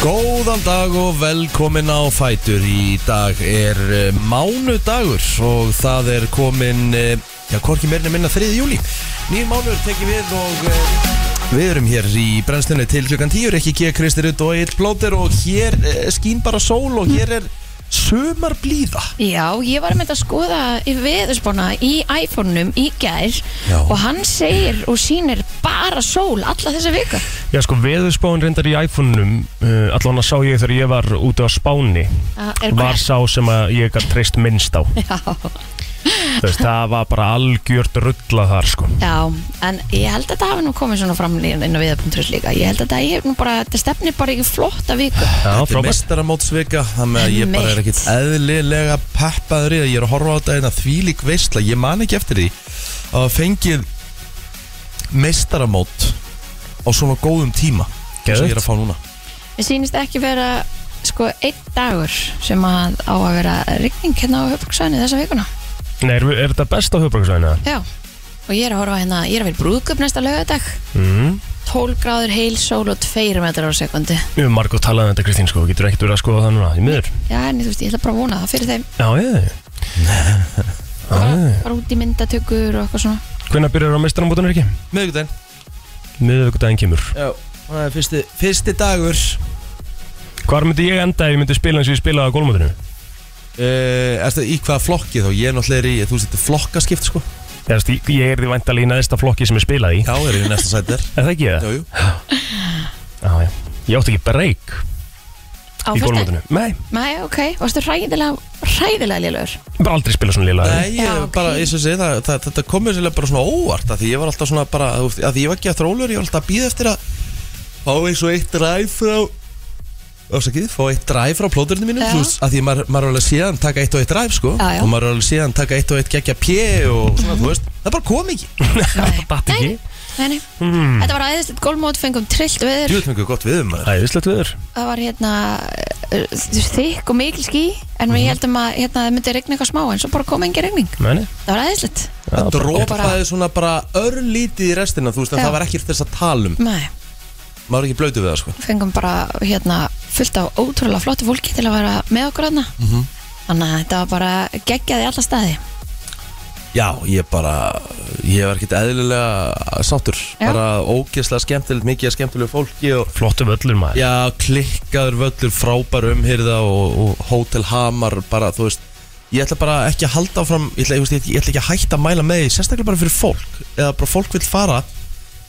Góðan dag og velkomin á Fætur Í dag er uh, mánudagur og það er komin, uh, já, hvorki meirin að minna 3. júli Nýjum mánuður tekið við og uh, við erum hér í brennstunni til klukkan 10 Ekki G. Kristirut og Eitt Blóter og hér uh, skín bara sól og hér er sumar blíða Já, ég var með að skoða í veðurspána í iPhone-num í gær Já. og hann segir og sýnir bara sól alla þessa vika. Já sko veðurspáin reyndar í iPhone-num uh, allan að sá ég þegar ég var úti á Spáni Það er var sá sem að ég gætt treyst minnst á Já. Þú veist, það var bara algjört rulla þar sko Já, en ég held að þetta hafi nú komið svona fram inn á viða.ris líka. Ég held að þetta, ég, nú bara, þetta stefni bara í flotta viku. Já, Þetta er frábært mestaramótsvika Þannig að ég bara er ekkit eðlilega peppaður í það Ég er að horfa á þetta en að þvílík veistla Ég man ekki eftir því að hafa fengið mestaramót á svona góðum tíma eins og ég er að fá núna Mér sýnist ekki vera sko einn dagur sem að á að vera rigning hérna á höfbruksvæðinu þessa vikuna. Nei, er, er þetta best á höfbruksvæðina? Já, og ég er að horfa hérna, ég er að vera brúðköp næsta lögadag. Mm. 12 gráður heil sól og 2 metrar á sekundi. Við erum margótt talað um þetta Kristín sko, getur ekkert verið að skoða það núna í miður Já, en þú veist, ég ætla bara að vona það fyrir þeim Já, ég bara, bara út í myndatökur og eitthvað svona Hvenær byrjar á mestaramótinu ekki? Miðvikudaginn Miðvikudaginn kemur Já, það er fyrsti, fyrsti dagur Hvar myndi ég enda ef ég myndi spila eins og ég spilaði á gólmótinu? Uh, er í hvaða flokki þá? Ég er náttúrulega er í, þú veist, þetta er flokkaskipt sko Ég, veist, ég- ég er því væntalega í næsta flokki sem ég spilaði í Já, er í næsta sætir Er það ekki það? Jú, jú Já, já Ég átti ekki breyk á í föstudaginn? gólmótinu Nei, Nei, ok, varstu hræðilega, hræðilega lélugur bara aldrei spila svona lila Nei, ég Já, ok. bara, eins og segi, það, það, þetta komur sérlega bara svona óvart að því ég var alltaf svona bara, þú veist, að því ég var ekki að þrólur, ég var alltaf að býða eftir að fá eins og eitt dræf frá Ásakið, fá eitt dræf frá plóturinu mínu Já. þú veist, að því maður, maður er alveg síðan taka eitt og eitt dræf, sko Já, já. og maður er alveg síðan taka eitt og eitt gegja pjö og svona, þú veist, það bara kom ekki Nei, Datt nei, ekki Hmm. nei, nei. Þetta var aðeins gólmót, fengum trillt veður Djúðum við gott við um maður Æðislegt viður það var hérna eh, þú veist, þykk og mikil ský en Mhm. við heldum að hérna, það myndi regna eitthvað smá en svo bara kom engin regning, Meni það var aðeinslegt það bara- dropaði svona bara örlítið í restina, þú veist, en Já. það var ekkert þess að tala um Nei, maður er ekki blöytu við það, sko fengum bara hérna fullt á ótrúlega flottu fólki til að vera með okkur aðna Mhm. þannig að þetta var bara geggjaði alla staði Já, ég bara, ég var ekkert eðlilega sáttur Já. Bara ógeðslega skemmtilegt, mikið af skemmtilegu fólki og Flottu völlur maður Já, klikkaður völlur, frábær umhyrða og, og hótel hamar bara, þú veist Ég ætla bara ekki að halda áfram, ég ætla, ég, veist, ég ætla ekki að hætta að mæla með því Sérstaklega bara fyrir fólk, eða bara fólk vil fara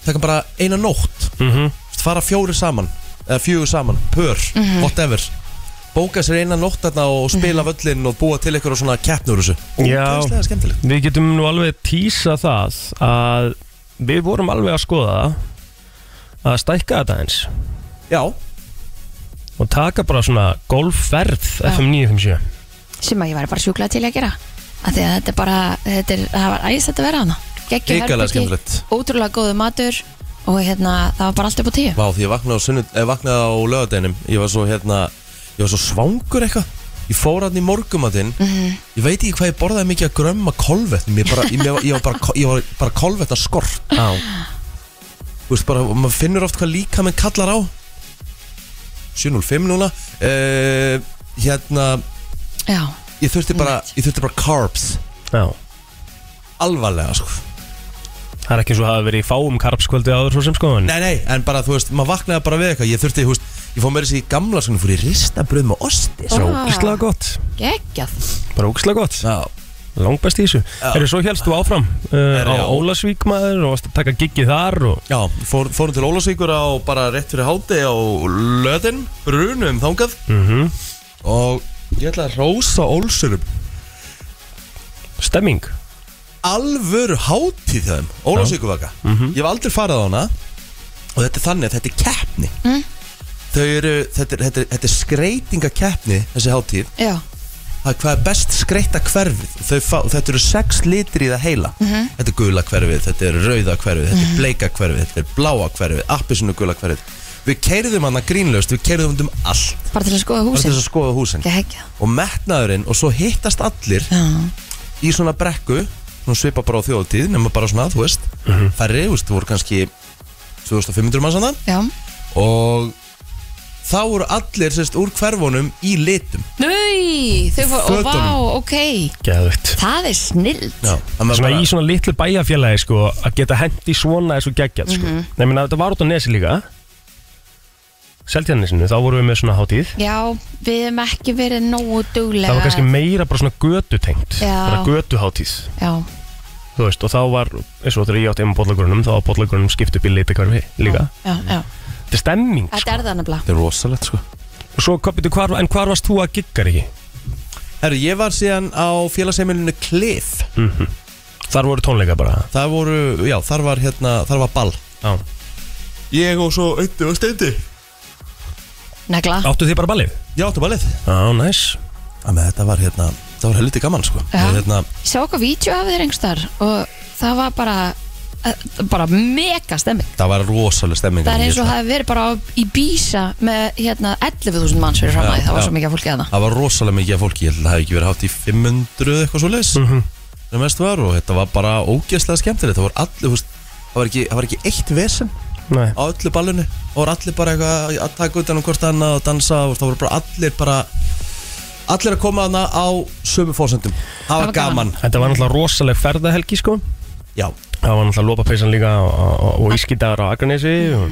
Það bara eina nótt, mm -hmm. Þú veist, fara fjóri saman, eða fjögur saman, pör, whatever Bóka sér eina nótt þarna og spila völlinn og búa til eitthvað svona keppnur þessu Já. Ógeðslega skemmtilegt Við getum nú alveg tísa það að við vorum alveg að skoða það að stækka þetta eins Já, og taka bara svona golfferð Já. FM 957 sem að ég væri bara sjúklega til að gera af því að þetta er bara, þetta er, það var æðislegt að vera hana geggjum Hrikalega skemmtilegt. ótrúlega góðu matur og hérna, það var bara allt upp á tíu Vá, því ég vaknaði á, sunnud, eh, vaknaði á lögadeginum Ég var svo hérna Ég var svo svangur eitthvað Ég fór hann í morgumatinn Ég veit ekki hvað ég borðaði mikið að grömma kolvetnum Ég, bara, ég, ég, var- ég var bara, ko- ég var bara kolvetna skorp Já Þú veist bara, maður finnur oft hvað líka menn kallar á 7.05 núna uh, Hérna já, Ég þurfti bara, ég þurfti bara carbs Já Alvarlega sko Það er ekki eins og hafa verið í fáum karpskvöldi áður svo sem sko en Nei, nei, en bara þú veist, maður vaknaði bara við eitthvað Ég þurfti, þú veist, ég fór meira sér í gamla sko, Fór í ristabröð með osti Bara sko. Ah. ógislega gott geggjað Bara ógislega gott Já, Langbæst í þessu Já. Eru svo helst þú áfram uh, Herra, á já. Ólasvík maður og varst að taka giggið þar og Já, fór, fórum til Ólásvíkur á bara rétt fyrir háti á löðin, brunum þangað mm og ég ætla að rósa Ólsurum Stemming alvöru hátíð þeim, Ólásvíkurvaka Ég hef aldrei farið á hana og þetta er þannig að þetta er keppni Mm. Þau eru, þetta er, þetta er, þetta er skreitinga keppni, þessi hátíð já, það er hvað er best skreita hverfið Þau fá, þetta eru sex litir í það heila Mhm. þetta er gula hverfið, þetta er rauða hverfið þetta er bleika hverfið, þetta er bláa hverfið appisinu gula hverfið við keirðum hana grínlaust, við keirðum um allt bara til að skoða bara til húsin þess að skoða húsin geggjað og metnaðurinn og svo hittast allir já, í svona brekku svona svipa bara á þjóðtíð nema bara svona, þú veist færri, þú veist, voru kannski 2500 mann sann já, og þá eru allir sérst úr hverfunum í litum Nei, þau fór, og vá, Fötunum. ok Geðvitt Það er snild Þannig að Svona bara- í svona litlu bæjarfélagi sko að geta hendi svona þessu geggjað sko Mhm. Nei, menna þetta var út á nesi líka Seltjarnisinu, þá vorum við með svona hátíð Já, við hefum ekki verið nógu duglega Það var kannski meira bara svona götu tengt Já. Bara götuhátíð Já, Þú veist, og þá var, eins og þegar ég átti um bóllagrunum Þá var bóllagrunum skipt upp í litakvarfi líka já, já Þetta er stemming Þetta sko er það nefnilega Þetta er rosalegt sko Og svo, Kopitu, hvar, en hvar varst þú að gigga ekki? Herru, ég var síðan á félagsheimilinu Cliff Þar voru tónleika bara Það voru, já, þar var hérna, þar var ball Já. Ég og svo Ötti og Steindi Negla Áttu þið bara ballið? Já, þetta var leið Já, næs Þetta var hérna, það var helviti gaman sko Já. Ég, hérna, Ég sá okkar vídeo af þér einhverstar og það var bara eh, bara mega stemming Það var rosalega stemming Það er eins og það hefði verið bara á- í býsa með hérna 11.000 manns fyrir fram Já, að það var já. svo mikið fólkið að Það var rosalega mikið af fólki, ég held að það hefði ekki verið hátt í 500 eitthvað svo leis Það mest var og þetta var bara ógeðslega skemmtilegt Það voru allir, þú veist, það var ekki, það var ekki eitt vesen Nei. á öllu ballinu Það voru allir bara eitthvað að taka utan um hvort annað og dansa og það voru bara allir bara Allir að koma hana á sömu fórsendum Það var var gaman, gaman. Þetta var náttúrulega rosaleg ferðahelgi sko já Það var náttúrulega lopapeysan líka og, og, og ískidagar á Akranesi og...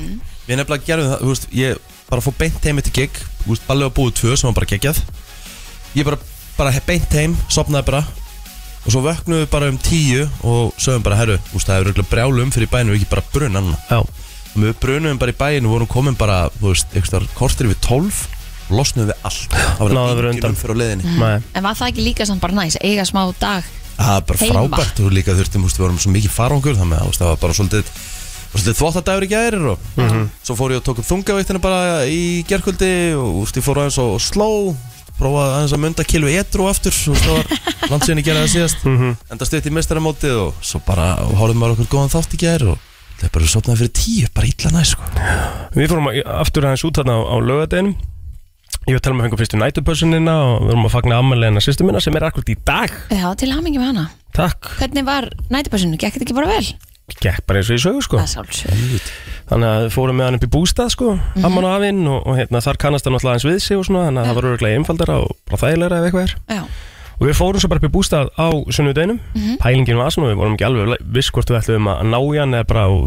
Við nefnilega gerðum það, þú veist, ég bara fór beint heim eftir gig Þú veist, ballið var búið tvö sem var bara geggjað Ég bara, bara he- beint heim, sopnaði bara Og svo vöknum við bara um tíu Og sögum bara, herru, þú veist, það hefur örugglega brjálum fyrir bænum Ekki bara brunan Já, Og við brunum bara í bæinu, vorum komin bara, þú veist, einhverstaðar kortir við tólf Losnum við allt Það var Náðu að vera engin undan. umferð á leiðinni nei, það En var það ekki líka samt bara næs, eiga smá dag Það er bara Heima. frábært og líka þurftum, þú veist, við vorum svo mikið farangur þannig að þú veist, það var bara svolítið og svolítið þvottadagur í gæri og svo fór ég og tók upp þungaveiktina bara í gerkvöldi og þú veist, ég fór aðeins og, og sló prófaði aðeins að mynda kilvi etru aftur og það var landsinni geraði síðast enda stutt í mestaramótið og svo bara og horfðum maður okkur góðan þátt í gæri og það er bara sopnaði fyrir tíu, bara illa næ sko. Við fórum að- aftur aðeins út þarna á, á lögadeinum Ég var að tala um að fengum fyrstu nætupössunina og við vorum að fagna ammæleina sýstu minna sem er akkurat í dag Já, til hamingi með hana Takk, Hvernig var nætibæsinu, gekk þetta ekki bara vel? gekk bara eins og ég sögu sko Það sálsög Þannig að við fórum með hann upp í bústað sko Amman og afinn og, og hérna, þar kannast hann alltaf aðeins við sig og svona Þannig að það var öruglega einfaldara og bara þægilegra ef eitthvað er Já, Og við fórum svo bara upp í bústað á sunnudeginum Mhm. Pælingin var svona, við vorum ekki alveg viss hvort við ætlum að ná í hann eða bara að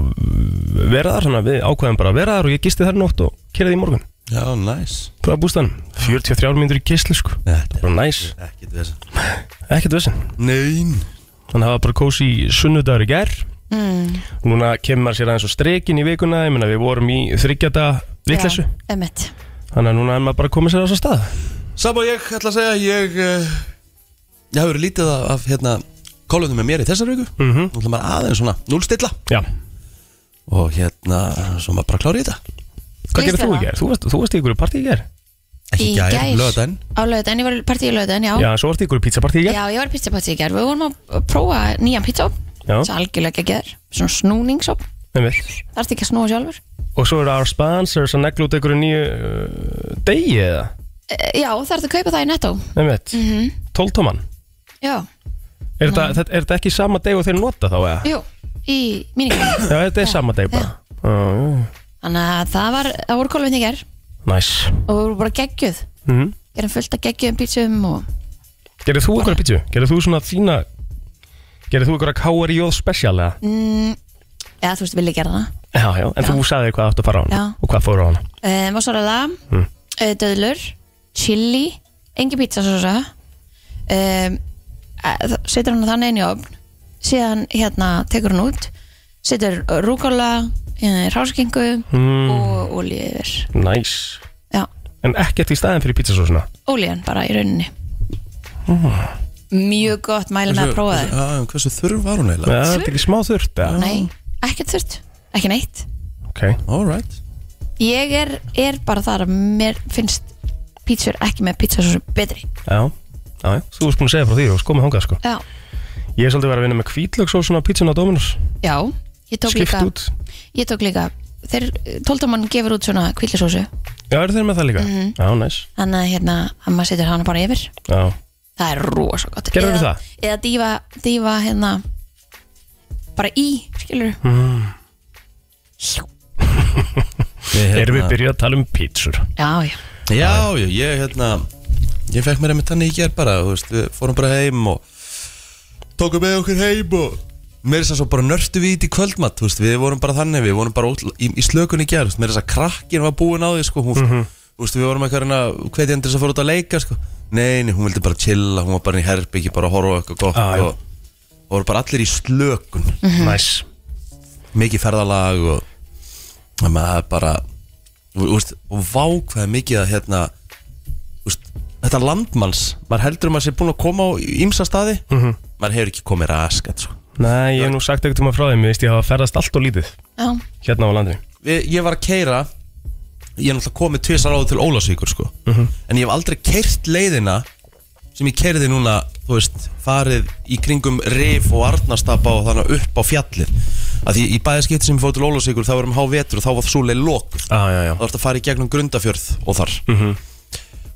vera þar, þannig að við ákvæðum bara að vera þar og ég gisti þar í nótt og kerði í morgun Já, næs frá bústaðnum, 43 mínútur í gistlu sko Þetta bara næs, er ekkert þess ekkert vissin Nein þannig að það var bara kósi sunnudagur í gær mm, núna kemur sér aðeins og strekin í vikuna ég meina við vorum í þryggjata viklessu já, emmitt þannig að núna er maður bara komið sér á þess að stað Sama og ég ætla að segja Ég, uh, ég hafi verið lítið af, af hérna, kólunum með mér í þessar viku Nú mm ætla maður aðeins svona núlstilla já, Og hérna, svo maður bara klára í þetta Lýst hvað gerir þér þú í það? gær? Þú varst, þú varst í ykkur partí í gær Ekki í gær, laugardaginn. Á lögadaginn, ég var partí í lögadaginn, já. já, svo varst í ykkur pizzapartí í gær Já, ég var í pizzapartí í gær Við vorum að prófa nýjan pizza Já. Svo algjörlega ekki þér Svona snúningsop Einmitt. Þarfst ekki að snúa sjálfur og svo eru our sponsors að negla út ykkur nýju uh, degi eða Eh, Já, þarfst að kaupa það í netto Mhm. einmitt, mm -hmm. 12 tóman Já, er þetta- þetta er þetta ekki sama deg og þeir nota þá eða? jú, í míningum já, þetta er sama deg bara Já, já. Þannig að það var, það voru kólfinn í gær næs Og við vorum bara geggjuð Mhm. Gerum fullt að geggjuðum pizzum og Gerðið þú ykkur að pítsu? Gerðið þú svona þína Gerðið þú ykkur að KRJ special eða? mm, Já, þú veist, vilja gera það Já, já, en þú sagði hvað áttu að fara á hana Já. Og hvað fóru á hana uh, Mozzarella mm. uh, Döðlur Chili Engi pizza svo svo um, Setur hann þannig inn í ofn Síðan hérna tekur hann út Setur rúkola uh, Ráskingu Mm. Og ólíu yfir Næs Já, En ekkert í staðin fyrir pítsasósuna ólíjan bara í rauninni Mjög gott mæli með að prófa það Já, en Hversu þurr var hún eiginlega? Já, þetta er ekki smá þurrt eða? Nei, ekkert þurft Ekki neitt Ok, Alright Ég er, er bara þar að mér finnst pítsur ekki með pizzasósu betri já Já, já, þú varst búin að segja frá því og sko með hongað sko Já, Ég er svolítið verið að vinna með kvítlöksósuna á pítsuna á Dominus já ég tók Skipt líka út Ég tók líka, þeir tóldamann gefur út svona kvillisósu, Já, eru þeir með það líka? Já, næs þannig að hérna að maður setur hana bara yfir, Já, það er rosa gott Gerðirðu Eða- það? Eða dýfa, dýfa hérna bara í, skilur mm. Ég, Erum við hérna- byrjuð að tala um pítsur já, já Já, já, ég hérna Ég fekk mér einmitt þannig í ger bara þú veist, Við fórum bara heim og Tókum með okkur heim og Mér er þess að segja svo bara nörtu við í þetta í kvöldmatt þú veist, Við vorum bara þannig, við vorum bara ótl, í, í slökun í ger Mér er þess að segja krakkin var búin á því sko, hún, mm Mhm. veist, Við vorum eitthvað hérna Hvetja hendur þess að fóra út að leika sko. Nei, nei, hún vildi bara chilla, hún var bara í herbyggi Bara að horfa á eitthvað gott Ah, já. og, og voru bara allir í slökun Næs mikið ferðalag og og maður er bara og, úst, og vákvæði mikið að hérna úst, þetta landmanns maður heldur um að maður sé búin að koma á ímsa staði maður hefur ekki komið raskat sko. Nei, ég hef nú sagt ekkert um að frá þeim Ég veist ég hafa ferðast allt og lítið Já, Hérna á landinu ég, ég var að keira ég er náttúrulega komið tvisar áður til Ólasvíkur sko. en ég hef aldrei keirt leiðina sem ég keirði núna þú veist, farið í kringum Rif og Arnastapa og þannig upp á fjallið að því í bæðiskipti sem ég fóð til Ólasvíkur þá varum há vetur og þá var svo leið lokuð ah, já, Mhm. já. þá ertu að fara í gegnum grundafjörð og þar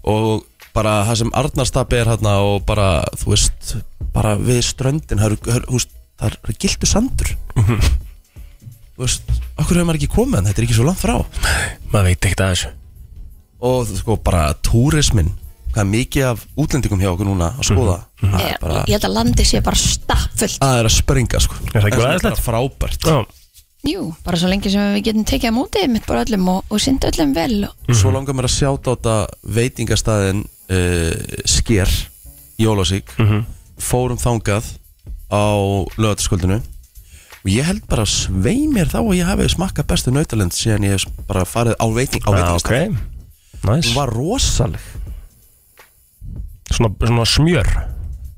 og bara það sem Arnarstapi er hérna og bara þú veist bara við ströndin það eru- það eru- þú veist, það eru gildu sandur Mhm. þú veist okkur hefur maður ekki komið en þetta er ekki svo langt frá Maður veit ekkert að þessu og þú- sko bara túrismin hvað er mikið af útlendingum hjá okkur núna að skoða Mhm. það er ég, bara ég held að landi sé bara stappfullt það er að springa sko Er það ekki En aðeinslegt? bara frábært Já, Jú, bara svo lengi sem við getum tekið á mótið mitt bara öllum og, og synd öllum vel og, Mhm. svo langar mér að sjáta á þetta veitingastæðin uh, Sker í Ólásík Mhm. fórum þangað á lögatasköldinu og ég held bara að svei mér þá að ég hafi smakkað bestu nautalend síðan ég hef bara farið á veiting á ah, ok veitingastæð Næs hún var rosaleg svona, svona smjör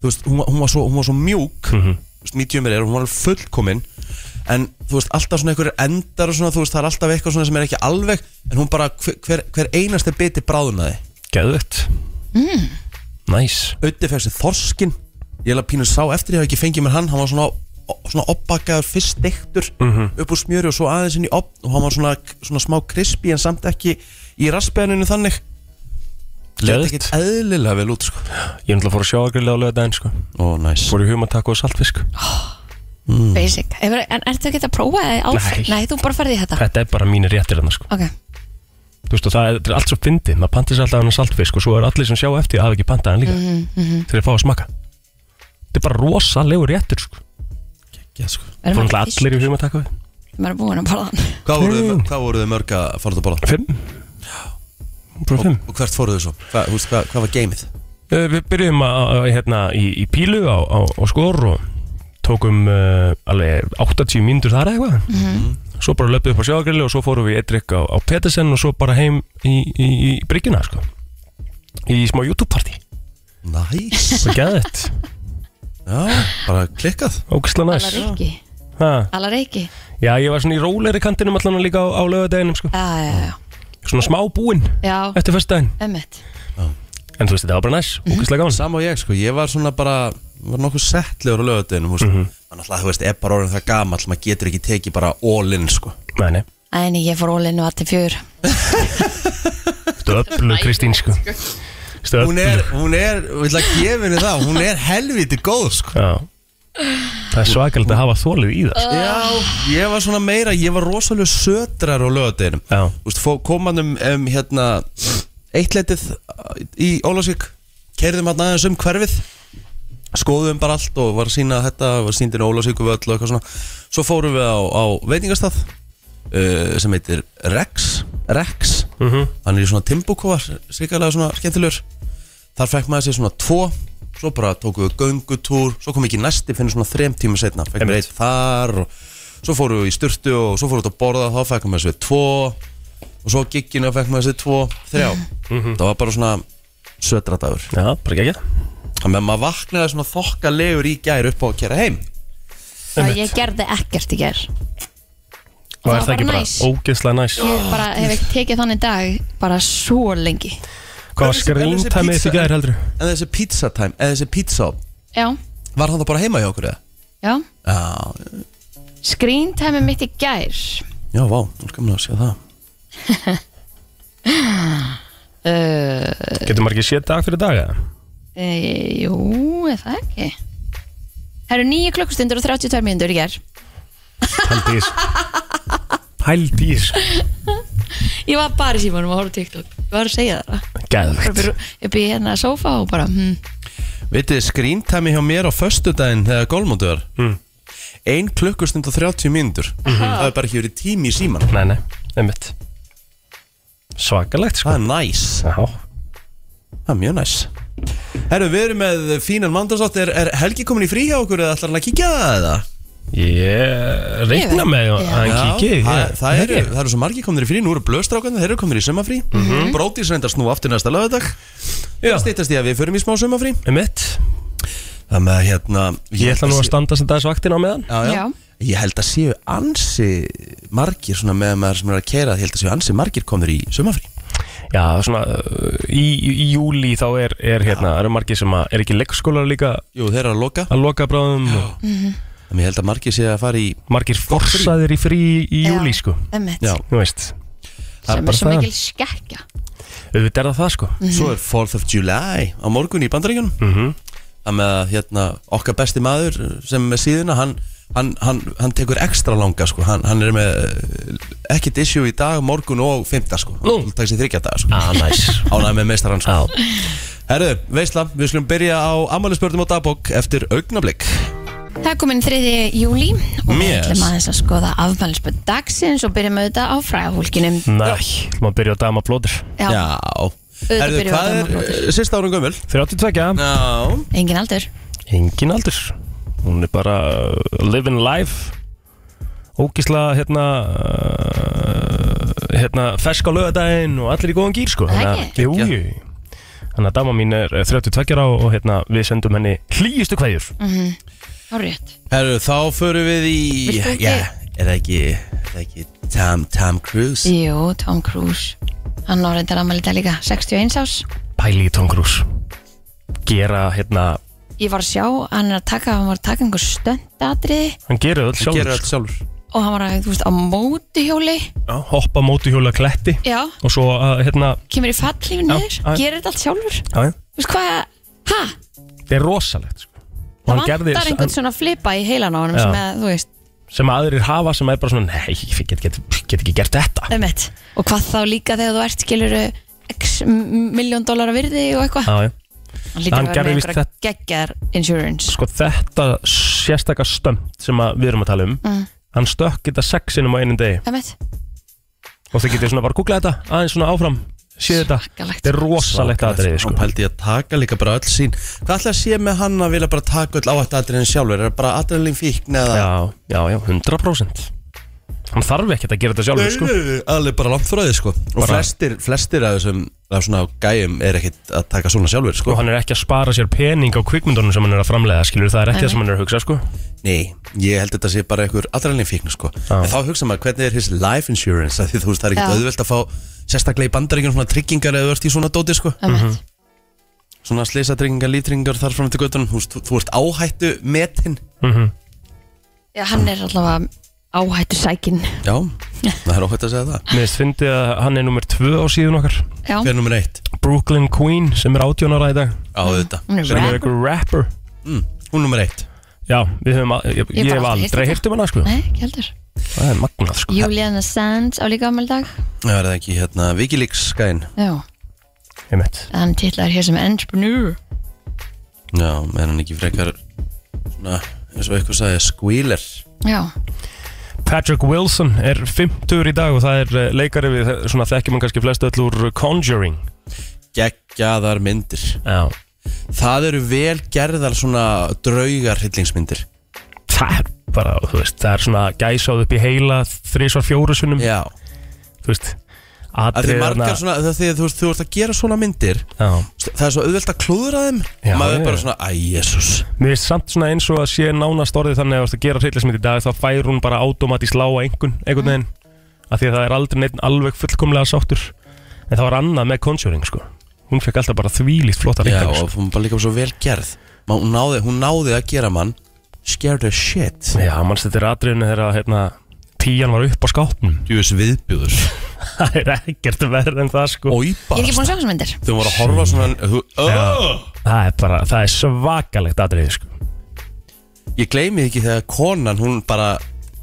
þú veist, hún, var- hún, var svo, hún var svo mjúk mm Mhm. -hmm. medium er, hún var alveg fullkomin en þú veist, alltaf svona einhverjir endar og svona, þú veist, það er alltaf eitthvað svona sem er ekki alveg en hún bara, hver, hver, hver einasti biti bráðunaði Geðvett Næs Ötti fegst sér þorskin Ég hef að pínu sá eftir ég hef ekki fengið mér hann Hann var svona, svona oppbakaður fyrst steiktur Upp úr smjöri og svo aðeins inn í opn Og hann var svona, svona smá krispi En samt ekki í raspiðaninu þannig Leit Geðveikt. ekkert eðlilega vel út sko. Ég er náttúrulega að fór að sjá að grilla á lögadaginn sko Ó, næs Fór í humatakku og saltfisk basic Hefur, En ertu ekki að prófa það áfram? Mm. Nei. Nei, þú bara ferði í þetta Þetta er bara mínir réttir hérna sko Ok, Þú veist og það er, þetta er allt svo fyndið Maður pantir sér alltaf hann saltfisk Og svo er allir sem sjá eftir að hafa ekki pantað hann líka Mhm, mm -hmm. Þegar ég fá að smaka Þetta er bara rosalegu réttur sko ja, sko. verðum Fór ekki náttúrulega fyrst allir í humatakku Maður er búin að borða hann hvað, voru þið, hvað voru þið mörg að fara út að borða? Fimm Bara Og, fimm og hvert fóruð þið svo? Hva, húst, hvað, hvað var geimið? Eh, Við byrjum að, að, hérna, í, í pílu á, á, á skor og tókum uh, alveg 80 mínútur þar eða eitthvað Svo bara löpum upp á sjágrilli og svo fórum við eitrykk á, á Petersen og svo bara heim í, í, í bryggjuna sko. Í smá YouTube-parti Næs Það er geðett, Já, bara klikkað ógislega Alla næs reiki ha. Alla reiki Já, ég var svona í róleri kantinum allan líka á, á lögadeginum sko. Já, já, já, Svona smá búinn já eftir fyrstdægin Ömmit En þú veist, þetta var bara næs, ógislega gaman Sama og ég sko, ég var svona bara var nokkuð settlegur á lögadeinum mm -hmm. Þannig að þú veist, er bara orðin það gamall maður getur ekki tekið bara all in sko Nei, nei, Æni, ég fór ólinn og allir fjör stöflu Kristín sko. hún Stöflu er, hún er, við ætla að gefa henni það hún er helviti góð sko Já Það er svakalegt að hafa þólið í það sko. Já, ég var svona meira, ég var rosalega sötrar á lögadeginum Já. Þú veist, fó- kom hann um, um hérna eittleitið í Ólasík keirðum hann aðeins um hverfið skoðum bara allt og var að sína þetta var síndir í Ólasíku völl um og eitthvað svona svo fórum við á, á veitingastað uh, sem heitir Rex Rex, hann er í svona timbúkóa sikarlega svona skemmtilegur þar fekk maður sér svona tvo svo bara tókum við göngutúr svo kom ekki næsti fyrir svona þrem tíma setna fekk við Einmitt. eitt þar og svo fórum við í sturtu og svo fórum við út að borða þá fekk maður sér tvo og svo á gigginu fekk maður sér tvo, þrjá Mhm. það var bara svona sötradagur Já, bara ekki þannig að maður vaknaði svona þokkalegur í gær upp á að kera heim Það ég gerði ekkert í ger Og Það er það var ekki bara næs. ógeðslega næs Ég bara hef ekki tekið þannig dag bara svo lengi Hvað var En þessi- en þessi skrýntæmið pizza- því gæðir heldur? en þessi pizza time, eða þessi pizza Já, var það bara heima hjá okkur eða? já já, Skrýntæmi mitt í gær já, vá, nú skal maður að segja það Uh, Getur maður ekki séð dag fyrir dag eða? e, jú, er það ekki Það eru 9 klukkustundur og 32 mínútur í ger Pældís Pældís Ég var bara í símanum að horfa á TikTok Ég var að segja þér það Bara upp Gæðvegt í rú- Upp í hérna sófa og bara hm, Vitið, skrýntæmi hjá mér á föstudaginn þegar gólmóndu var Mm. Ein klukkustund og 30 mínútur Það er bara ekki verið tími í síman Nei, nei, einmitt Svakalegt Það sko er næs Já, Það er mjög næs Herru, við erum með fínan mándarsátt er, er Helgi komin í frí hjá okkur eða ætlar hann að kíkja það eða? ég reikna með að hann kíki það, það, eru, það eru svo margir komnir í frí Nú eru blöðstrákan, þeir eru komnir í sömafrí mm -hmm. Brótis reyndast nú aftur næsta lögadag Mhm. Já, Stýttast í að við förum í smá sömafrí einmitt Það með hérna Ég ætla nú að sé- standa sem dagsvaktin á meðan já, já. Já. Ég held að séu ansi margir svona með maður sem er að keira Ég held að séu ansi margir komnir í sömafrí Já, svona uh, í, í júli þá er, er hérna, eru margir sem að, er ekki leikskólar líka Jú, þeir eru að loka að loka bráðum og Þannig ég held að margir séu að fara í margir forsaðir í frí í júli já, sko, einmitt. Já, þú veist það er Sem bara er svo það. mikil skekkja auðvitað er það það sko Svo er 4th of July á morgun í bandaríkjunum Mhm. Það með að hérna, okkar besti maður sem er með síðuna hann, hann, hann, hann tekur ekstra langa sko. hann, hann er með eh, ekkert issue í dag, morgun og fymta sko. Nú. hann takk sér þryggja dag sko. ah, næs nice. ánægð með meistarann Já. sko. Herru, veisla, við skulum byrja á amalisbörnum á dagbók eftir augnablik Það er komin 3. júli og við Yes. ætlum aðeins að skoða afmælisböð dagsins og byrjum auðvitað á fræðahólkinum. Næ, maður byrja á dama blóður Já, Auðvitað Herru, byrjum við á hvað er dagmálbrotum. eh, sérsta árum gömul? 32, Já, engin aldur. engin aldur hún er bara uh, living life ógisla hérna uh, hérna fersk á lögadaginn og allir í góðan gýr sko Það Þannig að- ekki? jú, jú þannig að dama mín er eh, 32 ára og hérna við sendum henni hlýjustu kveðjur Mm. Hárið. herru, þá förum við í Viltu ekki- Já, er það ekki, er það ekki Tom, Tom Cruise? Jú, Tom Cruise. Hann á reyndar afmæli í dag líka, 61 ás. pæli í tóngrús gera hérna Ég var að sjá, hann er að taka, hann var að taka einhver stöndadriði hann gerir öll Sjálfur. Gerir sjálfur allt sjálfur og hann var að, þú veist, á mótuhjóli. Já, hoppa mótuhjóla kletti Já, og svo uh, hérna kemur í fallífin Já, niður, já. gerir þetta allt sjálfur. já, já. Þú veist hvað, hæ? þetta er rosalegt sko. Og Það hann gerði vantar einhvern svona flipa í heilan á honum Já. sem að, þú veist, sem aðrir hafa sem er bara svona nei, ég get, get, get ekki gert þetta Emmett. Og hvað þá líka þegar þú ert skilur x miljón dólar að virði og eitthvað já, já. Hann lítur Hann að vera gerði með víst einhverja geggar insurance Sko, þetta sérstakar stönd sem að við erum að tala um Mm. hann stökk þetta sexinum á einum degi Emmett, og þið getið svona bara að googla þetta aðeins svona áfram, séð þetta Svakalegt. þetta er rosalegt aðriði Hann sko. pældi í að taka líka bara öll sín Hvað ætla að sé með hann að vilja bara taka öll áhætt aðriðin sjálfur? Er það bara aðriðin fíkn eða já, já, já, 100% hann þarf ekkert að gera þetta sjálfur sko. Allir bara langt frá því sko Og Bara- flestir, flestir af þessum af svona gæjum er ekkit að taka svona sjálfur sko og hann er ekki að spara sér pening á kvikmyndunum sem hann er að framlega skilur, það er ekki það sem hann er að hugsa sko. Nei, ég held þetta sé bara einhver aðriðin fíkn sko Já. En þá hugsa maður hvernig er his life insurance af Því þú veist það er Já. ekkit auðvelt að fá Sérstaklega í bandaríkjum svona tryggingar eða þú ert í svona dóti sko Mhm. Emmett Svona slisatryggingar, lítryggingar þar fram til göttunum Þú, veist, þú, þú ert áhættu metin Mhm. Já, hann er allavega áhættu sækin Já, það er óhætt að segja það mér finnst fyndið að hann er nummer 2 á síðun okkar Já, Hver er nummer eitt? Brooklyn Queen sem er 18 ára í dag Á þetta hún er sem er rap einhver rapper mm, Hún nummer eitt Já, við höfum, að- ég, Ég ég bara hef aldrei heyrt aldrei þetta. heyrt um hana sko Nei, ekki heldur Það er magnað sko Julian Assange á líka afmæli í dag Það er það ekki hérna Wikileaks skæn Já, Ég mitt hann titlar hér sem entrepreneur Já, er hann ekki frekar Svona, eins og eitthvað sagði Squealer Já, Patrick Wilson er 50 í dag og það er eh, leikari við eh, svona þekkjum hann kannski flest öll úr Conjuring Geggjaðar myndir Já Það eru vel gerðar svona draugar hryllingsmyndir Það er bara, þú veist, það er svona gæsáð upp í heila þrísvar fjóru sunnum Já Þú veist að Því atriðarna- margar svona það Því að þú veist, þú ert að gera svona myndir Já Það er svo auðvelt að klúðra þeim Já, Maður já. er bara svona, æ, jesús Mér finnst samt svona eins og að sé nánast orðið þannig að ef þú ert að gera hryllismynd í dag þá fær hún bara automatist lága einhvern einhvern veginn af því að það er aldrei neitt alveg fullkomlega sáttur en það var annað með Conjuring sko hún fekk alltaf bara þvílíkt flotta Já, reyngar sko. og hún bara líka svo vel gerð Ma, hún, náði, hún náði að gera mann Scared as shit Já, mannst þetta er atriðinu þegar að, hérna, píjan var upp á skápnum Djúis viðbjúður það er ekkert verð en það sko ég er ekki Óibarast búin að sjá þessum myndir Þau voru að horfa svona þú, oh! það er bara, það er svakalegt atrið sko. Ég gleymi því ekki þegar konan Hún bara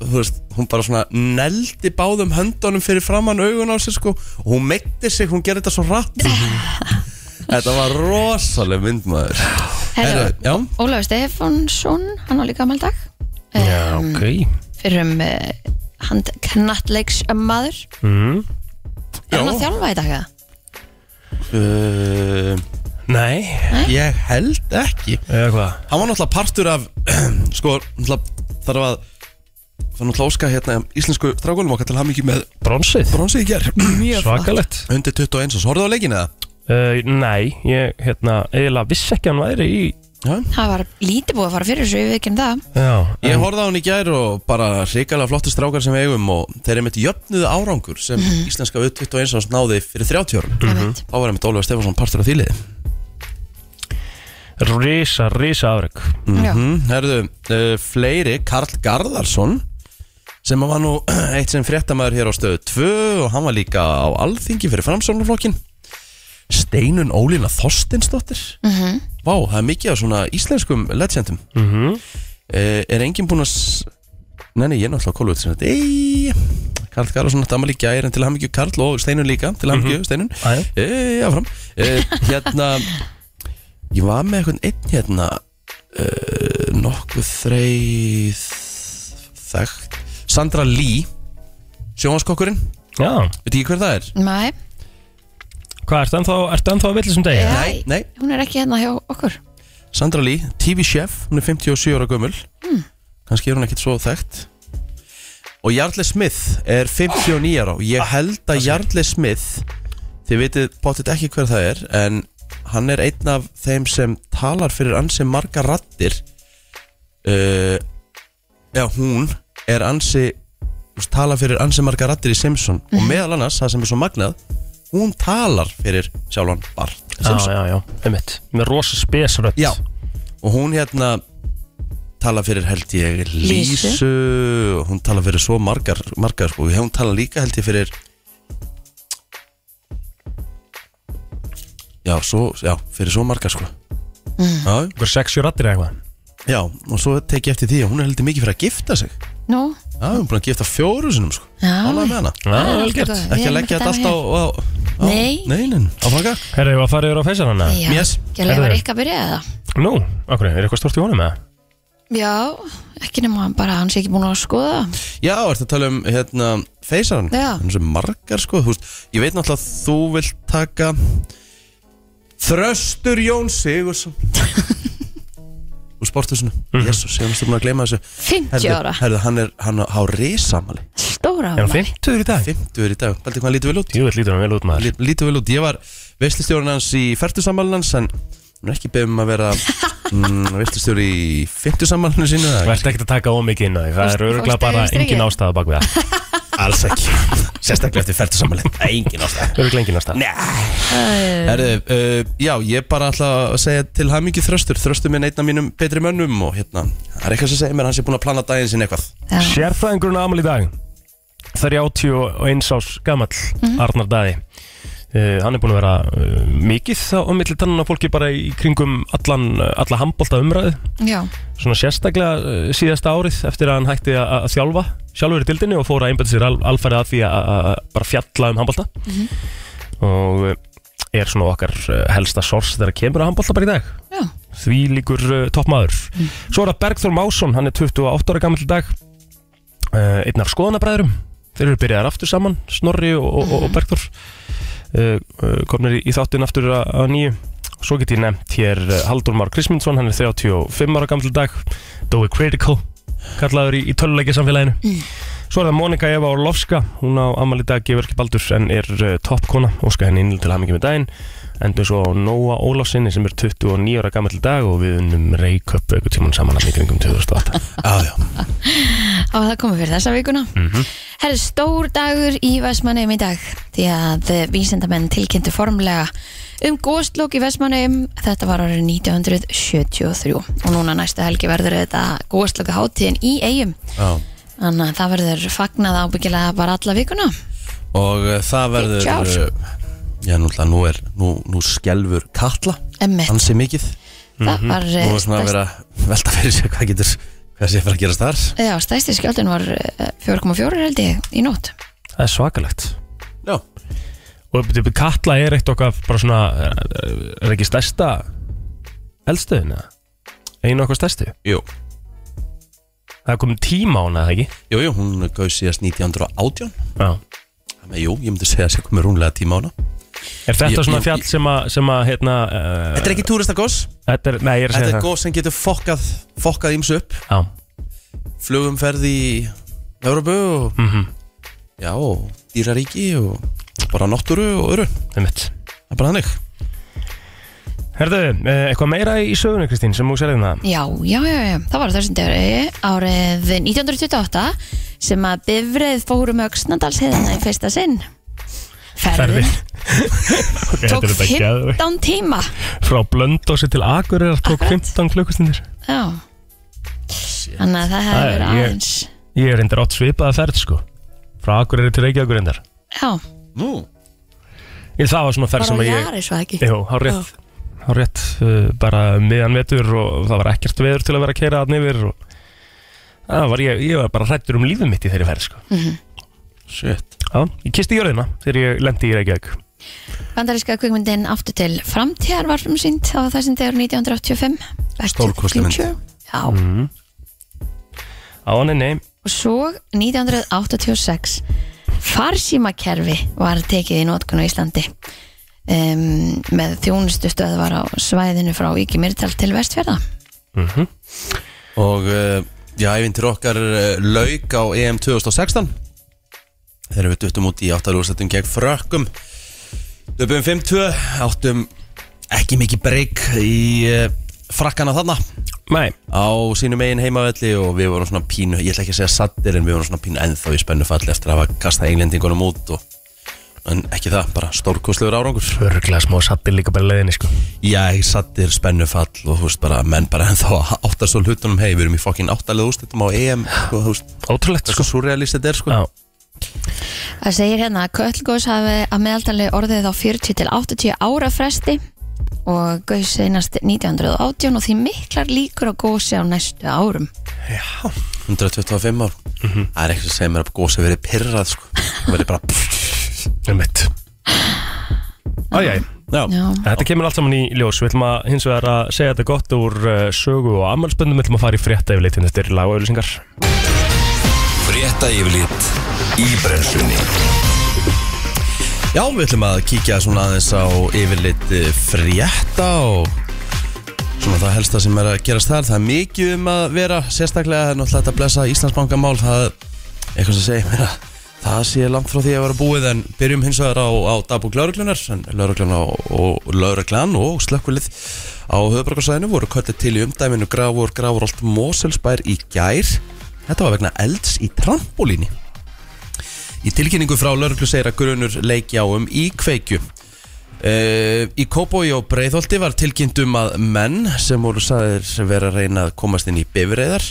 þú veist, hún bara svona neldi báðum höndunum fyrir framann augun á sig sko og hún meitti sig, hún gerði þetta svo rætt Þetta var rosaleg myndmaður Herra, Herra, já. Ólafur Stefánsson, hann á líka gammal dag Eh. Já, ok fyrir um uh, hann knattleiks maður mm. er hann Já. að þjálfa í dag eða? uh, Nei, Ég held ekki eða hvað Hann var náttúrulega partur af sko, náttúrulega þarf að það er náttúrulega óska hérna íslensku strákunum okkar til hafa mikið með Bronsið, bronsið í ger svakalett undir 21 og horfðu á leikinu eða? uh, Nei, ég hérna eiginlega vissi ekki að hann væri í Já, hann var lítið búið að fara fyrir þessu við ekki um það Já, Ég horfði á hann í gær og bara hrikalega flottir strákar sem við eigum og þeir eru mitt jöfnuðu árangur sem íslenska við 21 árs náði fyrir 30 árum mm Þá var einmitt Ólafur Stefansson partur af þýliði risa, risa afreg Já. mm, Herðu, uh, fleiri, Karl Garðarsson sem var nú eitt sem fréttamaður hér á stöðu 2 og hann var líka á alþingi fyrir framsóknarflokkin Steinun Ólína Þorstinsdóttir Mhm. Vá, það er mikið af svona íslenskum legendum mm uh, Er enginn búinn að s- Nei, nei, ég er náttúrulega kólu út sem þetta Ei, Karl Karlsson, þetta amal í gær En til hamingju Karl og Steinun líka Til hamingju Steinun Æja. e, Já, fram Hérna Ég var með einhvern einn hérna uh, Nokkuð þreið Þekkt Sandra Lee Sjónvaskokkurinn, Já, veit ekki hver það er? Nei, hvað, ertu ennþá, ertu ennþá að vilja sem degi? Já. Nei, nei, hún er ekki hérna hjá okkur Sandra Lee, TV-chef, hún er 57 ára gömul kannski er hún ekkit svo þekkt og Jarle Smith er 59 ára og ég held að Jarle Smith þið vitið potið ekki hver það er en hann er einn af þeim sem talar fyrir ansi marga rattir uh, já, hún er ansi þú veist, talar fyrir ansi marga rattir í Simpson og meðal annars, það sem er svo magnað hún talar fyrir sjálfan Bart Já, Simpson já, já, einmitt Með rosa spesrött Já Og hún hérna tala fyrir held ég Lísu. Lísu og hún tala fyrir svo margar, margar sko. hún tala líka held ég fyrir já, svo, já fyrir svo margar sko. Mm. já, Ykkur sexjur rattir eða eitthvað já, og svo tek ég eftir því að hún er heldur mikið fyrir að gifta sig Nú, já, hún er búin að gifta fjóru sinum sko. Já. Ánægð með hana Já, Ah, vel gert allt í góðu. Við ekki að erum leggja ekki þetta dæmi alltaf á, á, á Nei. neinin, áfranga Herra, ég var að fara yfir á feysan hana Já, Yes. ekki að Herðu. leifa ekki að byrja eða Nú, okkur, er eitthvað stort í honum eða? Já, ekki nema hann bara að hann sé ekki búin að skoða Já, ertu að tala um hérna feysaran Já. Þannig sem margar sko þú veist, Ég veit náttúrulega að þú vilt taka Þröstur Jón Sigursson Úr sporthúsinu mm. Jésus, ég varst að búin að gleyma þessu 50 ára, herðu, hann er hann á risamali stóra Er hann afmæli. 50 í dag? 50 er í dag, heldur hvað hann lítið vel út Jú, þetta lítur hann vel út maður Lít- Lítið vel út, ég var veistlistjórun hans í færtusamalinn hans En hann er ekki beðum að vera mm, Veistlistjóri í fymtusamalinu sínu Þú það- ert ekkert að taka ómikið inn á því Það er Fórstu- öruglega fórstu bara yfir strikið? engin ástæða bak við það Alls ekki Sérstaklega eftir færtusamalinn Það er engin ástæð Öruglega engin ástæða Nei Herðu, uh, já, ég bara ætla að segja til hamingi þröstur Þröstur minn einn af mínum betri mönnum Og hérna, það er eitthvað sem segir mér að Hann sé búin að plana daginn sinn eitthvað Já. Sérfræðingurinn á amal í dag 31 ás gamall Arnar Daði Uh, hann er búin að vera uh, mikið á milli tannan á fólki bara í kringum allan, uh, alla handbólta umræðu Já, svona sérstaklega uh, síðasta árið eftir að hann hætti að að þjálfa sjálfur í dildinni og fór að einbæta sér al, alfærið að því að- að að bara fjalla um handbólta og uh, er svona okkar uh, helsta sors þegar kemur að handbólta bara í dag já, því líkur uh, toppmaður Svo er það Bergþór Másson, hann er 28 ára gammal dag uh, einn af skoðanabræðurum þeir eru byrjaðar aftur saman, Snorri og, og, og Bergþór uh, uh, komnir í, í þáttinn aftur að, að nýju Svo get ég nefnt hér uh, Haldur Már Krisminsson, hann er 35 ára gammal dag Dói Critical kallaður í, í töluleikja samfélaginu Svo er það Monika Eva Orlovska hún á ammali dag gefur ekki baldur en er uh, toppkona, óska henni innlega til hamingi með daginn endur svo á Nóa Ólásinni sem er 29 ára gammal dag og við unnum Reykjöp eitthvað tíman saman að mikringum 2008 Já, já á það komið fyrir þessa vikuna Herri, stór dagur í Vestmanneum í dag því að eh, vísindamenn tilkynntu formlega um góðslók í Vestmanneum þetta var árið 1973 og núna næstu helgi verður þetta góðslóka hátíðin í eigum Já þannig að það verður fagnað ábyggilega bara alla vikuna Og uh, það verður Fimmtíu ár. uh, Já, núna, nú er, nú, nú skelfur Katla Emmett, Hann sé mikið það var eh, Nú er svona að vera að velta fyrir sér hvað getur Hvað Hvað sé fyrir að gerast þar? Já, stæsti skjálfin var eh, 4,4 held ég í nótt Það er svakalegt Já Og byrju, byrju, Katla er eitt okkar bara svona eh, er ekki stærsta eldstöðin eða? Einu okkar stærstu Jú, Það er komin tíma á hana, eða ekki? jú, jú hún gauð síðast 1918 Já Þannig að jú, ég myndi segja að sé komið rúnlega tíma á hana Er þetta Ég- svona ég- fjall sem að, sem að hérna, uh, Þetta er ekki túristagós þetta er, nei, ég er að Þetta segja er það. gós sem getur fokkað, fokkað ímsu upp Já, Flugumferð í Európu og mhm, Já, og dýraríki og bara náttúru og öru það er mitt. Það er bara þannig Herðu, eh, eitthvað meira í sögunu, Kristín, sem þú sér hérna? Já, já, já, já, það var á þessum degi árið 1928 sem að bifreið fórum auksnandalsheðina í fyrsta sinn Ferðin ok, tók þetta er þetta geðveikt. 15 tíma Frá Blöndósi til Akureyrar tók Akkurat. 15 klukkustundir. Já Þannig að það Það hefði er- verið ég- aðeins Ég er reyndar átt svipaða ferð, sko. Frá Akureyri til Reykjavíkur reyndar. Já, Nú, Ég, það var svona ferð bara sem á að ég... jari svo ekki Jú, hár rétt. Hár rétt, uh, bara miðan vetur og það var ekkert veður til að vera að keira að yfir og... Það var ég, ég var bara hrættur um lífið mitt í þeirri ferð, Mm. sko. shit Já, ég kisti jörðina þegar ég lendi í Reykjavík. Bandaríska kvikmyndin aftur til framtíðar var umsýnd á þessum degur 1985 Back to the Stórkostleg mynd. Future. Já, Mm. Á, nei, nei, og svo 1986 farsímakerfi var tekið í notkun á Íslandi um, með þjónustustöð var á svæðinu frá Íkjumirtal til Vestfjörða Og uh, já, æfintir okkar uh, lauk á EM 2016 Þegar við duttum út í áttarúrstættum gegn frökkum Döpum 5-2 Áttum ekki mikið breyk í uh, frakkana þarna nei Á sínum eigin heimavelli og við vorum svona pínu Ég ætla ekki að segja sattir en við vorum svona pínu ennþá í spennu falli Eftir að hafa kastað englendingunum út og En ekki það, bara stórkostlegur árangur Örglega smá sattir líka bara leðinni sko Já, ég sattir spennufall og þú veist bara, menn bara ennþá að áttast á hlutunum hei, við erum í fokkin áttalegu úrslitum á EM sko, þú veist, Ótrúlegt þessu surrealist þetta er sko Já, það segir hérna að Köllgós hafi að meðaldali orðið á 40 til 80 ára fresti og gaus einast 1918 og því miklar líkur á gósi á næstu árum 125 ár Það er eitthvað sem er að gósa verið pirrað sko Það verið bara um mitt Æjæj, Já, Já. þetta kemur allt saman í ljós Við ætlum að hins vegar að segja þetta gott úr uh, sögu og ammálspöndum Við ætlum að fara í frétta yfir litin eftir lagauðlýsingar Frétta yfirlit í brennslunni Já við ætlum að kíkja svona aðeins á yfirleitt frétta og svona það helsta sem er að gerast þar það er mikið um að vera sérstaklega náttúrulega þetta blessa Íslandsbankamál það er eitthvað sem segir mér að það sé langt frá því að vera búið en byrjum hins vegar á, á dagbúk lauruglunar en lauruglan og, og, lauruglan og slökkulið á höfðbrukarsæðinu voru kallið til í umdæminu Gravur, Gravurholt, Moselsbær í gær þetta var vegna elds í trampolíni í tilkynningu frá lauruglu segir að grunur leikja á um íkveikju Uh, í Kópói og Breiðholti var tilkynnt um að menn sem voru sagðir vera að reyna að komast inn í bifreiðar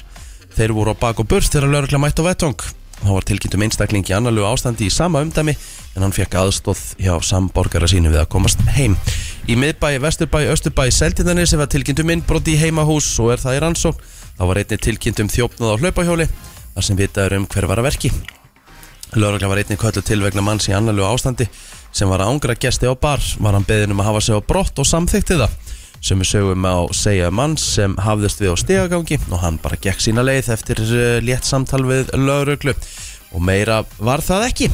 þeir voru á bak og burst þegar lögregla mætt á vettvang þá var tilkynnt um einstakling í annarlegu ástandi í sama umdæmi en hann fekk aðstóð hjá samborgara sínu við að komast heim í miðbæ, vesturbæ, östurbæ, seltindanir sem var tilkynnt um innbrot í heimahús og er það í rannsókn þá var einnig tilkynnt um þjófnað á hlaupahjóli þar sem vitaður um hver var að verki Lörgla var einnig köllu til vegna manns í annarlegu ástandi sem var að ángra gesti á bar var hann beðin um að hafa sig á brott og samþykti það sem við sögum á segja um mann sem hafðist við á stegagangi og hann bara gekk sína leið eftir uh, létt samtal við Lörglu og meira var það ekki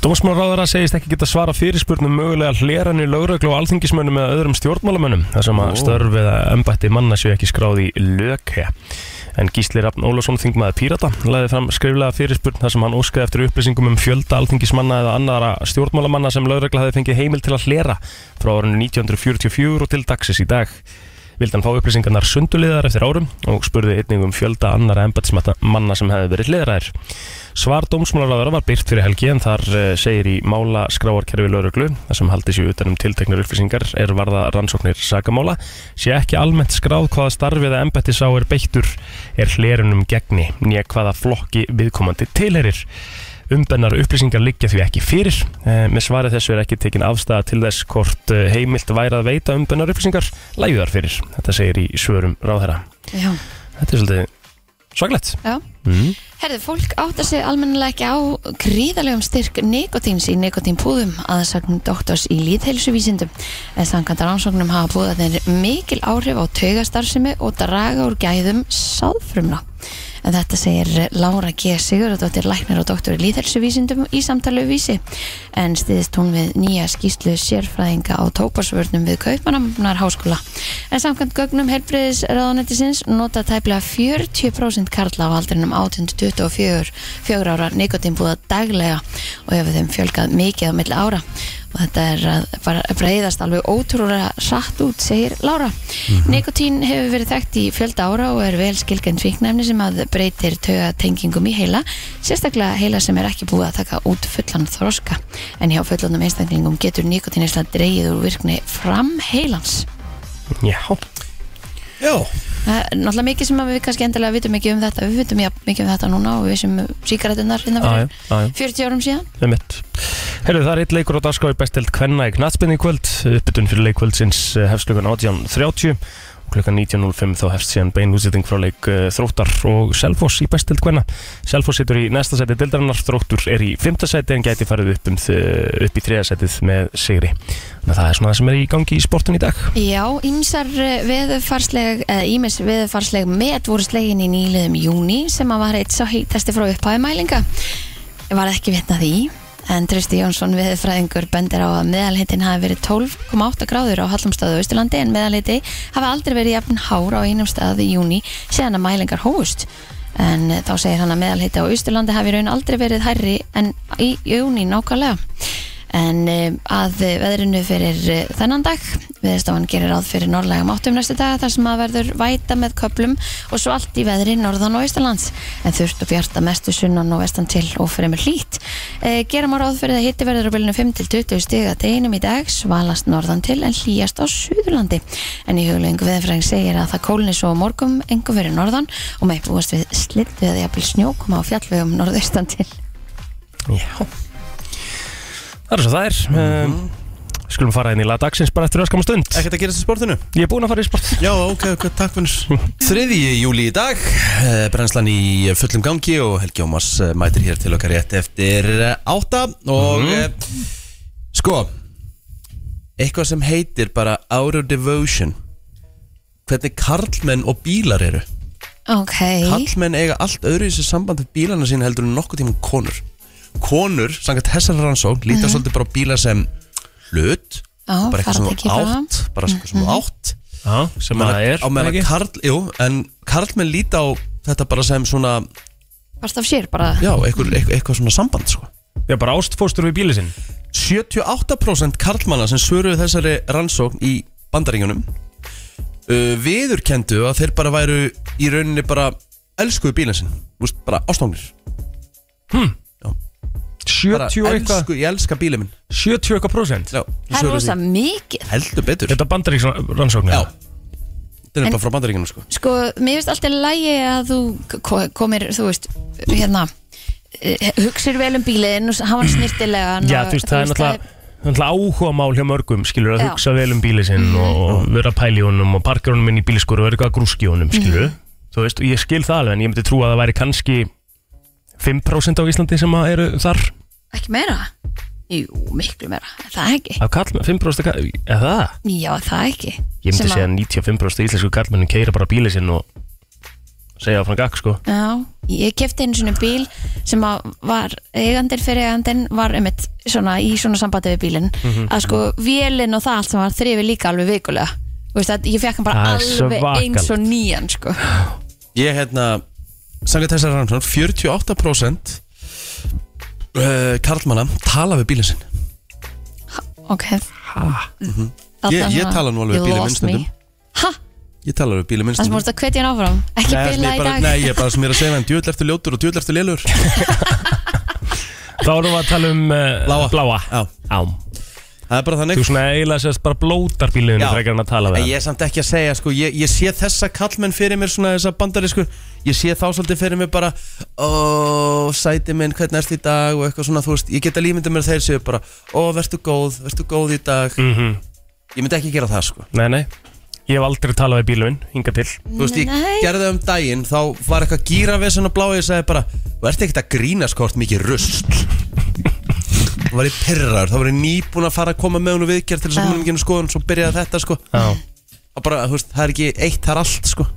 Dómsmálaráðara segist ekki geta svara fyrirspurnum um mögulega hleranir lauröglu og alþingismönnum eða öðrum stjórnmálamönnum þar sem að Ó. störf eða embætti manna séu ekki skráð í löghe. En Gísli Rafn Ólafsson þingmaði Pírata laði fram skriflega fyrirspurn þar sem hann óskaði eftir upplýsingum um fjölda alþingismanna eða annara stjórnmálamanna sem laurögla hafi fengið heimil til að hlera frá árinu 1944 og til dagsins í dag. Vildi hann fá upplýsingarnar sunduliðar eftir árum og spurði einnig um fjölda annara embættismanna sem hefði verið hliðraðir. Svar dómsmálaráðara var byrt fyrir helgi en þar eh, segir í mála skráarkerfi lauruglu þar sem haldi sér utanum um tilteknar upplýsingar er varða rannsóknir sakamála sé ekki almennt skráð hvaða starfi eða embætti sá er beittur er hlerunum gegni nýja hvaða flokki viðkomandi tilherir umbennar upplýsingar liggja því ekki fyrir Eh, með svarið þessu er ekki tekin afstæða til þess hvort eh, heimilt væri að veita umbennar upplýsingar lægðar fyrir, þetta segir í svörum ráðherra Já. Þetta er svolítið Svaklegt Já. Herðu, fólk átta sig almennilega ekki á gríðalegum styrk nikotíns í nikotínpúðum aðsaknum doktors í líðheilsuvísindum. En samkvæmt rannsóknum hafa búðarnir mikil áhrif á taugastarfsemi og draga úr gæðum sáðfrumna. En þetta segir Lára G. Sigurðardóttir læknir og doktor í líðhelsuvísindum í samtali við vísi. En stiðist hún við nýja skýslu sérfræðinga á tóparsvörnum við Kaupmannamnar háskóla. En samkvæmt gögnum helbriðis ráðanettisins nota tæplega 40% karla á aldrinum 18-24 fjögur ára nikotínbúða daglega og hefur þeim fjölgað mikið á milli ára og þetta er að bara breyðast alveg ótrúlega satt út, segir Lára. Nikotín hefur verið þekkt í fjölda ára og er vel skilgjönd fíknæfni sem að breytir taugatengingum í heila, sérstaklega heila sem er ekki búið að taka út fullan þroska. En hjá fullonum einstaklingum getur nikotínisla dreyið úr virkni fram heilans. Já Já, Það er náttúrulega mikið sem að við kannski endilega vitum ekki um þetta, við vitum jafn mikið um þetta núna og við sem síkaretunar hérna Já, já, fyrir já, já 40 árum síðan. Það Herru, það er eitt leikur á dagskrái bestild Kvenna í knatsbyrni í kvöld Uppbytun fyrir leikvöldsins hefst klukkan 18.30 og klukkan 19.05 þá hefst síðan beinúsýting frá leik eh, Þróttar og Selfoss í bestild Kvenna Selfoss situr í næsta seti dildarinnar Þróttur er í fymta seti en gæti farið upp, um, þ- upp í þriða setið með sigri Þannig að það er svona það sem er í gangi í sportun í dag Já, eh, ímsar veðufarsleg eða ímis veðufarsleg eh, met voru slegin í nýliðum júni sem að var eitt svo heitasti frá upphæði mælinga Ég var ekki vitna því en Tristi Jónsson veðurfræðingur bendir á að meðalhitin hafi verið 12,8 gráður á Hallumstaðu og Ísturlandi en meðalhiti hafi aldrei verið jafn hár á einum staði í júni séðan að mælingar hófust en eh, þá segir hann að meðalhiti á Ísturlandi hafi í raun aldrei verið hærri en í júni nákvæmlega en eh, að eh, veðrinu fyrir eh, þennan dag viðstofan gerir ráð fyrir norðlægum áttum næstu dag þar sem að verður væta með köplum og svo allt í veðri norðan og austalands en þurft og bjarta mestu sunnan og vestan til og fremur hlýtt e, gerum á ráð fyrir að hitti verður á bylunum 5 til 20 stiga deginum í dag svalast norðan til en hlýjast á Suðurlandi en í huglegingu veðfræðing segir að það kólni svo á morgum engum fyrir norðan og með búast við slitt við að jafnvel snjókuma á fjallvegum norðaustan til Já Það er svo það er um, Skulum fara inn í lag dagsins bara eftir öskama stund ekkert að gerast í sportinu Ég er búinn að fara í sport Já, ok, ok, takk fyrir Þriðji júli í dag eh, Brennslan í fullum gangi og Helgi Ómas eh, mætir hér til okkar rétt eftir eh, átta og Mhm. mm. sko eitthvað sem heitir bara Out of Devotion hvernig karlmenn og bílar eru ok, Karlmenn eiga allt öðru í þessu samband við bílana sína heldur en nokkuð tíma konur Konur, samkvæmt þessar rannsókn líta Mhm. svolítið bara á bíla sem hlut Já, bara eitthvað sem þú farartæki bara. Mhm. átt bara eitthvað sem þú átt Já, sem Meðan- það er á meðan að ekki? karl, jú, en karlmenn líta á þetta bara sem svona, varst af sér bara já, eitthvað, eitthvað, eitthvað svona samband, sko. Já, bara ástfóstur við bíli sinn 78% karlmanna sem svöruðu þessari rannsókn í bandaríunum uh, viðurkendu að þeir bara væru í rauninni bara elskuðu bílinn sinn, þú veist, bara ástofnir. Bara 70 og eitthvað elsku, ég elska bílinn minn. 70 og eitthvað prosent Já, Það er rosa mikið Heldur betur. Þetta bandaríks rannsóknir Já. Þetta er En- bara frá bandaríunum, sko. Sko, mér finnst alltaf lægi að þú ko- komir, þú veist, hérna eh, hugsir vel um bílinn og s- hafa hann snirtilegan Já, og- þú veist, það er það náttúrulega náttúrulega áhuga mál hjá mörgum skilur að Já. hugsa vel um bíli sinn og, Mm. og vera að pæla í honum og parkja honum inn í bílskóru og vera eitthvað að grúski honum skilur þú veist, og ég skil það alveg en ég myndi trúa að það væri kannski 5% á Íslandi sem að eru þar er ekki meira Jú, miklu meira, er það ekki af kallmenn, 5% kall, eða það Já, er það ekki Ég myndi Sem að- segja að 95% íslensku kallmennin keira bara bíli sinn og segja áfram gakk sko Já, ég kefti einu svona bíl sem að var eigandir fyrir eigandin var einmitt svona í svona sambandi við bílinn Mhm. að sko vélinn og það allt sem var þrifi líka alveg vikulega Þú veist að ég fekk hann bara Það er alveg svakalegt. eins og nýjan sko Ég hérna Sangat þessar rannsókn 48% uh, Karlmanna tala við bílinn sinn Ok Mhm. Ég- ég tala nú alveg við bílinn minn stundum. Hæ? Ég tala við bílinn minn Það sem voru þetta að hvetja hann áfram Ekki Nei, það sem bila ég í bara, dag nei, ég er bara sem ég er að segja hann Djúvill ertu ljótur og djúvill ertu lélur Þá erum við að tala um uh, Bláa. bláa. Já. Það er bara þannig Þú svona eiginlega sérst bara blótar bílinu frekar en að tala En við Ég ég... er samt ekki að segja, sko Ég, ég sé þessa kallmenn fyrir mér, svona þessa bandarísku Ég sé þá svolítið fyrir mér bara Ó, sæti minn, hvernig ertu í dag Og eitthvað svona, þú veist Ég geta límyndið mér að þeir séu bara Ó, vertu góð, vertu góð í dag mm Ég myndi ekki gera það, sko Nei, nei Ég hef aldrei talað við bíluminn, hinga til Þú veist, ég Nei. gerði það um daginn Þá var eitthvað gíravesen og blá Ég sagði bara, þú ert ekkert að grínast hvort mikið rusl Þá var ég pyrrar Þá var ég nýbúin að fara að koma með hún og viðgerð Til þess Já. að hún ekki skoðun Svo byrjaði þetta, sko Já. Og bara, þú veist, það er ekki eitt, það er allt, sko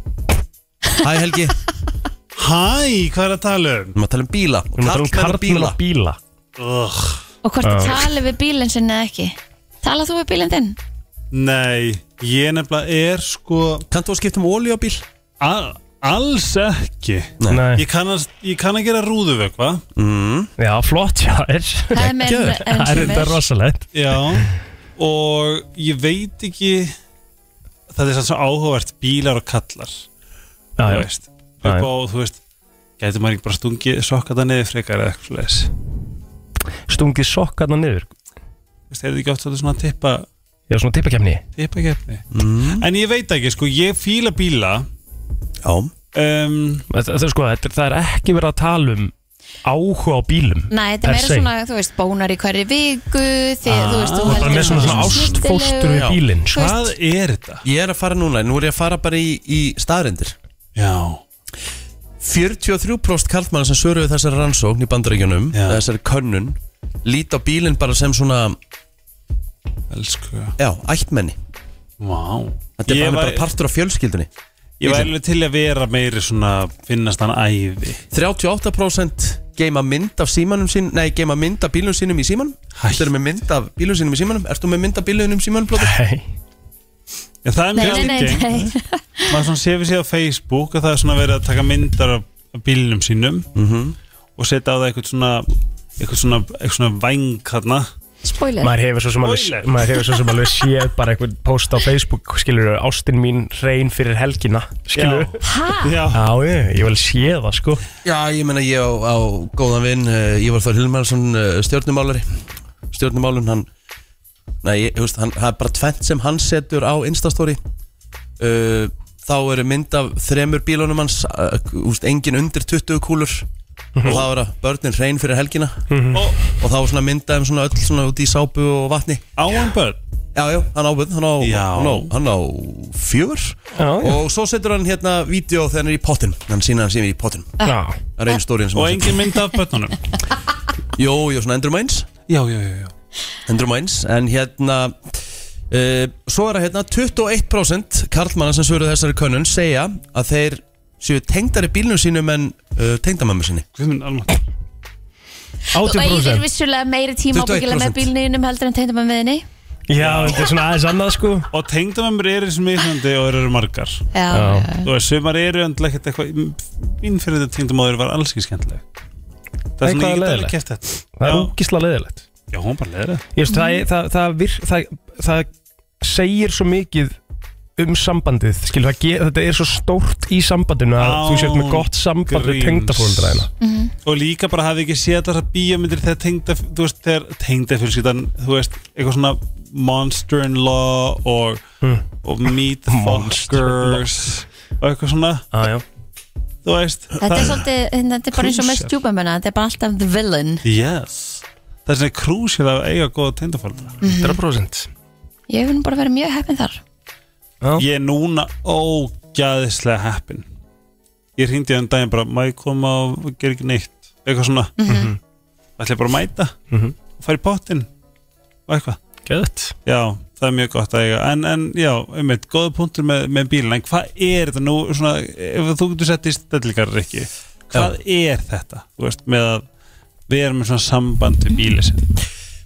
Hæ, Helgi Hæ, hvað er að tala um? Við erum að tala um bíla Við erum að tala um Karlmenn og karlmenn og bíla Ugh, Og hvort þú tali við bílinn sinni eða ekki Tala þú við bílinn þinn? nei, ég nefnilega er sko Kanntu að skipta um olíu á bíl? a- alls ekki Nei. Ég kann, að, ég kann að gera rúðuvökva Já, flott, já er. Það er meira en- en Það er þetta sumir. rosalegt Já Og ég veit ekki Það er samt svo áhugavert bílar og kallar Já, Þú já, veist Já, já. Upp á, þú veist Gæti maður ekki bara stungið sokka það niður frekar eða eitthvað leis Stungið sokkarna niður Þú veist, er þið ekki oft að svona tippa Já, svona tippakefni Tippa keppni Mm. En ég veit ekki, sko, ég fíla bíla Já um, Það það er sko, þetta er- það er ekki verið að tala um áhuga á bílum Nei, þetta per er meira se. svona, þú veist, bónar í hverju viku Þið, þú veist, þú Ah. Bara með svona, svona ástfóstur við Já. bílinn sko. Hvað er þetta? Ég er að fara núna, nú er ég að fara bara í, í staðrindir Já 43% karlmann sem svöruðu þessari rannsókn í bandaríkjunum Já. Þessari könnun Lít á bílinn bara sem svona, Elsku já, ættmenni Vá Þetta er Ég bara, var- bara partur af fjölskyldunni Ég væri alveg til að vera meiri svona Finnast hann æði 38% geima mynd af símanum sín Nei, geima mynd af bílunum sínum í símanum Hæ. Þetta er með mynd af bílunum sínum í símanum Ertu með mynd af bílunum símanum blóta? Nei, Já, það er Nei, mjög nei, nei, algengt. nei. maður svona sé við sér á Facebook að það er svona verið að taka myndar af af bílnum sínum Mhm. og setja á það eitthvað svona eitthvað svona, eitthvað svona væng þarna Spoiler maður hefur svo sem alveg, Spoiler. maður hefur svo sem alveg séð bara eitthvað post á Facebook skilur, ástin mín reyn fyrir helgina skilur Hæ? Já, Já, ég, ég vil sé það sko Já, ég meina ég á, á góðan vinn uh, Ívar Þór Hilmarsson uh, stjórnumálari Stjórnumálun hann Nei, ég, þú veist, hann, það er bara tvennt sem hann setur á Instastory uh, Þá eru mynd af þremur bílunum hans uh, úst, Engin undir 20 kúlur Og þá eru að börnin hrein fyrir helgina Og og þá er svona myndaðum svona öll svona út í sápu og vatni áan börn Já, já, hann ábyrð, hann á, Já. hann á, hann á fjögur Já, já. Og svo setur hann hérna vídeo þegar hann er í pottin Hann sína hann síðan í pottin Já, Það er einu stórin sem og hann setur engin mynd af börnunum Jó, jó, svona endur mæns Já, já, já, já endur mæns En hérna uh, Svo er það hérna 21% karlmanna sem svöruð þessari könnun segja að þeir séu tengdari bílnum sínum en uh, tengdamömmu sinni Guð minn almennt Þú eigir 80% vissulega meiri 21%. tíma ábyggilega með bílninum heldur en tegndum að meðinni Já, þetta er svona aðeins annað sko Og tengdamömmur eru sem mismandi og eru margar Já, Já. já. Þú veist, sumar eru endla ekkert eitthvað Mín fyrir þetta tengdamóður var alls ekki skemmtileg Það Nei, er hvað er svona ég get alveg leiðilegt? kert þetta Það er Já, úkislega leðilegt já, hún bara leður Ég veist, það, er- það, það, vir, það, það segir svo mikið um sambandið skilur, það ge, þetta er svo stórt í sambandinu að Án þú sért með gott samband við gríns. tengdafóldræðina og líka bara hafði ekki séð þessar bíómyndir þegar tengda, þú veist, þegar tengda fjölskyldan, þú veist, eitthvað svona Monster-in-Law og, og Meet the Fockers og eitthvað svona, ah, Já, þú veist Þetta er svolítið, þetta er bara eins og með Crucial. stjúpamöna Þetta er bara alltaf the villain Yes Það er svona krúsið að eiga góða tengdafóldra 100% Ég hef nú bara verið mjög heppin þar Ég er núna ógæðislega heppin Ég hringdi um daginn bara, má ég koma og gera ekki neitt eitthvað svona mm -hmm. ætla ég bara að mæta Mhm. og fara í pottin og eitthvað Gæðt Já, það er mjög gott að eiga en, en já, einmitt, góða punktur með, með bílinn en hvað er þetta nú svona, ef þú getur sett í stellingar Rikki hvað er þetta þú veist, með að við erum með svona samband við bílið sinn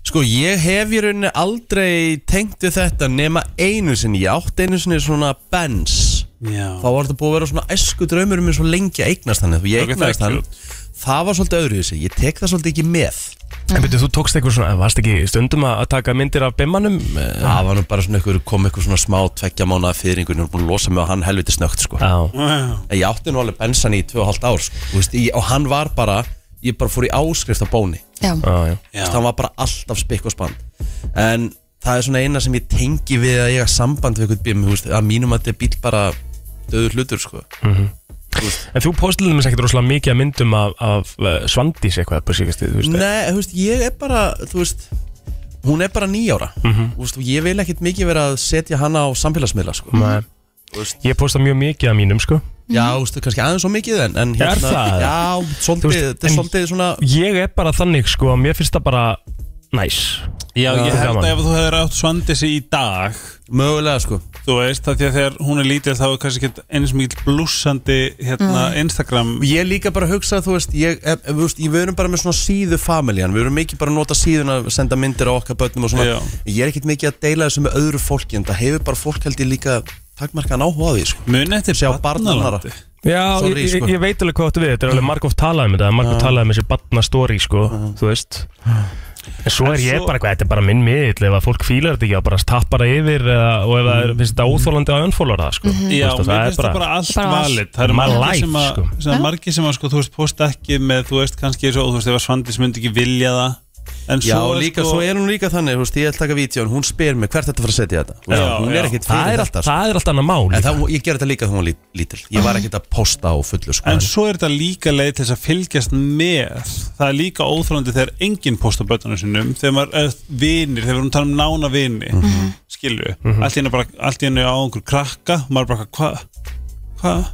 Sko, ég hef í rauninni aldrei tengt við þetta nema einu sinni Ég átt einu sinni svona Benz já, Þá var þetta búið að vera svona esku draumur um eins og lengi að eignast hann Þú ég Ok, eignast það er hann Það var svolítið öðru þessi, ég tek það svolítið ekki með En betur þú tókst eitthvað svona, varst ekki stundum að að taka myndir af bimmanum? eh, Það var nú bara svona einhver, kom einhver svona smá tveggja mánuða fyrringur og búin að losa mig á hann helviti snögt sko. Já, En Ég átti nú alveg bensan í 2,5 ár sko. Þú veist, ég, og hann var bara ég bara fór í áskrift á bóni Já, já, já Þú veist, hann var bara alltaf spikk og spann en það er svona eina sem ég tengi við að ég hafa samband við eitthvað bím þú veist, að mínum að þetta er bíl bara döður hlutur sko. En þú postilir mér ekkert rosalega mikið að myndum af, af eh, Svandís eitthvað på síkastið, þú veist Nei, þú veist, ég er bara þú veist, Mhm. hún er bara nýjára mm -hmm. veist, og ég vil ekkit mikið vera að setja hana á samfélagsmiðla sko. Nei Þú veist, Ég posta mjög mikið af mínum sko Já, þú veist, kannski aðeins og mikið en, en Er það? Já, Þú svolítið, veist, þetta er en- svolítið svona Ég er bara þannig sko að mér finnst það bara næs Já, ég Já. held Gaman. að ef þú hefur átt svandisi í dag mögulega sko þú veist, að því að þegar hún er lítil þá er kannski ekki eins mikið blúsandi hérna, Mm. Instagram Ég líka bara hugsa, þú veist, ég, ef, ef, þú veist, ég við erum bara með svona síðu familjan Við erum mikið bara að nota síðuna, senda myndir á okkar börnum og svona Já. Ég er ekkert mikið að deila þessu með öðru fólki En það hefur bara fólk held ég líka takmarkaðan áhuga á því sko muni eftir Sjá barnanara barnalandi. Já, Sorry, ég, sko. ég, ég veit alveg hvað áttu við Þetta er alveg margóft talað um þetta Margóft talað um þessi batna story sko Þú veist En svo er ég svo- bara, hvað, þetta er bara minn miðill Ef að fólk fílar þetta ekki, þá bara tappar það yfir eða, Og ef það er- finnst þetta óþólandi að unfollowa það sko Þú Mm. Já, veist, að mér það er finnst það bara bara allt Bara allt. Mm. valid Það eru My margir life, sem að, sko. sem að, Já. margir sem að sko, þú veist, posta ekki með, þú veist, kannski svo, þú veist, ef að Svandís myndi ekki vilja það En Já, svo, sko- líka, svo er hún líka þannig, þú veist, ég ætla að taka vítjón Hún spyr mig hvert þetta fara að setja þetta Þú veist, Já, Hún já. er ekkert Það fyrir þetta er allt, sko. það er allt annað mál En það, ég ger þetta líka þegar hún var lít- lítil Ég var ekkert að posta á fullu sko En svo er þetta líka leið til þess að fylgjast með Það er líka óþrólandi þegar enginn posta bötunum sinum Þegar maður er vinir, þegar við erum að tala um nána vini Mhm. mm -hmm. Skilju, allt í hennu bara Allt í hennu á einhver krakka og Maður bara, hvað? Hvað?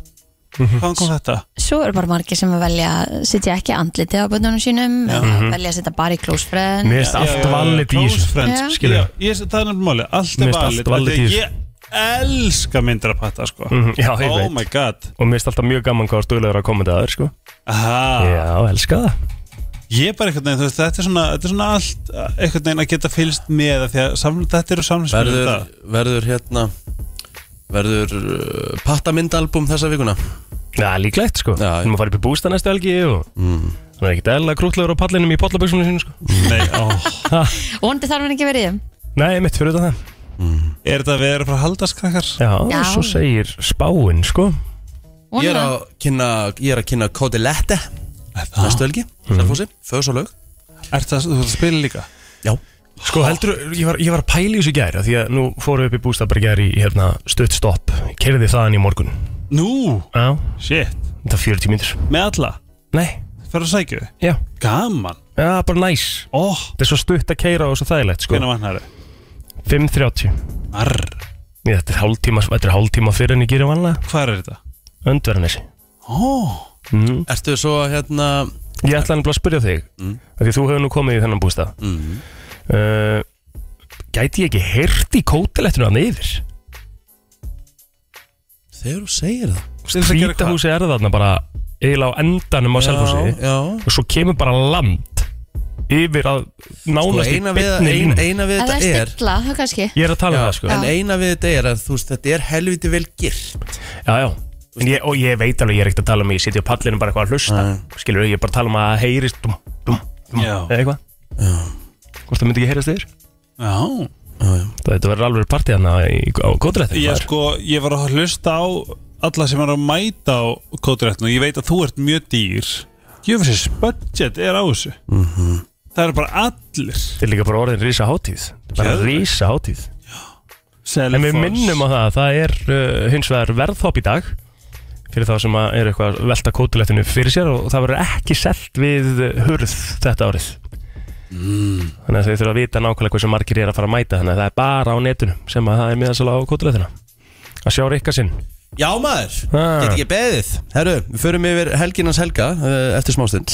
Mhm. Hvaðan kom þetta? Svo eru bara margir sem að velja að setja ekki andliti á bönnunum sínum eða velja að setja bara í close friend Mér finnst allt valið í Close þessu friends, Já. skilju Skilju. ég, Það er nefnilega málið, allt Mér er finnst allt valid af valid því í að þessu. Ég elska myndir að patta, sko Mhm, já, ég Oh veit. my god Og mér finnst alltaf mjög gaman hvað stöðlegur að kommenta að þér sko Aha. Já, elska það Ég er bara einhvern veginn, þú veist, þetta er svona, þetta er svona allt einhvern veginn að geta fylgst með af því að sam, þetta eru samlismið verður, verður hérna Verður uh, pattamyndalbum þessa vikuna Já, Mm. líklegt sko Já, já. Nú maður farið upp í bústa næstu helgi og Það er ekkert eðla krútlegur á pallinum í pollaböksunum sinu sko Nei, ó, Vondi þarf hann ekki verið í þeim. Nei, mitt fyrir þetta það er þetta að vera frá haldaskrakkar? Já, Já. svo segir spáin sko Vona Ég er það. að kynna, ég er að kynna Kodilette Ah. Næstu helgi, Selfossi, Föðs og Laug Er það, þú ert að spila líka? Já, Sko heldur, ég var, ég var að pæla í þessu gæri Því að nú fórum við upp í bústabergjær í hérna, stutt stopp Kerði þaðan í morgun Nú, Já, shit, þetta er 40 mínútur með alla, Nei, fyrir að sækju þið já, Gaman, já bara næs ó, Þetta er svo stutt að keira og svo þægilegt sko hvernig vann það? 5.30 Arr, Ég, Þetta er hálftíma, þetta er hálftíma fyrir en ég gerir vanlega hvað er þetta? Öndverðanessi Ó, mm. ertu svo hérna Ég ætla hann bara að spyrja þig mm. Því þú hefur nú komið í þennan bústa mm. uh, Gæti ég ekki heyrt í kótilettinu hann yfir? Þegar þú segir það Til þess að gera Hvítahúsi er þarna bara eiginlega á endanum á selfhúsi Já, og svo kemur bara land yfir að já Og nánast Sko, í eina við, beinni ein, línu eina við Ef það þetta er er stilla, þá kannski Ég er að tala um Já, það sko En eina við þetta er að þú veist, þetta er helviti vel girt Já, já En ég, og ég veit alveg, ég er ekkert að tala um að ég sitja á pallinu bara eitthvað að hlusta Skilur, ég er bara að tala um að það heyrist dum, dum, dum, Já. eða eitthvað Hvort það myndi ekki heyrast þér? Já, Þetta verður alveg partí hana í, á kótrættinu ég sko, ég var að hlusta á alla sem er að mæta á kóturéttinu og ég veit að þú ert mjög dýr Jöfisins budget er á þessu Það eru bara allir Þetta er líka bara orðin rísa hátíð Þetta er Bara Geðveikt. rísa hátíð Selfoss En við minnum á það að það er uh, hins vegar verðhopp í dag fyrir þá sem að er eitthvað að velta kótulettinu fyrir sér og það verður ekki selt við uh, hurð þetta árið Þannig að þau þurfa að vita nákvæmlega hversu margir er að fara að mæta þannig að það er bara á netinu sem að það er miðansala á kótulettina að sjá rikka sinn Já maður, Ah. get ekki beðið Herru, við förum yfir helginans helga uh, eftir smástund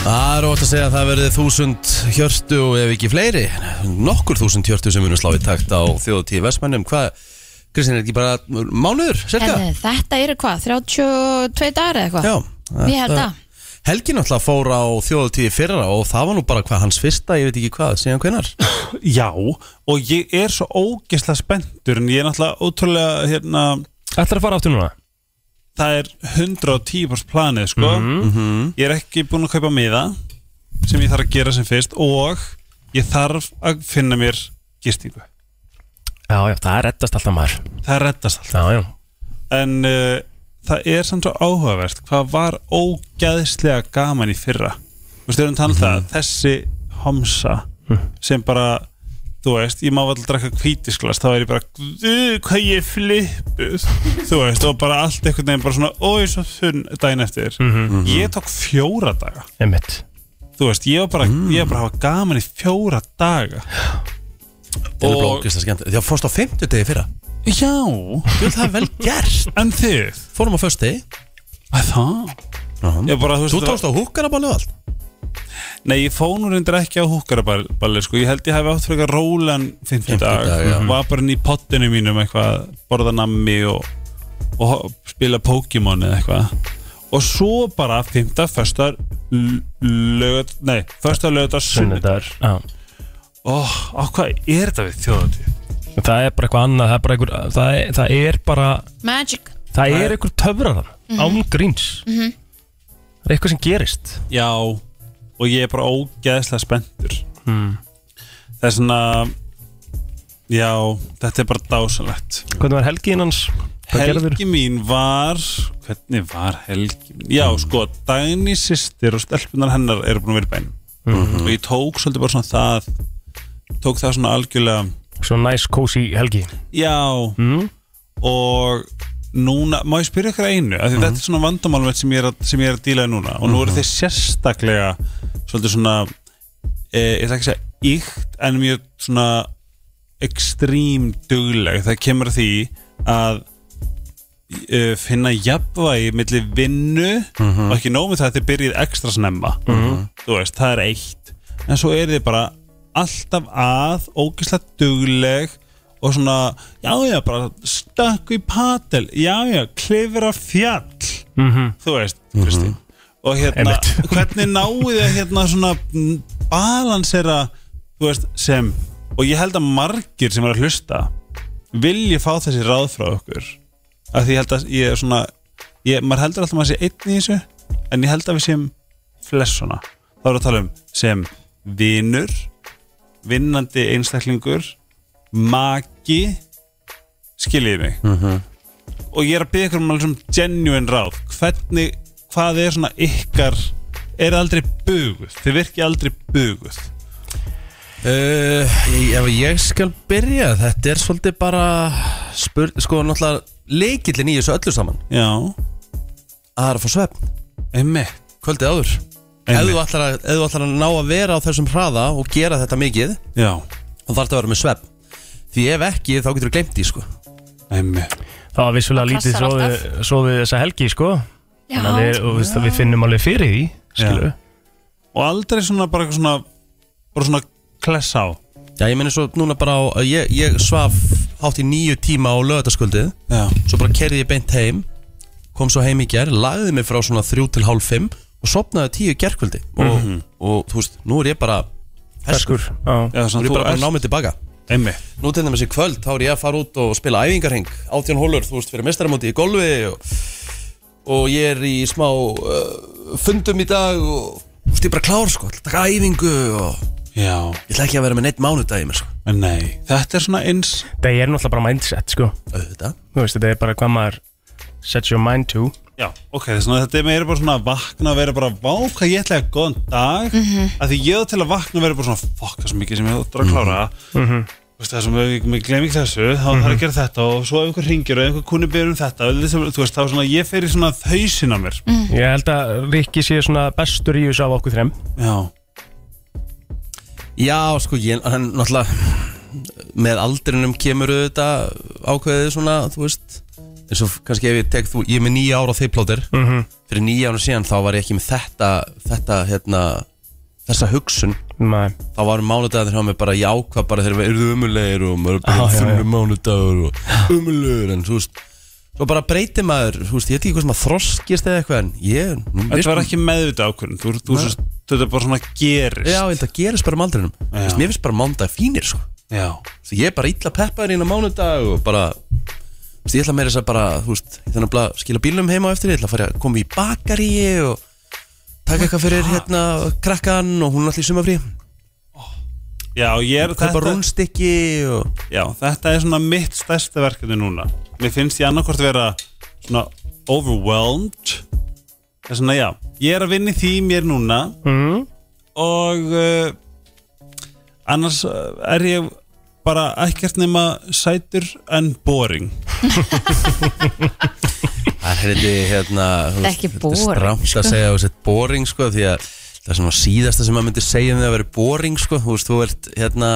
Það er ótt að segja að það verði þúsund hjörtu og ef ekki fleiri nokkur þúsund hjörtu sem munum slá í takt á þjóðutíð vestmennum Hvað, Kristín, er ekki bara mánuður, En cirka? eh, þetta eru hvað, 32 dagar eða eitthvað? Já, Ég held þetta- það. Helgi náttúrulega fór á þjóðutíð fyrra og það var nú bara hvað hans fyrsta, ég veit ekki hvað, síðan hvenar Já, og ég er svo ógeðslega spenntur en ég er náttúrulega ótrúlega hérna, Ætlar að fara áttu núna? það er 110% planið sko. ég er ekki búin að kaupa miða sem ég þarf að gera sem fyrst og ég þarf að finna mér gistingu Já, já, það er reddast alltaf maður það reddast allt Já, já, en uh, það er samt svo áhugavert hvað var ógæðslega gaman í fyrra þú veist, við erum talað mm Mhm. það þessi homsa Hm. sem bara, þú veist, ég má alltaf drakka hvítisglas, þá er ég bara "Guð, hvað ég er flippuð þú veist, og bara allt einhvern veginn bara svona ói, svo þunn daginn eftir Mhm. ég tók fjóra daga einmitt þú veist, ég var bara, Mm. ég var bara að hafa gaman í fjóra daga Það er blókist að skemmt, því að fórst á fimmtudegi fyrra Já, Jú, það er vel gert en þið Fórum á fösti Að það? Ég bara, þú veist, Þú tókst á húkkaraballu og allt Nei, ég fóð nú reyndir ekki á húkkaraballi sko. Ég held ég hafi átt fyrir eitthvað rólan 50 dag, Fimmtudag, já. Var bara inn í pottinu mínum eitthvað Borða nammi og, og ho- spila Pokémon eða eitthvað Og svo bara 5. Föstar lögat Nei, föstar lögat Sunnudag Sunnudagur Já Óh, á hvað er þetta við þjóðatíð? Það er bara eitthvað annað, það er bara einhver, það er, það er bara, Magic það er einhver töfrar þarna, án gríns. Það er eitthvað sem gerist. Já Og ég er bara ógeðslega spenntur Hmm. Það er svona Já, þetta er bara dásalegt Hvernig var helgiðin hans? Hvað gerður? Helgi mín var Hvernig var helgi mín? Já, Mm. sko, Dagný sýstir og stelpunar hennar eru búin að vera í bænum Mhm. Og ég tók svolítið bara svona það Tók það svona algjörlega Svona næs, kósi helgi. Já Mm. Og núna, má ég spyrja ykkur að einu af því Mhm. Þetta er svona vandamál mitt sem ég er að, sem ég er að díla við núna Og nú eru þeir sérstaklega Svolítið svona e, Ég ætla ekki að segja ykt En mjög svona Ekstrím dugleg Það kemur að því að uh, finna jafnvægi milli vinnu og ekki nóg með það að þið byrjið ekstra snemma þú veist, það er eitt en svo er þið bara alltaf að ógislega dugleg og svona, já já, bara stökku í patel, já já klifra fjall þú veist, Kristi og hérna, Einmitt. hvernig náið þið að hérna svona mm, balansera þú veist, sem og ég held að margir sem er að hlusta vilji fá þessi ráð frá okkur að því ég held að ég er svona ég, maður heldur alltaf að maður sé einn í þessu en ég held að við séum flest svona þá erum við að tala um sem vinur vinnandi einstaklingur maki skiljiði mig Mhm. og ég er að byggja ykkur um alveg sem genuine ráð hvernig, hvað er svona ykkar er aldrei buguð þið virkið aldrei buguð Uh, ef ég skal byrja Þetta er svolítið bara spur, Sko náttúrulega leikillin í þessu öllu saman já, Að það er að fá svefn einmitt Kvöldið áður Ef þú, ætlar að, ef þú ætlar að ná að vera á þessum hraða Og gera þetta mikið Þá já, þarf þetta að vera með svefn Því ef ekki þá getur þú glemt því sko einmitt Það var vissulega lítið Passar sofið, sofið þessa helgi, sko. Já, Þannig að við, og, veist, við finnum alveg fyrir því, skilu. og aldrei svona bara eitthvað svona bara svona kless á Já ég meni svo núna bara á að Ég, ég svaf hátt í nýju tíma á lögataskvöldið já, Svo bara kerði ég beint heim Kom svo heim í ger Lagði mig frá svona þrjú til hálf fimm Og sopnaði tíu gerkvöldi og, og þú veist, nú er ég bara Ferskur. Já. já Nú svona er ég bara að ná ert- mig tilbaka einmitt Nú til dæmis í kvöld, þá er ég að fara út og spila æfingarheng Átján hólur, þú veist, fyrir mestaramóti í golfi og, og ég er í smá uh, fundum í dag og þú veist, ég er bara klár, sko ætla að Taka æfingu og já, ég ætla ekki að vera með neitt mánudagi mér, sko en nei, þetta er svona eins Það er náttúrulega bara mindset, sko. Auðvitað Þú veist, þetta er bara hvað maður sets your mind to. já, ok, þetta er svona, þetta er meira bara svona að vakna að vera bara, vá, hvað ég ætla að eiga góðan dag mm að því ég á til að vakna að vera bara svona, fuck, það er svo mikið sem ég ætla að klára mm veist, það sem ég, ég glem ekki þessu þá þarf að gera þetta og svo ef einhver ringir og einhver kunni byrjum þetta, og þetta- þú veist, þá svona ég fer í svona þausin á mér Ég held að Rikki sé svona bestur í þessu af okkur þrem. já, Já, sko, ég, hann náttúrulega með aldrinum kemur auðvitað ákveðið svona, þú veist eins og kannski ef ég tek þú, ég er með nýja ára þeiplótir, mm -hmm. fyrir nýja ára síðan þá var ég ekki með þetta, þetta hérna, þessa hugsun Nei. þá varum mánudagarnir hjá mig bara ég ákvað bara þegar við erum umulegir og maður er Já, bara já, já. þunni mánudagur og umulegur en þú veist, svo bara breytir maður þú veist, ég veit ekki hvað sem að þroskist eða eitthvað en ég, nú, þetta var ekki meðvita ákvörðin þú, þú, þú, þetta er bara svona gerist já, ég held að gerist bara um aldrinum, Þú veist, mér finnst bara mánudag fínir, sko já. Svo ég er bara illa peppaður inn á mánudag og bara þú veist, ég ætla meira þess að bara, þú veist, ég þannig að skila bílum heima á eftir, ég ætla að fara að koma í bakaríi og taka eitthvað fyrir hérna krakkan og hún er allir sumafrí Já, ég er kaupa þetta- rúnstykki og Já, þetta er svona mitt stærsta verkefni núna Mér finnst ég annarkvort vera svona overwhelmed Það er svona, já, ég er að vinna í því mér núna Mm. og uh, annars uh, er ég bara ekkert nema sætur en boring það er heldig, hérna þú veist, Ekki þetta boring, sko. er strámt að segja þessi boring sko, því að það sem var síðasta sem maður myndi segja um því að vera boring sko, þú veist, þú ert hérna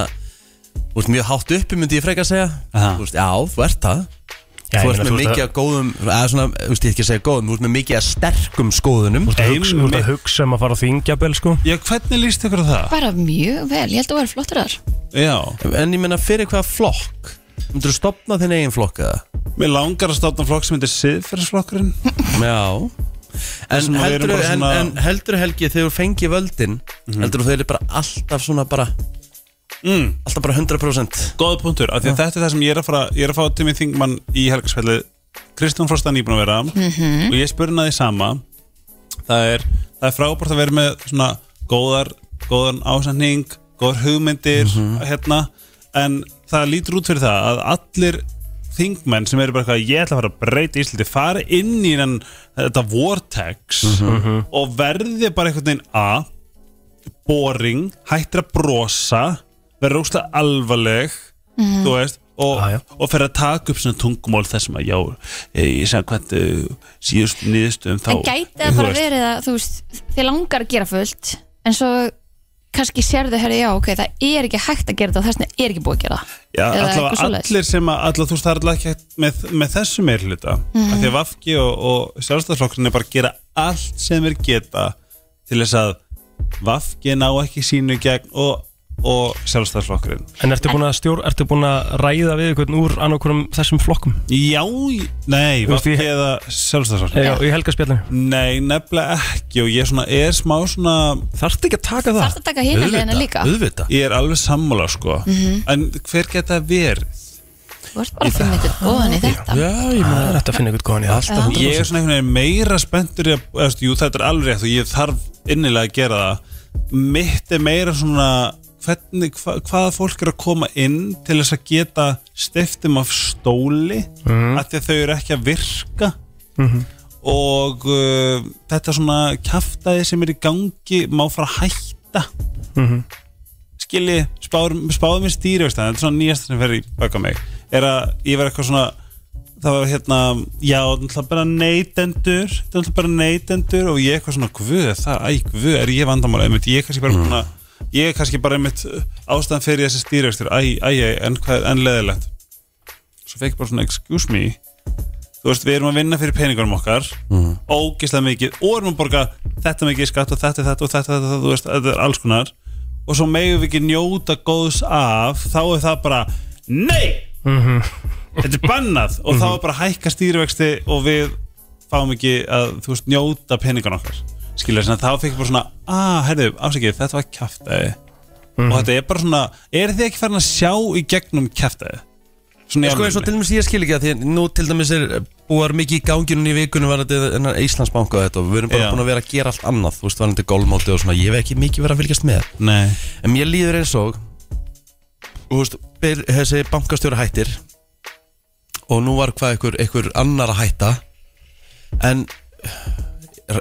Þú veist, mjög hátt uppi myndi ég freka að segja Aha. Þú veist, já, þú ert það Já, ég Þú meina, ert með mikið að- að góðum eða svona, þú veist, ég er ekki að segja góðum Þú ert með mikið að sterkum skoðunum Þú ert að hugsa- þú ert að hugsa um að fara á þingjabel sko Já, hvernig líst ykkur á það? Bara mjög vel, ég held að þú er flottur þar Já, En ég menna, fyrir hvaða flokk Myndur þú stopna þinn eigin flokk eða? mér langar að stofna flokk sem heitir siðferðsflokkurinn Já En sem að við erum heldur, bara en, svona- en heldur Helgi þegar þú fengi völdin Mhm. heldur þú þau eru bara alltaf svona bara mm. alltaf bara 100% Góða punktur, af því að þetta er það sem ég er að fara ég er að fá til mig þingmann í helgarsfælið Kristján Frostan íbúin að vera og ég spurði hann að því sama það er, það er frábært að vera með svona góðar, góðan ásendning góðar hugmyndir hérna, en það lítur út fyrir það að allir þingmenn sem eru bara eitthvað ég ætla að fara að breyta Íslandi fara inn í en, þetta vortex og verði bara einhvern veginn að boring, hættir að brosa verður óslega alvarleg Mhm. þú veist og, Já, já. og fer að taka upp svona tungumál þessum að já, eh, ég segja hvernig síðust nýðustum þá En gæti það þú bara veist. verið að þú veist, þið langar að gera fullt en svo kannski sérðu herri já, ok, það er ekki hægt að gera þetta og þess vegna er ekki búið að gera það Já, Eða eitthvað allavega svoleiðis. allir sem að allavega, þú veist, það er allavega ekki hægt með, með þessu meir hluta af Mhm. því að Vafki og, og sjálfstæðsflokkurinn er bara að gera allt sem þeir geta til þess að Vafki ná ekki sínu í gegn og, og sjálfstæðsflokkurinn En ertu búin að stjór, ertu búin að ræða við einhvern úr annarkurum þessum flokkum? Já, í- nei, Þú veist, Vafki ég- eða sjálfstæðsflokkurinn Já, í helgaspjallinu Nei, nefnilega ekki og ég svona, er smá svona Þarftu ekki að taka það? Þarftu að taka hina hliðina líka auðvita ég er alveg sammála sko Mhm. en hver geta verið Þú ert bara fimm mitt góðan í þetta Já, ég Það maður er þetta að finna einhvern góðan í það Alltaf ég er svona einhvern veginn meira spenntur í að, eðst, jú, þetta er alveg rétt og ég þarf innilega að gera það mitt er meira svona hvernig, hva, hvaða fólk er að koma inn til þess að geta stiftum af stóli af því að þau eru ekki að virka og uh, þetta svona kjaftaði sem er í gangi má fara að hætta skilji, spáðum mér stýrivextan þetta er svona nýjast sem fer í baka mig er að ég verð eitthvað svona það var hérna, já, náttúrulega bara neytendur þetta er náttúrulega bara neytendur og ég eitthvað svona, guð, er það, æ, guð, er ég vandamál einmitt, ég er kannski bara svona ég er kannski bara einmitt uh, ástæðan fyrir þessi stýrivextur æ, æ, æ, en hvað er enn leðilegt svo fekk ég bara svona, excuse me þú veist, við erum að vinna fyrir peningunum okkar ógislega mikið og erum að borga þetta mikið í skatt og þetta, þetta og þetta, þetta, þetta, þú veist, þetta er alls konar og svo megum við ekki njóta góðs af þá er það bara, nei Mhm. þetta er bannað og þá er bara að hækka stýrivexti og við fáum ekki að, þú veist, njóta peningunum okkar skilja, þannig að þá fekk ég bara svona ah, herðu, afsakið, þetta var kjaftaði Mhm. og þetta er bara svona, er þið ekki farin að sjá í gegnum kjaftaði? Svona í Sko eins og alvörunni? til dæmis ég skil ekki að því að nú til dæmis er eh, búar mikið í ganginun í vikunum var þetta Íslandsbanka og þetta og við erum bara Já. búin að vera að gera allt annað þú veist, var þetta gólmóti og svona, ég hef ekki mikið verið að fylgjast með Nei. en mér líður eins og þú veist, byr, þessi bankastjóra hættir og nú var hvað einhver, einhver annar að hætta en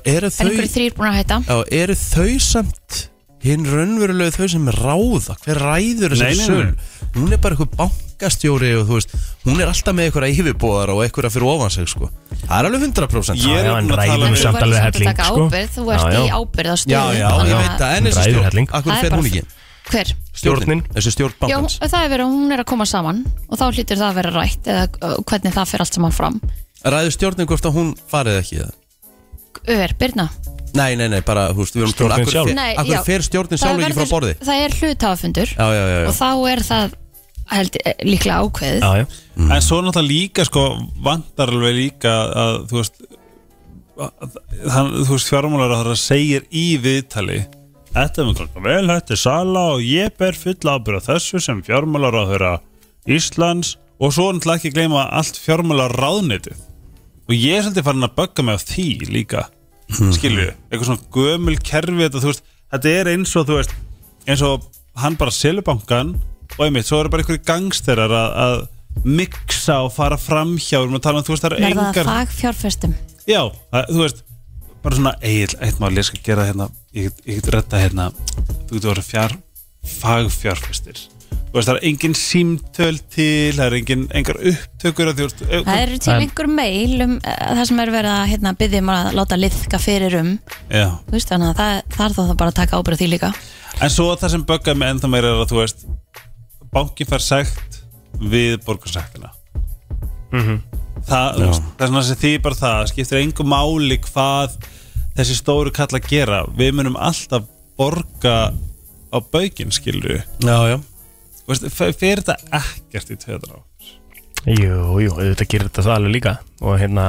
eru En þau einhverju þrýr búin að hætta já, eru þau samt hinn raunverulegu þau sem ráða hver ræður Nei, þessi nei, söl hún er bara einhver bankastjóri og þú veist, hún er alltaf með einhverja yfirbúðar og einhverja fyrir ofan sig sko það er alveg 100% Ég er Já, en búin að ræðum tala En um þú samt verður samt að alveg helling, taka sko. ábyrð Þú ert Já, í já. ábyrð á já, stöðu já, ég veit það en Hún þessi ræður stjórn, helling. akkur Það er fer bara- hún ekki Hver? Stjórnin. þessi stjórn Já, hún- bankans það er verið að hún er að koma saman og þá hlýtur það að vera rætt eða uh, hvernig það fer allt saman fram ræður stjórnin hvort að hún farið ekki það Ör, Birna Nei, nei, nei, bara, þú veist, við erum Stjórnin sjálf. Akkur, Nei, fer, akkur já. fer stjórnin Það sjálf ekki frá verður- borði Það er hlutafundur Já, já, já, já. og þá er það held, eh, líklega ákveðið Já, já En svo er náttúrulega líka sko vandar alveg líka að þú veist að- hann, þú veist fjármálar að það segir í viðtali Þetta er mjög ganga vel, þetta er sala og ég ber full ábyrð á þessu sem fjármálar að höra Íslands og svo er náttúrulega ekki að gleyma allt fjármálar ráðnitið og ég er svolítið farin að bögga mig á því líka skilju, eitthvað svona gömul kerfi þetta, þú veist, þetta er eins og þú veist, eins og hann bara selur bankan og einmitt, svo eru bara einhverju gangsterar að, að miksa og fara framhjá, við erum að tala um, þú veist, það eru verða það engar fagfjárfestum já, það, þú veist, bara svona eigin, eitt mál, ég skal gera hérna ég, get- ég get retta hérna, þú getur voru fjár fagfjárfestir þú veist, það er engin símtöl til það er engin, engar upptökur að, þú veist, Það eru til einhver meil um eh, það sem er verið að hérna, byggja um að láta liðka fyrir um já Þú veist, þannig að það, það er þá bara að taka ábyrgð á því líka En svo það sem böggar mig ennþá meira er að þú veist bankin fær sekt við borgarsektina það, Já. þú veist, það er svona sem því bara það það skiptir engu máli hvað þessi stóru kalla gera við munum alltaf borga á baukinn skilur Já, já við fyrir þetta ekkert í tveðra á Jú, jú, þetta gerir þetta það alveg líka og hérna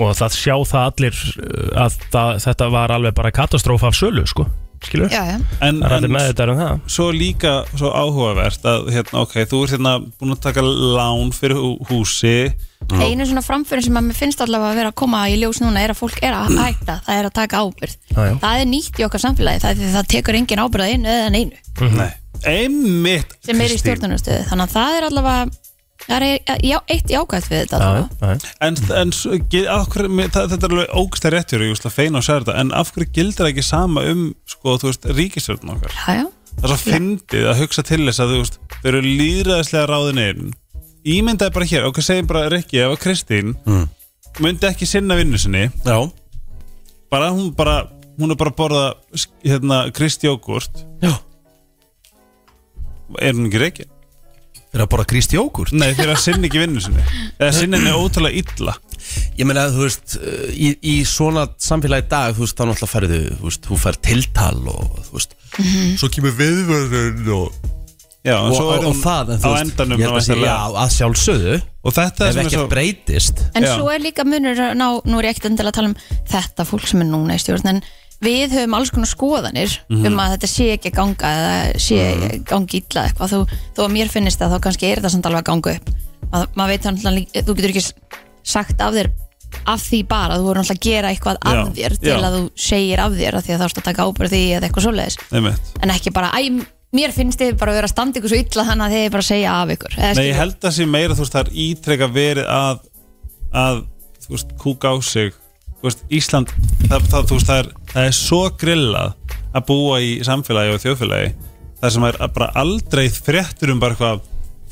og það sjá það allir uh, að það, þetta var alveg bara katastrófa af sölu sko, skilur? já, já, en, Það er allir en með þetta um það svo líka svo áhugavert að hérna, ok, þú ert hérna búin að taka lán fyrir hú- húsi einu svona framfyrir sem að mér finnst allavega að vera að koma í ljós núna er að fólk er að hætta, það er að taka ábyrgð Mm. Já, já. það er nýtt í okkar samfélagi það, það tekur engin ábyrgð á einu eða neinu Mhm. Nei, einmitt sem er í Kristín. stjórnarnastöðu þannig að það er allavega það er já, eitt jákvæmt við þetta Já, allavega. já, En, en svo- ge- af hverju, mér- það, þetta er alveg ógsta réttjur ég ætla að feina og segja þetta, en af hverju gildir það ekki sama um, sko, þú veist, ríkisjörn okkar já, já, það er svo fyndið að hugsa til þess að þú veist, þau eru líðræðislega ráðin inn ímyndaði bara hér, ok, segjum bara Rikki, ef að Kristín myndi ekki sinna vinnu sinni Já, bara hún bara, hún er bara að borða sk- hérna, Kristjókurt já. er hún ekki Rikki? Fyrir að borða gríst jógurt Nei, þegar það sinni ekki vinnu sinni eða sinni henni ótrúlega illa Ég meina, þú veist, uh, í, í svona samfélagi í dag, þú veist, þá náttúrulega færðu, þú veist, þú færð tiltal og, þú veist, Mhm. svo kemur viðvörðun og, Já, en og, svo og, er og hún það, en á þú veist, endanum ég held að segja, væntanlega- já, að sjálfsögðu, og þetta ef sem er ekkert svo breytist. En Já. svo er líka munur, ná, nú er ég ekkert endilega að tala um þetta fólk sem er núna í stjórn en við höfum alls konar skoðanir Mhm. um að þetta sé ekki að ganga eða sé mm. gangi illa eitthvað þó, þó að mér finnist það þá kannski er þetta samt alveg að ganga upp að, maður veit þannig að þú getur ekki s- sagt af þér af því bara, þú voru náttúrulega að gera eitthvað af Já, þér til já. að þú segir af þér af því að þá ertu að taka ábyrgð á því eða eitthvað svoleiðis Einmitt. en ekki bara, æ, mér finnst þið bara að vera að standa ykkur svo illa þannig að þið bara að segja af ykkur eða, Nei, ég skilur- held að sé meira, þú veist, það er ítrekka verið að að, þú veist, kúka á sig þú veist, Ísland, það, það, þú veist, það er það er svo grillað að búa í samfélagi og þjóðfélagi það sem er bara aldrei fréttur um bara eitthvað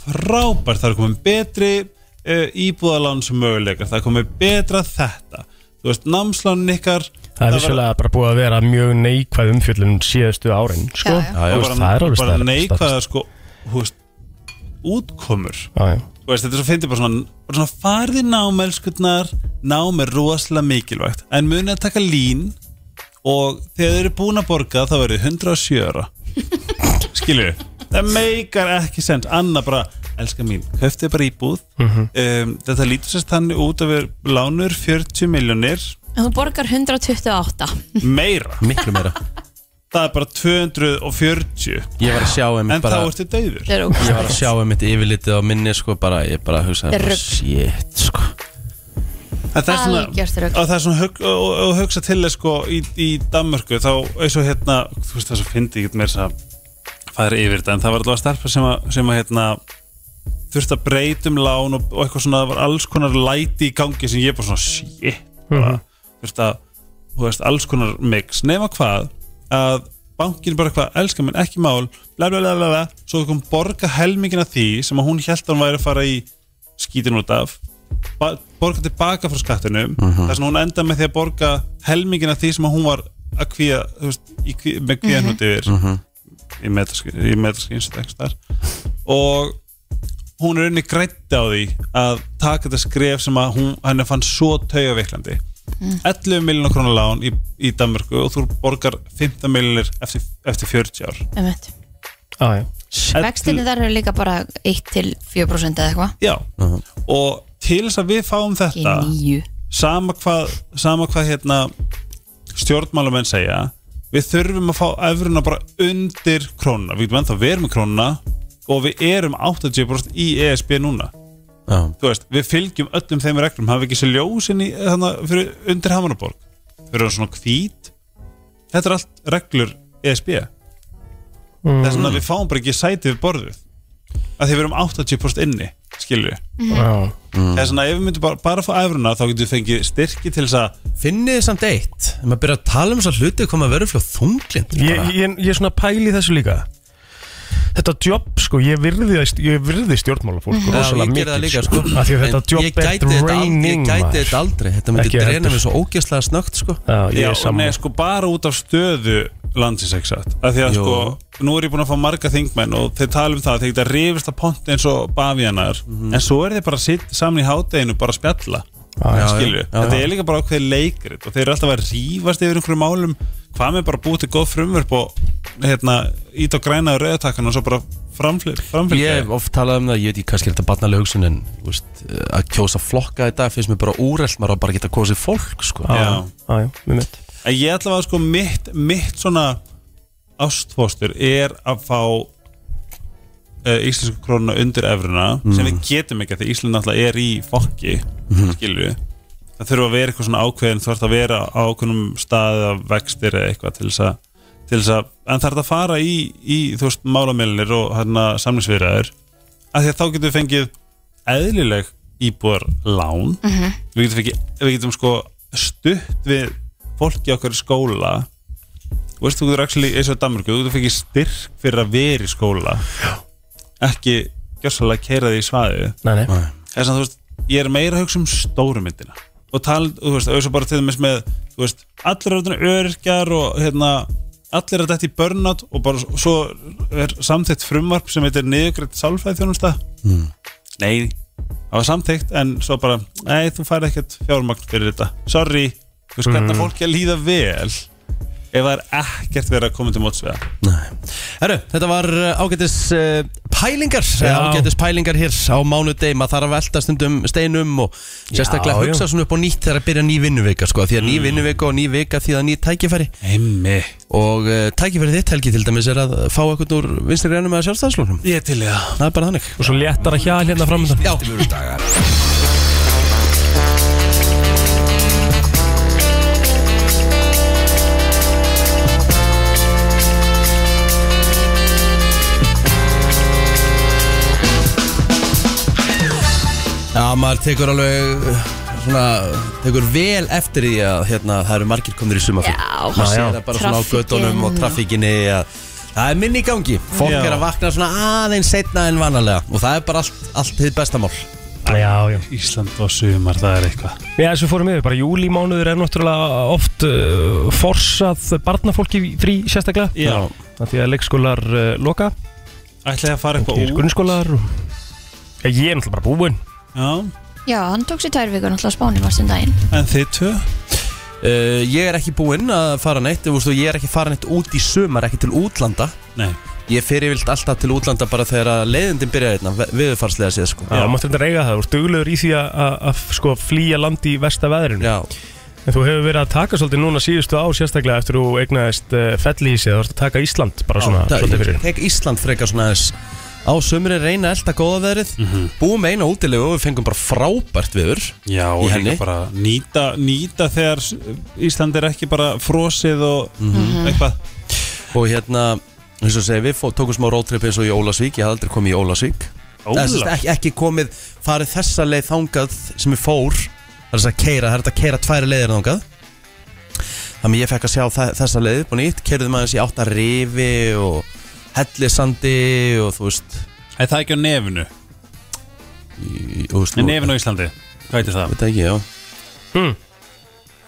frábært, það er komið betri uh, íbúðalán sem möguleikar, það er komið betra þetta, þú veist, námslánin ykkar Það er var- vissulega bara búið að vera mjög neikvæð umfjöllum síðustu árin, sko. Já, já. Þú og veist, bara, það er alveg bara staðar- staðar- neikvæða sko, þú veist, útkomur Já, já. Þú veist, þetta er svo fyndið bara svona, bara svona farði námelskurnar, nám er rosalega mikilvægt, en munið að taka lín og þegar þau eru búin að borga þá verður 107 ára skilur það meikar ekki sens, Anna bara elska mín, höftið bara íbúð um, þetta lítur sérst þannig út að við lánur 40 miljónir þú borgar 128 meira, Miklu meira. það er bara 240 Ég var að sjá einmitt en bara, þá ertu dauður Þetta er ógeðslegt. ég var að sjá einmitt yfirlitið á minni, sko, bara, ég bara hugsaði, Þetta er bara, rugl. shit, sko. En það er svona, Algjört rugl. og það er svona hug, og, og, og hugsa til þess sko í, í Danmörku þá eins og hérna, þú veist það svo fyndi ég get meira þess að fara yfir þetta en það var allavega starfa sem að, sem að hérna þurfti að breytum lán og, og eitthvað svona, það var alls konar læti í gangi sem ég bara svona, shit bara, þurfti að, þú veist, alls konar mix, nema hvað að bankin bara eitthvað, elskar minn, ekki mál bla bla bla bla, bla svo kom borga helmingin af því sem að hún held að hún væri að fara í skítin út af ba- borga tilbaka frá skattinum uh -huh. þess að hún enda með því að borga helmingin af því sem að hún var að kvíða þú veist, í kví, með kvíðan út yfir í metaskins í Metaskins eða einhvers staðar. og hún er unni grætti á því að taka þetta skref sem að hún, henni fann svo taugaveiklandi 11 miljonar krónar lán í, í Danmörku og þú borgar 15 miljonir eftir, eftir 40 ár Einmitt. Já, já. Vextinni þar eru líka bara 1 til 4% eða eitthvað Já, og til þess að við fáum Ekki þetta nýju sama hvað, sama hvað hérna, stjórnmálamenn segja við þurfum að fá efruna bara undir krónuna, við getum ennþá verið með krónuna og við erum 80% í ESB núna Já. Þú veist, við fylgjum öllum þeim reglum hafa ekki sér ljósin í, hana, fyrir, undir Hamaraborg fyrir hann svona hvít þetta er allt reglur ESB þess vegna við fáum bara ekki sæti við borðið að því við erum 80% inni skilur við Mhm. Já. Mm. þess vegna ef við myndum bara, bara að fá efruna þá getum við fengið styrki til þess að Finnið þið samt eitt, ef maður byrjar að tala um þessa hluti, hvað maður verður fljóð þunglind. Ég, ég, ég svona pæli í þessu líka þetta jobb sko, ég virði, ég virði stjórnmálafólk mm. Mhm. Já, rosalega ég mikið gerði það líka sko af því að þetta En jobb ég er gæti þetta al- draining, Ég gæti maður. þetta aldrei, þetta myndi Ekki dreina heldur. mig svo ógeðslega snögt sko Já, ég Já, er saman nei, sko bara út af stöðu landsins exakt af því að Jú. sko, nú er ég búin að fá marga þingmenn og þeir tala um það, þeir geta rifist að ponti eins og bavíanar, Mhm. en svo er þeir bara sitt saman í hádeginu, bara að spjalla Já, skilju, já. þetta er líka bara ákveð leikrit og þeir eru alltaf að rífast yfir einhverjum málum hvað með bara búið til góð frumvörp og hérna, ít og græna rauðatakkan og svo bara framfylg Ég hef oft talað um það, ég veit ekki kannski er þetta barnalega hugsun en þú veist, að kjósa flokka í dag finnst mér bara úrelt, maður á bara að geta kosið fólk sko. Já, Já. já, já, með mitt En ég ætla að sko mitt, mitt svona ástfóstur er að fá uh, íslensku krónuna undir efruna sem við getum ekki að því Ísland náttúrulega er í fokki mm. skilju það þurfa að vera eitthvað svona ákveðin þú þarf að vera á ákveðnum stað eða vextir eða eitthvað til þess að til þess að, en þarf að fara í, í þú veist, málamilnir og hérna samlingsfyrir af því að þá getum við fengið eðlileg íbúar lán við, getum fengið, við getum sko stutt við fólki okkar í skóla Þú veist, þú getur actually, eins og í Danmarku þú getur fengið styrk fyrir að vera í skóla ekki gjörsalega keira því í svaðið Nei, nei, þess að þú veist, ég er meira að hugsa um stóru myndina og tala, þú veist, auðvitað bara til þess með, þú veist, allir er orðnir öryrkjar og hérna, allir er þetta í burnout og bara s- svo er samþygt frumvarp sem heitir niðurgrætt sálfæði þjónusta mm. nei, það var samþygt en svo bara, nei, þú færði ekkert fjármagn fyrir þetta, sorry þú veist, hvernig mm. fólki að líða vel ef það er ekkert verið að koma til móts við það Herru, þetta var uh, ágætis uh, pælingar eh, Já. ágætis pælingar hér á mánudegi maður þarf að velta stundum steinum og sérstaklega já. hugsa svona upp á nýtt þegar að byrja ný vinnuvika sko, því að Mm. ný vinnuvika og ný vika því að ný tækifæri heimmi, og uh, tækifæri þitt helgi til dæmis er að fá eitthvað úr vinstri grænum eða sjálfstæðslóknum ég er til í það það er bara þannig og svo léttar að hjá hérna framöndan Já. Dagar Já, maður tekur alveg uh, svona, tekur vel eftir því að hérna, það eru margir komnir í sumafíl Já. maður Já, já. sér það bara svona á Traffíkin göttunum og og- trafíkinni að það er minni í gangi fólk Já. er að vakna svona aðeins setna en vanalega og það er bara allt, allt þitt bestamál Já, já Ísland og sumar, það er eitthvað Já, þessu fórum yfir, bara júlímánuður er náttúrulega oft uh, forsað barnafólki í frí sérstaklega Já. Af Því að leikskólar uh, loka, ætla ég að fara eitthvað og út grunnskólar og... Já, ég er náttúrulega bara búinn já, Já, hann tók sér tvær vikur náttúrulega á spáni varst um daginn en þið tvö uh, ég er ekki búinn að fara neitt þú veist, og ég er ekki fara neitt út í sumar ekki til útlanda nei ég fer yfirlt alltaf til útlanda bara þegar að leiðindin byrja hérna ve- veðurfarslega séð sko Já, máttu þetta reyga það, þú ert duglegur í því að- að að, sko, flýja land í versta veðrinu Já. En þú hefur verið að taka svolítið núna síðustu ár sérstaklega eftir þú eignaðist uh, fellísi eða þú ert að taka Ísland bara svona Já, svolítið fyrir Tek Ísland frekar svona aðeins Á sömurinn reyna elda góða veðrið Búum eina útilegu og við fengum bara frábært viður Já, Í og henni. líka bara nýta, nýta þegar s- Ísland er ekki bara frosið og Mhm. Mhm. eitthvað Og hérna, eins og segja, við fó- tókum smá roadtrip eins og í Ólasvík Ég hafði aldrei komið í Ólasvík Eða sem sagt, Óla, ekki, ekki komið, farið þessa leið þangað sem ég fór Það er þess að keira, það er þetta að keira tværi leiðir þangað Þannig ég fekk að sjá þa- þessa leið upp og nýtt Keirðum aðeins í átta rifi og hellisandi og þú veist er það ekki á nefinu? í- Þú veist, Nei, nú- nefinu á Íslandi, hvað heitir það? veit það ekki, já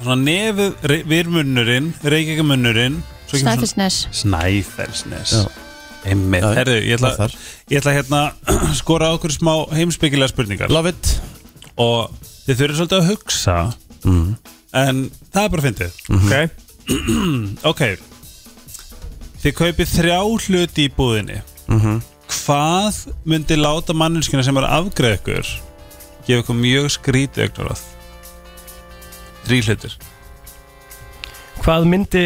Svona nefið, re- virmunnurinn, reykjagamunnurinn svo kemur svona- Snæfellsnes Snæfellsnes Já. Einmitt, Já, herðu, ég var ætla, þar. ég ætla hérna skora á okkur smá heimspekilega spurningar Love it og þið þurfið svolítið að hugsa Mm. en það er bara fyndið Mhm. Ok, Ok Þið kaupið þrjá hluti í búðinni Hvað myndi láta manneskina sem er að afgreða ykkur gefa ykkur mjög skrítið augnaráð Þrý hlutir hvað myndi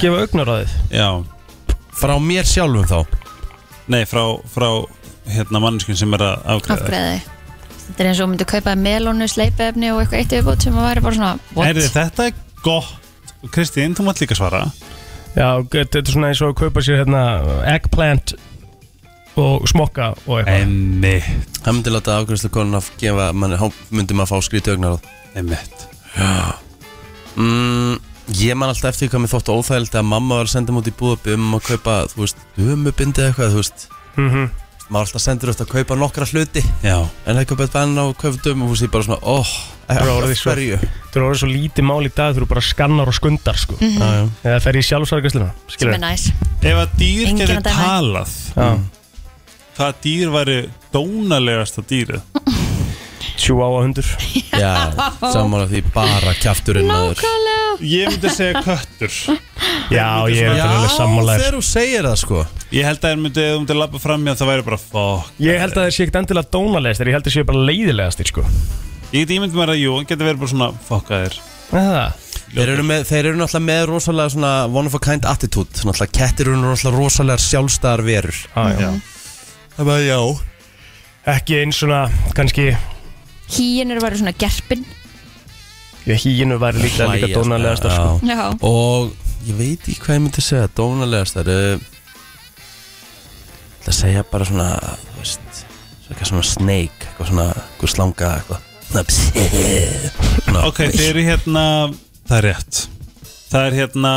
gefa augnaráðið? Já, Frá mér sjálfum þá nei frá, frá hérna manneskina sem er að afgreða afgreði Þetta er eins og þú myndir kaupa melónu, sleipefni og eitthvað eitt yfirbót sem að væri bara svona what? Heyrðu, þetta er gott Og Kristín, þú mátt líka svara Já, þetta er svona eins og að kaupa sér hérna eggplant og smokka og eitthvað Emmi Það myndi láta afgræslu konuna að gefa manni, há myndi maður fá skrítið augnar Emmitt mm, Ég man alltaf eftir hvað mér þótt óþægild að mamma var að senda múti í búðabbi um að kaupa, þú veist, dömubindi eða eitthvað, þú veist Mhm. Maður alltaf sendur eftir að kaupa nokkra hluti Já, En það kaupa eitt bann á kaupa dömubúsi, ég bara svona, óh, Bara orðið af svo- hverju? Þú eru orðið svo lítið mál í dag þegar þú bara skannar og skundar sko. mm. Já, já. eða fer í sjálfsargæsluna Mhm. sem skilur er næs ef að dýr Enginn geti að dæma. talað Já. hvaða dýr væri dónalegasta dýrið Chihuahua hundur Já, samanlega því bara kjafturinn maður Nákvæmlega Ég myndi segja köttur Já, ég er Já, alveg sammálaður þegar þú segir það sko Ég held að ef myndi, ef þú myndi labba fram hjá það væri bara fuck Ég held að þeir sé ekkert endilega dónalegast ég held að þeir sé bara leiðilegast sko. Ég geti ímyndið mér að jú, hann geti verið bara svona fuck að þér Er það? Þeir eru, með, þeir eru náttúrulega með rosalega svona one of a kind attitude Náttúrulega kettir eru náttúrulega rosalega sjálfstæðar verur Ah, já. Það var já Ekki eins svona, kannski Híin eru bara svona gerpin Ég híinu væri líka, líka Hlæja, dónalegast já. sko. Já Og ég veit ekki hvað ég myndi segja Dónalegast það eru Það segja bara svona Þú veist Svo eitthvað svona snake Eitthvað svona Eitthvað slanga Eitthvað Svona, svona Ok, þið eru hérna Það er rétt Það er hérna,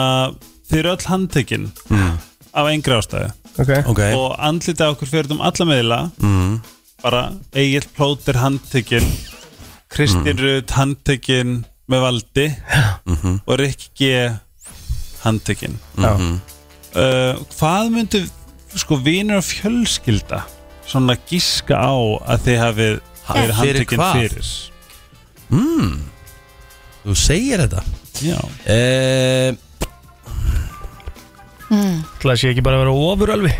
þið eru öll handtekinn mm, af engri ástæðu Ok, Ok og andlitað okkur fyrir um alla meðla mm, bara Egil Plóter handtekinn Kristín mm. Rut handtekinn með valdi mhm, og Rikki G handtekinn mhm. uh, hvað myndu sko vinur og fjölskylda svona giska á að þið hafið verið Fyrir handtekinn hvað? fyrir Mm. Þú segir þetta já, Eh, ætla að sé ekki bara að vera ofur alveg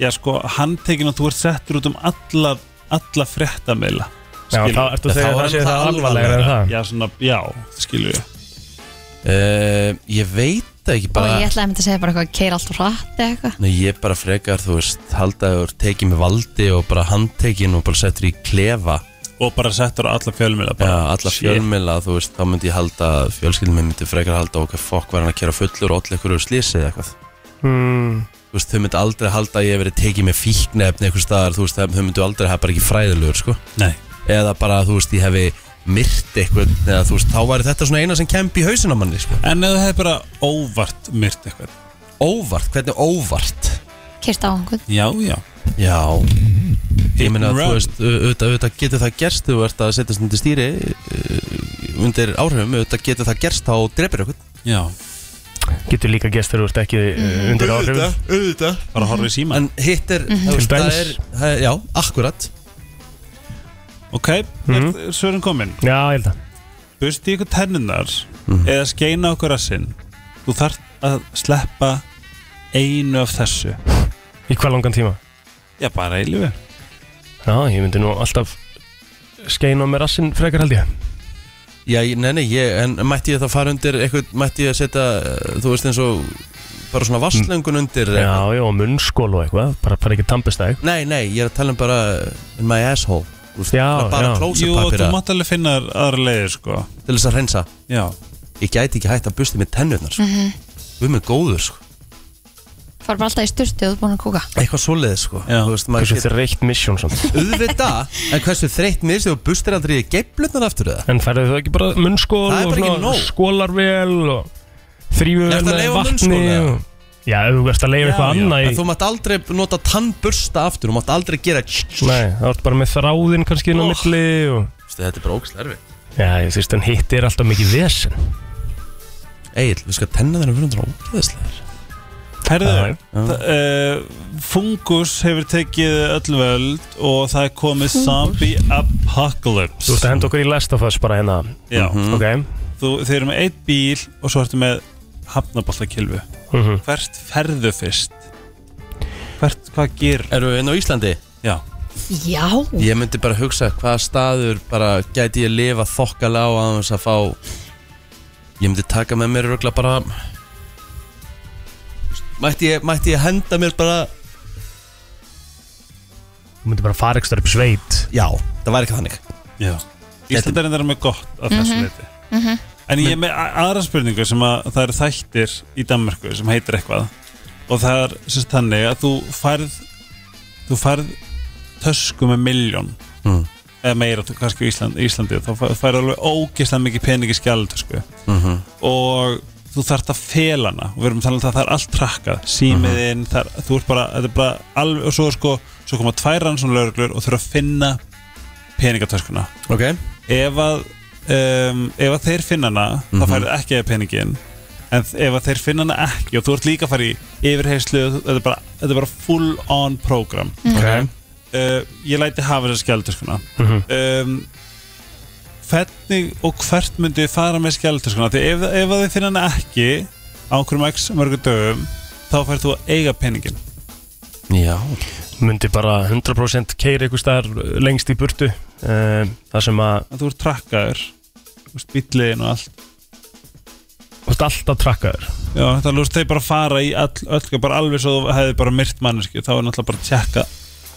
já sko handtekinn og þú ert settur út um alla alla fréttameila Já, Skilur. þá ertu að Þá segja að er það sé það það alvarlegra. alvarlegra en það já, svona, já, skilur við eh, Ég veit það ekki Og bara ég ætlaði að mynda að segja bara eitthvað Keir allt rætt eða eitthvað Nei, ég bara frekar, þú veist, haldaður tekið með valdi og bara handtekinn og bara settur í klefa og bara settur á alla fjölmiðla Já, bara, alla shit. fjölmila, þú veist, þá myndi ég halda fjölskyldin minn myndi frekar halda okkar fokk var hann að kera fullur og allir einhverju slísi eða eitthvað Mm, Þú veist, þau myndi aldrei halda að ég hef verið tekið með fíknefni einhvers staðar, þú veist, þau þau myndu aldrei hafa bara ekki fræðilegur, sko nei, Eða bara, þú veist, ég hefi myrt eitthvað, eða þú veist, þá væri þetta svona eina sem kempi í hausinn á manni, sko en ef það hefði bara óvart myrt eitthvað Óvart, hvernig óvart? Keirt á einhvern já, já, Já Ég meina að and þú run. veist, au- auðvitað auðvitað getur það gerst þú ert að setjast undir stýri uh, undir áhrifum, auðvitað getur það gerst þá drefir ykkur já getur líka gest þegar þú ert ekki mm. undir áhrifum auðvitað bara horfið síma En hitt er, þú veist, Til það dæmis. er, það er Já, akkurat ok, Mhm. mm. er svörin komin Já, ég held að bursti ykkur tennunar eða skeina okkur rassinn þú þarft að sleppa einu af þessu Í hvað langan tíma? já, bara eilu Já, ég myndi nú alltaf skeina með rassinn frekar held ég Já, ég- nei, nei, ég, en mætti ég það fara undir eitthvað, mætti ég að setja eh, þú veist, eins og bara svona vasslöngun undir Já, já, og munnskól og eitthvað Bara fara ekki tampistæg Nei, nei, ég er að tala um bara in my asshole Þú veist, Já, bara já. jú, og þú klósapapira mátt alveg finna þér aðra leiðir sko til þess að hreinsa já, Ég gæti ekki hægt að busti með tennurnar sko. mm Við með góður, sko Far bara alltaf í sturtu og þú ert búin að kúka eitthvað svoleiðis sko Já. Þú veist, maður Hversu getur þreytt misjón samt auðvitað en hversu þreytt mér sem þú bustir aldrei í geiflunar aftur eða En færðu þau ekki bara munnskól Það er og bara ekki svona nóg. skólar vel og þrýfur Ertu vel að með leyfa vatni munnskól, eða? og... Já, ef þú ert að leifa eitthvað já. annað í... en þú mátt aldrei nota tannbursta aftur þú mátt aldrei gera Þú Nei, það ert bara með þráðinn kannski inn á Oh. milli og... veist, þetta er bara ógslerfi Já, ég þýrst en hitt er alltaf mikið vesen Egil, við skal tenna þeirra fyrir hundra ógeðislegar herðu Já. uh, fungus hefur tekið öll völd og það er komið zombie Þú ert apocalypse að henda okkur í Last of Us bara hérna já, Ok þú, þeir eru með eitt bíl og svo ertu með hafnaboltakilfu Mhm. hvert ferðu fyrst hvert, hvað ger Erum við inn á Íslandi? já, Já Ég myndi bara hugsa hvaða staður bara gæti ég lifa þokkalega á að þess að fá Ég myndi taka með mér rögla bara Mætti ég, mætti ég henda mér bara Þú myndir bara fara ekstra upp í sveit Já, það væri ekki þannig já. Íslandarinn er með gott af þessu mm leiti en ég er með a- aðra spurningu sem að það eru þættir í Danmarku sem heitir eitthvað og það er sérst þannig að þú færð þú færð tösku með miljón Mm. eða meira þú- kannski á Ísland, Íslandi þá fæ- fær alveg ógeðslega mikið pening í skjaldu sko. Mhm. og þú þarft að fela hana og við erum að tala um það, það er allt trakkað símiðinn, uh -huh. þú ert bara, þetta er bara alveg, og svo, er sko, svo koma tvær rannsónlauglur og þurfa að finna peningatöskuna Ok ef að, um, ef að þeir finna hana þá færðu ekki eða peningin en þ- ef að þeir finna hana ekki og þú ert líka að fara í yfirheyslu þetta er bara, þetta er bara full on program Ok uh, ég læti hafa þessa skjaldarskuna Mhm. um, hvernig og hvert myndi ég fara með skjaldarskuna því ef, ef að þið finna hana ekki á einhverjum x mörgum dögum þá færð þú að eiga peningin Já myndi bara 100% keiri einhver staðar lengst í burtu uh, það sem að að þú ert trakkaður bíliðin og allt þú ert alltaf trakkaður Já, það lúst þeir bara fara í all, öll, bara alveg svo þú hefði bara myrt manneski þá er náttúrulega bara að tjekka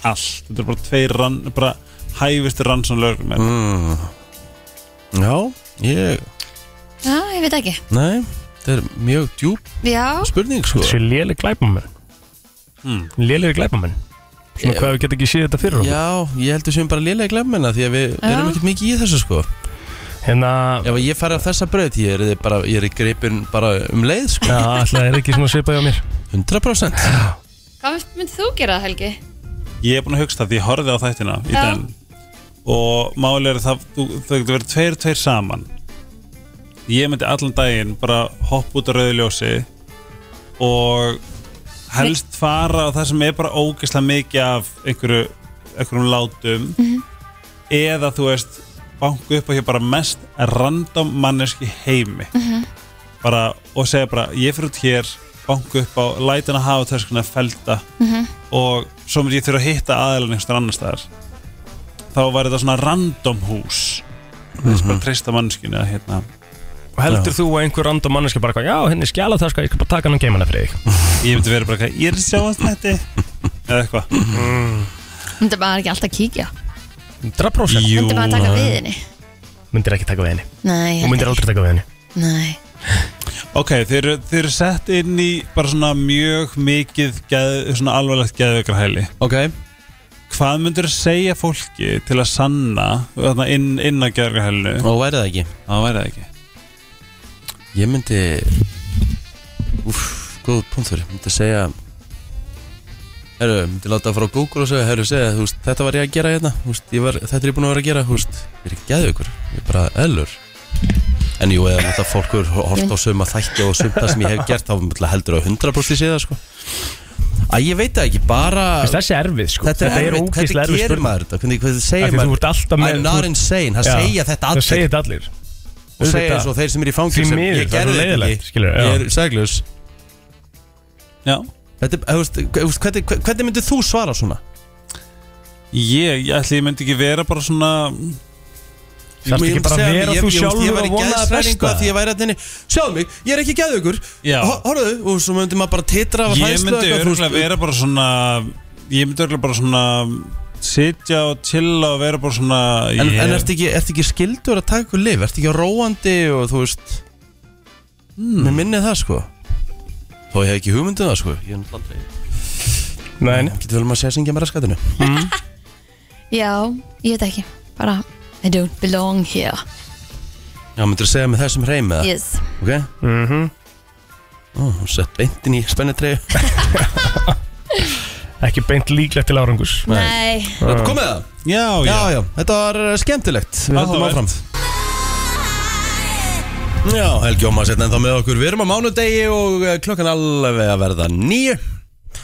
allt þetta er bara tveir rann, bara hæfistir rannsóna lögum mm. mm. Já Ég Já, ég veit ekki Nei Það er mjög djúb Já, spurning sko þessi léli glæpamenn Mm. léli glæpamenn svona hvað við getum ekki séð þetta fyrir okkur Já, ég heldur sem bara lélega glemmenna því að við Já. erum ekkert mikið í þessu sko hérna Ef ég fara á þessa braut, ég er, bara, ég er í gripin bara um leið sko Já, alltaf er ekki svona svipað hjá mér 100% hvað mynd þú gera það Helgi? ég er búin að hugsa það því ég horfið á þættina í Já. den og máli er það þú, þau getur verið tveir tveir saman ég myndi allan daginn bara hoppa út á rauðu ljósi og helst fara á það sem er bara ógeðslega mikið af einhverju, einhverjum látum eða þú veist banku upp á hér bara mest random manneski heimi bara, og segja bara ég fyrir út hér, banku upp á lætin að hafa þess konar felda og svo myndi ég þurfa að hitta aðeins einhverjum annar staðar þá var þetta svona random hús þess bara treysta manneskinu að hérna og heldur þú að einhver random manneski bara hvað, já, henni skjala það sko, ég skal bara taka hann og geima hana fyrir þig ég myndi verið bara eitthvað, ég er að sjá að þetta eða eitthvað Myndi maður ekki alltaf kíkja 100% Jú, Myndi maður taka við henni? myndir ekki taka við henni, Nei, ég og myndir veit aldrei taka við henni ekki. Nei Ok, þeir eru, þeir eru sett inn í bara svona mjög mikið geð, svona alvarlegt geðveikrahæli Ok Hvað myndur þú segja fólki til að sanna þarna inn, inn að geðveikrahælinu? Og væri það ekki Það væri það ekki Ég myndi Úf, góð punktur Ég myndi segja Herru, ég myndi láta að fara á Google og segja Herru, segja, þú veist, þetta var ég að gera hérna þú veist, ég var, Þetta er ég búin að vera að gera þú veist, Ég er ekki geðu ykkur, ég er bara eðlur En jú, eða þetta fólk er hort á sögum að þætti og sögum það sem ég hef gert þá náttúrulega heldur á 100% síðan sko. Æ, ég veit það ekki, bara Veist, þessi er erfið sko, Þetta er erfitt, ógeðslega hvernig erfið gerir spurning maður þetta? Hvernig, hvernig segir Af því þú maður ert alltaf með- I'm þú not ert- insane, það Já. segja þetta það segja allir þetta allir og segja svo þeir sem er í Því fangilsum miður, Ég það er gerði svo þetta leiðilegt, ekki, skilurðu, já. ég er segljus Já Þetta, er- þú veist, þú veist, hvernig, hvernig myndir þú svara svona? Ég, ég ætli ég myndi ekki vera bara svona þarfst Ég ekki myndi bara segja, að vera ég- þú ég- Ég sjálfur var í og vona að geðsræðingu besta að því ég væri að þenni Sjáðu mig, ég er ekki gæðugur Já. Horðu, og svo myndi maður bara titra af Ég hræðslu myndi eitthvað, þú veist, örgulega vera bara svona Ég myndi örgulega bara svona Sitja og chilla og vera bara svona En, ég, en ertu ekki, ertu ekki skildur að taka ykkur lif? Ertu ekki á róandi og þú veist Hmm. mm. Mér minnið það sko Þó ég hef ekki hugmyndið það sko Ég er náttúrulega aldrei Nei, nei. Getur vel maður að segja syngja með raskatinu Já, ég veit ekki Bara, I don't belong here Já, myndir að segja með þessum hreim eða Yes Ok mm Mhm. -hmm. Ó, sett beintin í spennitreyju ekki beint líklegt til árangus Nei, Þetta komið það? Já, já, Já, já, þetta var eh, skemmtilegt Við höldum Áhugavert. áfram Já, Helgi Óma setna ennþá með okkur Við erum á mánudegi og eh, klokkan alveg að verða nýju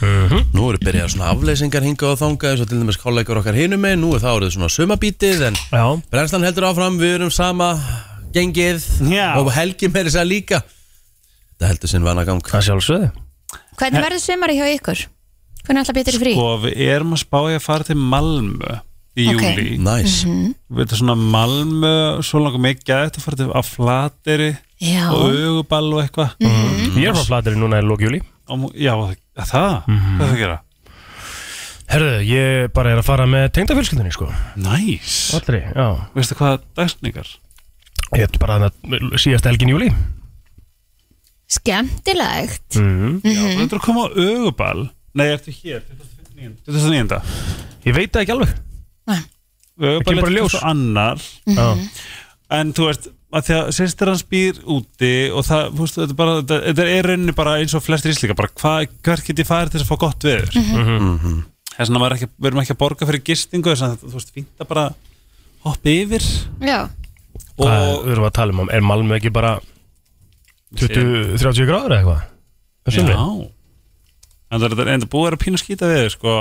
Mhm. Nú eru byrjað svona afleysingar hingað og þangað eins og til dæmis kollegur okkar hinum með Nú er það orðið svona sumabítið en Já, brennslan heldur áfram Við erum sama gengið Já. og Helgi með þess að segja líka Þetta heldur sinn vana gang það sjálfsögðu hvernig verður sumari hjá ykkur? Hvernig alltaf betur í frí? Sko- Og Sko, við erum að spá ég að fara til Malmö Í Ok. júli Næs við þetta svona Malmö svo langar mikið að þetta fara til að flateri Já, Sko- og auguball og eitthvað mm. Ég er frá flateri núna í lókjúli já, það, það Mhm. hvað það gera? Herðu, ég bara er að fara með tengdafjölskyldunni sko næs, Allri, já veistu hvað dagsningar? Ég er bara að síðast helgin í júli skemmtilegt Mhm. mm. já, þú ættir að koma á auguball nei, ertu hér, 29. 29. Ég veit það ekki alveg við kemur bara bara í ljós. leitt annar Mhm. en þú veist að því að sýstir hans býr úti og það, þú veist, þetta er bara þetta, þetta er rauninni bara eins og flestir íslika bara hvað, hvert get ég farið til þess að fá gott veður þess vegna maður ekki, við erum ekki að borga fyrir gistingu þess að þú veist, fínt að bara hoppa yfir já, og Hvað er- erum við að tala um? Er Malmö ekki bara 20-30 gráður eða eitthvað? Það já sumri? en það er þetta- en það búið að vera pínu skýta veður sko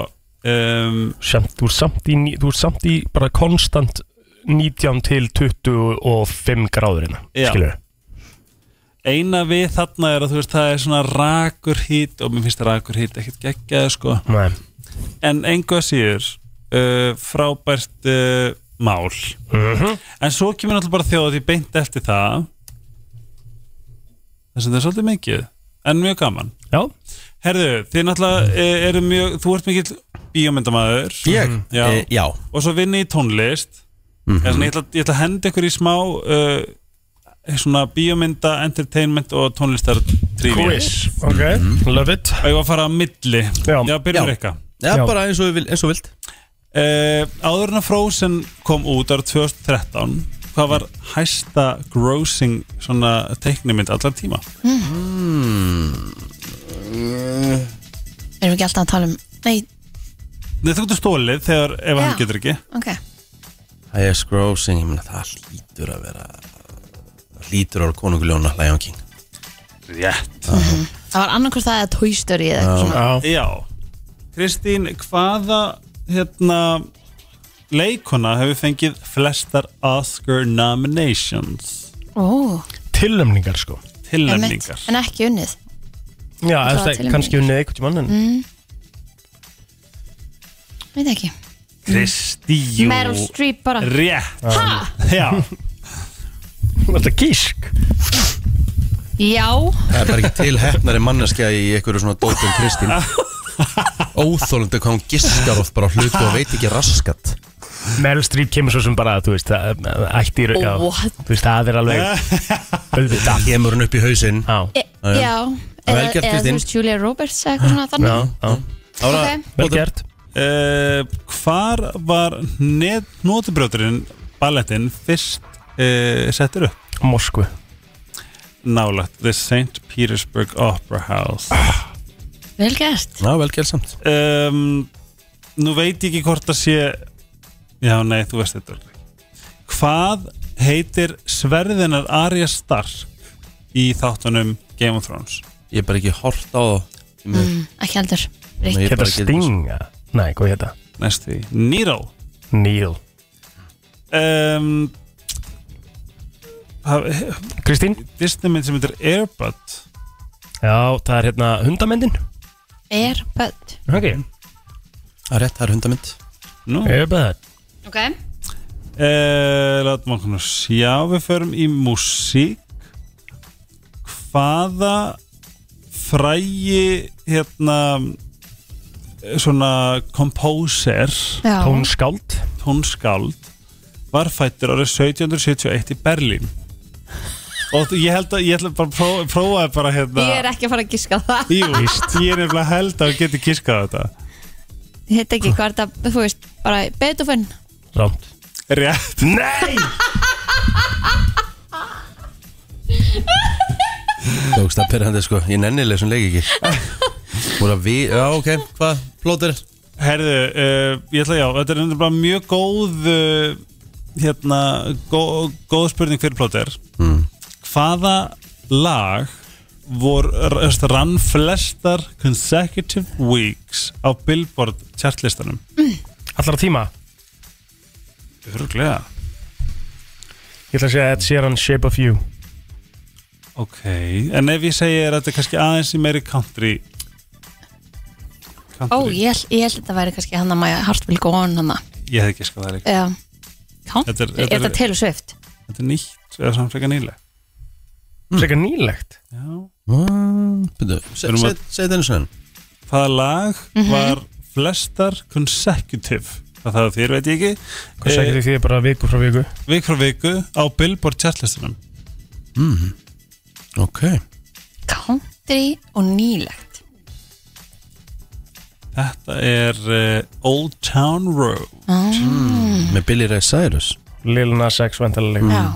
um, Samt, þú, ert samt í, ní- þú ert samt í bara konstant 19 til 25 gráðurina Já. skilur við eina við þarna er að þú veist það er svona rakur hít og mér finnst rakur hít ekkert geggjað sko Nei. en engu að síður uh, frábært uh, mál Mhm. en svo kemur náttúrulega bara þjóðat í beint eftir það þess að það er svolítið mikið en mjög gaman Já, Herðu, þið náttúrulega eh, eru mjög, þú ert mikill bíómyndamaður Ég? Já. Eh, já. og svo vinni í tónlist Mhm. mm -hmm. ég, ætla, ég ætla að henda ykkur í smá uh, svona bíómynda, entertainment og tónlistar trífi quiz, ok, Mhm. love it og ég var að fara að milli Já. byrjum Já. við eitthvað Já, Já. bara eins og, vil, eins og vilt Uh, áður en að Frozen kom út ára 2013 hvað var hæsta grossing svona teiknimynd allar tíma erum við ekki alltaf að tala um nei, Nei, þú getur stólið þegar ef Já. hann getur ekki ok, Highest grossing, ég meina það hlýtur að vera það hlýtur að vera konunguljóna Lion King Rétt það var annarkvist það eða tóistöri eða eitthvað svona Já, Já Kristín, hvaða hérna leikona hefur fengið flestar Oscar nominations ó, tilnæmningar sko einmitt, tilnæmningar en ekki unnið Það Já, var Mhm. það er tilnefningar. kannski unnið eitthvað tímann en veit ekki, Kristín Meryl Streep bara Rétt ha, Já, Þetta gísk já, Það er bara ekki til hefnari manneskja í einhverju svona dótum Kristín Óþólandi hvað hún giskar oft bara á hluti og veit ekki raskat Meryl Streep kemur svo sem bara, þú veist, það ætti í raun- já, What? Þú veist, það er alveg auðvitað Kemur hún upp í hausinn Já, e, Já, já. já Það er eða, vel gert, eða þú Kristín. veist Julia Roberts eða eitthvað svona já, þannig já, Ára, Ok. vel gert uh, hvar var nótibrjóturinn ballettinn fyrst uh, settur upp? Moskvu Nálagt, The St. Petersburg Opera House vel gert, Ná, vel gerð samt um, Nú veit ég ekki hvort að sé Já, nei, þú veist þetta Hvað heitir sverðinar Arya Stark í þáttunum Game of Thrones? Ég er bara ekki hort á það mm, ekki heldur Rikki, Ég Heta bara get- Stinga Nei, hvað heta? Næstu, því. Nero Neil um, ha- Kristín? Disney mynd sem heitir Airbud Já, það er hérna hundamendin er, but, Ok, Það er rétt, það er hundamynd Nú, ég er bara ok Eh, Látum okkur nú sjá Við förum í músík Hvaða frægi hérna eh, svona kompóser já, tónskáld tónskáld var fættur árið 1771 í Berlín og þú- ég held að ég ætla bara að prófa, prófaði bara hérna ég er ekki að fara að giska á það Jú, ég er nefnilega held að geti kiskað þetta ég heit ekki hvað er þetta, þú veist, bara Beethoven Rámt Rétt Nei! Tókst að perra sko, ég nennileg sem leik ekki Búið að við, já ok, hvað, plótir Herðu, uh, ég ætla já, þetta er bara mjög góð uh, hérna, góð, góð spurning fyrir plóter mm. Hvaða lag vor, öst, rann flestar consecutive weeks á Billboard chartlistanum? Allara tíma Örglega Ég ætla að segja Ed Sheeran Shape of You Ok, en ef ég segi er þetta er kannski aðeins í meiri country Country ó, ég, held- ég held að þetta væri kannski hann að maður Hartwell Gone hann að Ég hefði ekki skað það líka Já. Country? Þetta er- er þetta er- þetta Taylor Swift? Þetta er nýtt, eða samt frekar nýlega Sveika nýlegt Já Mm, Byrju, Við erum segi að- þetta eins og enn Hvaða lag var flestar consecutive Það það þér veit ég ekki Hvað segir því bara viku frá viku Eh, Vik frá viku á Billboard chartlistunum Ok, Country og nýlegt Þetta er uh, Old Town Road Með Billy Ray Cyrus Lil Nas X vantarlega Já,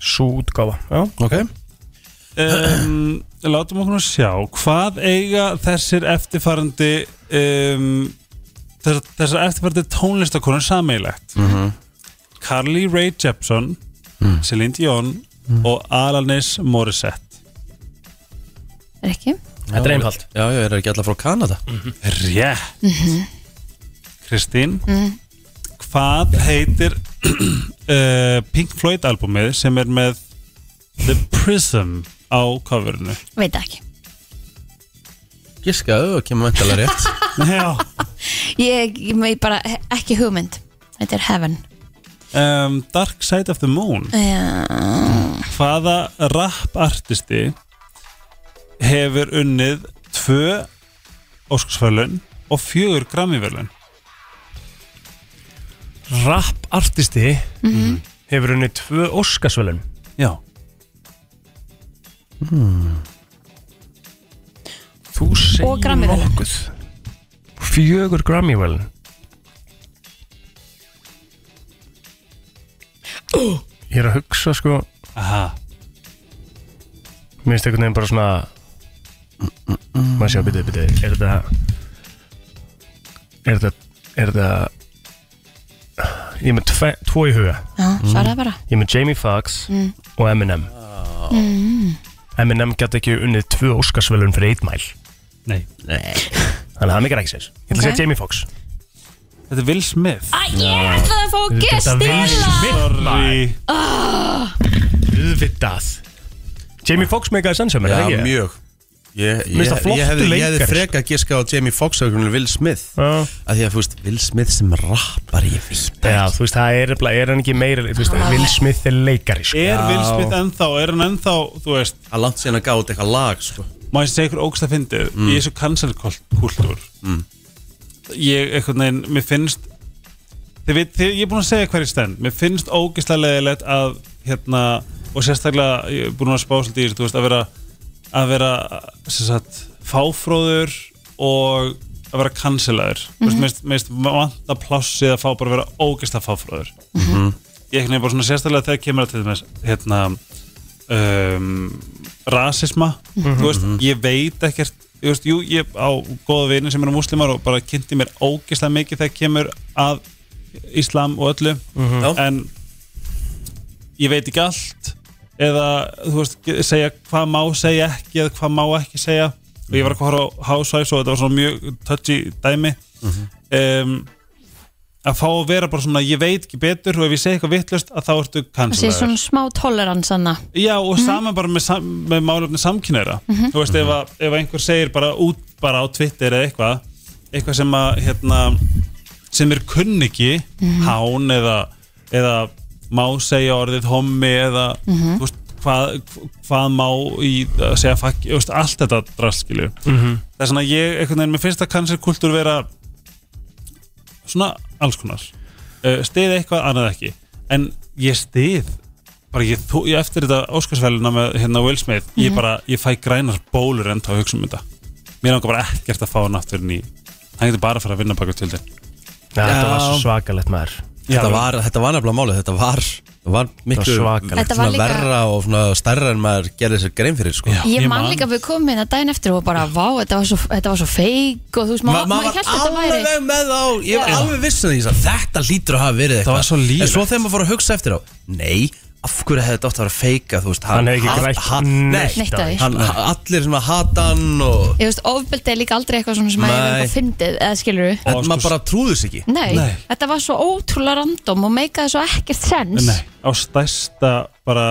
Sú útgáfa Já Ok um, Látum okkur nú sjá Hvað eiga þessir eftirfarandi um, þessar, þessar eftirfarandi tónlistakonur sameigilegt Carly Rae Jepsen Celine Dion og Alanis Morissette er ekki Þetta er einfalt Já, já, er ekki allar frá Kanada Rétt Kristín Hvað heitir uh, Pink Floyd albumið sem er með The Prism á coverinu Veit ekki Gískaðu og kemur mentalega rétt Já Ég, ég ég bara ekki hugmynd Þetta er Heaven um, Dark Side of the Moon Eh. Já, Hvaða rapartisti hefur unnið tvö Óskarsverlun og fjögur Grammyverlun Rap artisti Mhm. Hefur henni tvö Óskarsvölun Já Þú Og segir Grammy-verðlaun. nokkuð Fjögur Grammyvel Ég er að hugsa sko Aha Mér finnst einhvern veginn bara svona Maður sjá, byrju, byrju Er þetta Er þetta Er þetta Ég er með tve, tvo í huga svaraði bara Ég er með Jamie Foxx og Eminem Eminem gæti ekki unnið tvö óskarsvelun fyrir 1 mæl Nei Þannig að það mikið rækis þess Ég ætla að Ok. segja Jamie Foxx Þetta er Will Smith Æ, ég ætlaði að fá að gestila Sorry Uðvitað Jamie Foxx megaði sannsömmur Já, mjög Ég, ég, Mér finnst það ég, flottur hefði, ég hefði leikari, freka gíska á Jamie Foxx og einhvern veginn Will Smith að því að, þú veist, Will Smith sem rappar ég veit Já, þú veist, það er, nefnilega- er hann ekki meira Þú veist, Ah. Will Smith er leikari sko. Er Will Smith ennþá, er hann ennþá, þú veist, að langt síðan að gáta eitthvað lag sko. má ég segja ykkur ógst að fyndið í þessu cancel-kultúr ég, einhvern veginn, mér finnst þið veit, þið, ég er búin að segja hverju stend mér finnst ógislega leðilegt að hérna, og sérstaklega ég er búin að spá svolítið í þessu, þú veist, að vera að vera, sem sagt, fáfróður og að vera cancelaður, þú veist, mér finnst- mér finnst vanta plássið að fá bara að vera ógislega fáfróður ég ekki nefnir bara svona sérstaklega þegar kemur að til þess hérna um, rasisma þú veist, ég veit ekkert þú veist, jú, ég á góða vini sem eru múslimar og bara kynnti mér ógislega mikið þegar kemur að íslam og öllu Já. en ég veit ekki allt eða þú veist, ge- segja hvað má segja ekki eða hvað má ekki segja og ég var að horfa á Housewives og þetta var svona mjög touchy dæmi um, að fá að vera bara svona ég veit ekki betur og ef ég segi eitthvað vittlust að þá ertu Það sé cancelaður svona smá tolerans anna Já og saman bara með, sam, með málefni samkynneira Þú veist ef, að, ef einhver segir bara út bara á Twitter eða eitthvað eitthvað sem að hérna sem er kunningi hán eða, eða má segja orðið hommi eða þú veist, hvað, hvað má í að segja fakki, þú veist, allt þetta draskilju mm -hmm. það er svona ég einhvern veginn með fyrsta cancerkultúr vera svona alls konar uh, stið eitthvað annað ekki en ég stið bara ég, þú, ég eftir þetta Óskarsverðina með hérna Will Smith ég Mhm. bara, ég fæ grænar bólur enda að hugsa um þetta mér langar bara ekkert að fá hann aftur ný hann getur bara að fara að vinna baka til þetta Já, Þetta var svo Já. svakalegt maður þetta var, þetta var nefnilega málið þetta var, þetta var miklu Þetta var svakalegt. Þetta var svona líka- verra og svona stærra en maður gerði sér grein fyrir sko. Ég man líka að við komum hérna daginn eftir og bara vá, þetta var svo, þetta var svo feik og þú veist, Ma, maður ma, ma, maður held að þetta var væri alveg með á ég var Já. alveg viss um því ég sagði, þetta lítur að hafa verið eitthvað var svo lýrlegt. en svo þegar maður fór að hugsa eftir á nei, af hverju hefði þetta átt að vera feika þú veist, Hann hefði ekki hat- grætt hat- neitt nei, Neitt á því. hann, allir sem að hata hann og Ég veist, ofbeldi er líka aldrei eitthvað svona sem að ég verið Nei. eitthvað fyndið, eða skilur við en maður bara trúður sig ekki Nei, Nei. þetta var svo ótrúlega random og meikaði svo ekkert sens Nei, á stærsta bara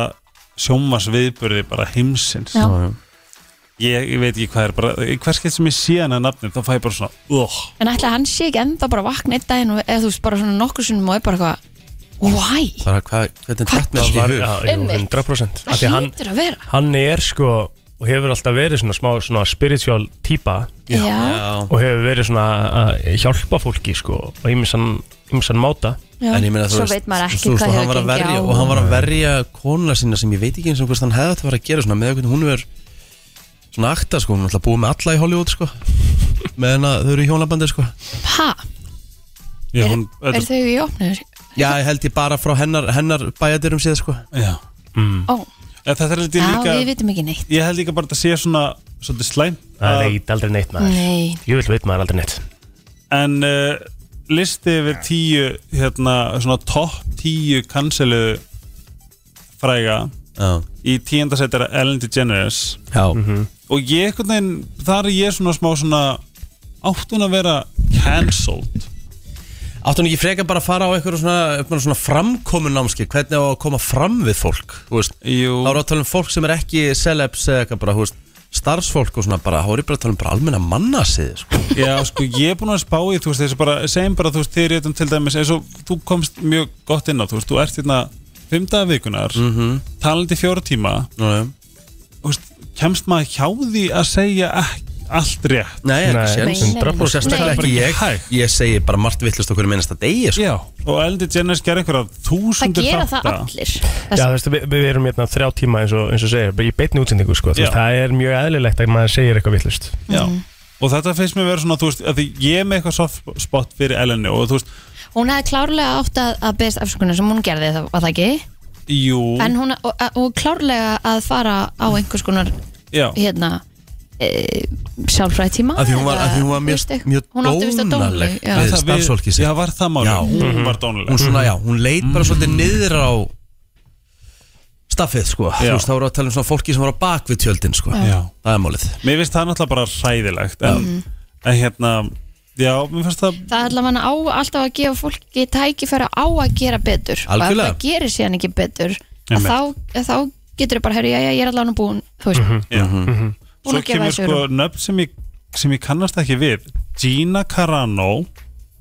sjómas viðburði bara heimsins Já. ég, ég veit ekki hvað er bara, hverskið sem ég sé hann að nafnið þá fæ ég bara svona oh. En ætla hann sé ekki enda bara vakna einn daginn og eða þú veist, bara svona nokkur sinnum og er bara eitthvað Why? bara hvað, hvernig Hvað datt mér þetta var, í hug já, jú, Einmitt. 100% Af því Það hann, hlýtur að vera hann er sko og hefur alltaf verið svona smá svona spiritual típa Já, Já. og hefur verið svona að hjálpa fólki sko og ímsan, ímsan máta já. En ég meina, þú Svo veist, veit maður þú ekki veist, hvað og hann hefur var að gengið verja- á og hann var að verja konuna sína sem ég veit ekki eins og hvers hann hefði átt að vera að gera svona með hvernig hún er Svona akta sko, hún er alltaf búið með alla í Hollywood sko Meðan að þau eru í hjónabandi sko Ha? Já, Er, hún, er þetta, þau í opnur? Já, ég held ég bara frá hennar, hennar bæjadurum síðan sko já. Ó, En Þetta er já, heldur líka við vitum ekki neitt Ég held líka bara að þetta sé svona Svolítið slæm Það veit aldrei neitt maður Nei, Jú vil veit maður aldrei neitt En uh, listi yfir tíu Hérna svona topp tíu Kansilu fræga Já, Í tíundasætt er Ellen DeGeneres já, Og ég einhvern veginn Þar er ég svona smá svona Átt hún að vera cancelled Áttu hann ekki frekar bara að fara á eitthvað svona, eitthvað svona framkomu námski Hvernig á að koma fram við fólk, þú veist Jú Þá eru að tala um fólk sem er ekki celebs eða eitthvað bara, þú veist Starfsfólk og svona bara, þá eru bara að tala um bara almenna mannasið sko Já, sko, ég er búin að spá í, þú veist, þessi bara, segjum bara, þú veist, þér réttum til dæmis, eins og þú komst mjög gott inn á, þú veist, þú ert hérna fimmdaga vikunar, mm Mhm. -hmm. talandi fjóra tíma, Nú, já. þú veist, kemst maður hjá því að segja ek- allt rétt? Nei, ekki Nei, séns. nei, nei. 100% Og sérstaklega Nei. ekki ég Hæ. Ég segi bara margt vittlust okkur minnast að degi sko. Já, og Eldi Jenners gerir einhverja það þúsundir gera þátta. það allir Já, Það- þú veist, við, við erum hérna þrjá tíma eins og, eins og segir, bara í beinni útsendingu, sko, þú Já. veist, það er mjög eðlilegt að maður segir eitthvað vittlust. Já, Mhm. og þetta finnst mér vera svona, þú veist, að því ég er með eitthvað soft spot fyrir Eleni og þú veist, Hún hefði klárlega átt að, að beðast afsökunar sem hún gerði, það var það ekki jú, Mm. En hún og, og klárlega að fara á einhvers konar já, hérna e, sjálfræði tíma Að því hún var- að því hún var mjög- mjög dónaleg já. við Það við- starfsfólkið sitt. Já, var það máli, Já. Mhm. hún var dónuleg. Hún svona, já, hún leit Mm. bara svolítið niður á staffið, sko Þú Já. veist, þá eru að tala um svona fólki sem var á bak við tjöldin, sko Já. Það er málið Mér finnst það náttúrulega bara hræðilegt en, Mhm. en hérna Já, mér finnst það það er allavega á alltaf að gefa fólki tækifæra á að gera betur og Algjörlega. ef það gerir síðan ekki betur að Einmitt. þá, að þá getur þau bara herri, já, já, ég er allavega búin þú veist, Mhm. já. búin Svo að gefa kemur þessu sko sko, nöfn sem ég, sem ég kannast ekki við Gina Carano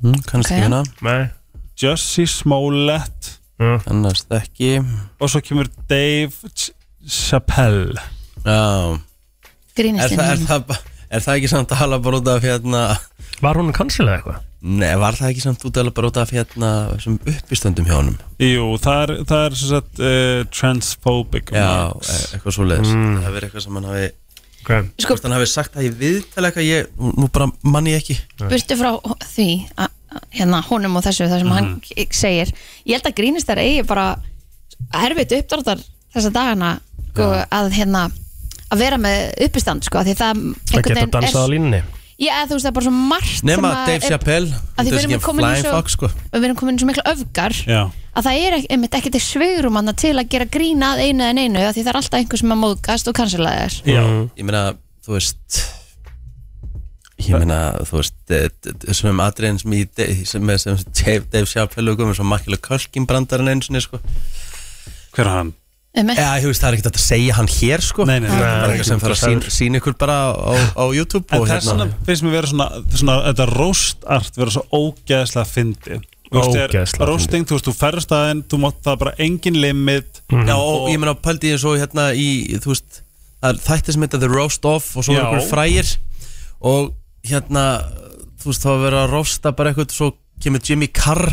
mm, Kannast Ok. ekki hérna, Nei. Jussie Smollett kannast ekki og svo kemur Dave Ch- Chappelle Já, er, grínist það, er, það, ba- er það ekki samt að hala bara út af hérna Var hún kansilega eitthvað? Nei, var það ekki samt út að hala bara út af hérna sem uppistöndum hjá honum Jú, það er, það er svo sett uh, transphobic Já, remarks. e- eitthvað svoleiðis Það hafi verið eitthvað sem hann hafi Okay. Sko- Hvort hann hafi sagt að ég viðtala eitthvað ég, nú bara manni ég ekki burtu frá því að, að, hérna honum og þessu það sem hann k- segir ég held að grínist þær eigi bara erfitt uppdráttar þessa dagana sko, að hérna að vera með uppistand sko, af því það Það einhvern geta veginn er- dansað á línni. Já, eða þú veist, það er bara svo margt Nema sem að Dave er- Chappelle að því þetta við er erum ekki komin eins flying og- fox sko og við erum komin í svo mikla öfgar Já. að það er ekki- einmitt ekkert ekki svigurum annað til að gera grína að einu en einu að því það er alltaf einhver sem að móðgast og kansalaði þér Já. Ég meina, þú veist Ég meina, þú veist eh, d- d- Þessum atriðin sem ég sem, sem, sem Dave, Dave Chappelle og komið svo makkilega kölkin brandarinn einu sinni sko Hver er hann? einmitt, Já, ég veist, það er ekkert hægt að segja hann hér sko Nei, nei, nei. Það er bara eitthvað sem hérna. þarf að sín, sín ykkur bara á, á YouTube En og þess vegna finnst mér vera svona, svona þetta róstart vera svo ógeðslega fyndi Ógeðslega Rósting, þú veist, þú ferðast aðeinn þú mátt það bara engin limit Mhm. Já, og ég meina, pældi ég svo hérna í, þú veist, það er þætti sem heita The Roast Off og svo Já. er ykkur frægir og hérna, þú veist, þá er verið að roasta bara eitthvað, svo kemur Jimmy Carr,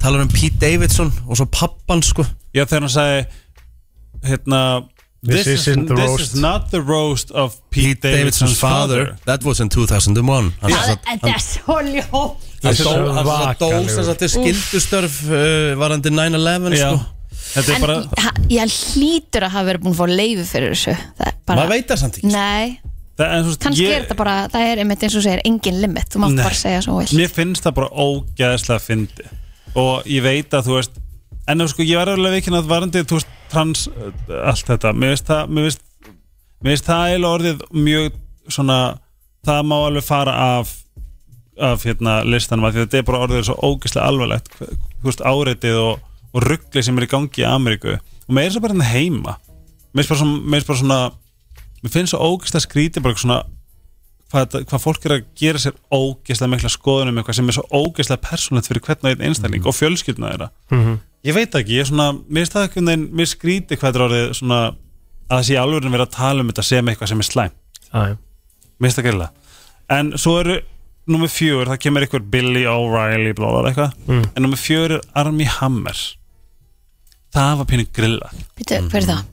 talar um Pete Davidson og svo pappan, sko. Já, þegar hann sagði hérna This isn't the this roast." is not the roast of Pete, Davidson's, father, That was in 2001. Hann sem sagt- hann- hann Þetta er dó- svo hann sem sagt dó vakalegur. sem sagt til skildustörf uh, varandi 9-11, Já, sko. þetta er en bara ha- ég hlýtur að hafa verið búin að fá leifi fyrir þessu það er bara, Maður veit það samt ekki. nei, það, en, þú veist, kannski er þetta bara það er einmitt eins og segir engin limit þú mátt Nei. bara segja svo vel Mér finnst það bara ógeðslega fyndi og ég veit að þú veist en þú sko, ég var alveg veikin að varandi þú veist, trans, uh, allt þetta mér finnst það, mér finnst mér finnst það eiginlega orðið mjög svona, það má alveg fara af af hérna listanum af því að þetta er bara orðið svo ógeðslega alvarlegt hve- þú veist, áreitið og, og ruggli sem er í gangi í Ameríku og mér er svo bara hérna heima mér finnst bara, svona- mér finnst bara svona mér finnst svo ógeðslega skrítið bara svona hvað, þetta- hvað fólk er að gera sér ógeðslega mikla skoðunum eitthvað sem er svo ógeðslega persónlegt fyrir hvern og einn einstakling og fjölskyldna þeirra ég veit ekki, ég er svona mér finnst það ekki, en mér skríti hvað þetta er orðið svona að það sé alveg að vera að tala um þetta sem eitthvað sem er slæm, Já, já. mér finnst það gerlega en svo eru nummer fjögur, það kemur eitthvað Billy O'Reilly blá, blá, blá, eitthvað, en nummer fjögur er Armie Hammer það var pínu grilla Býtu, hver er það?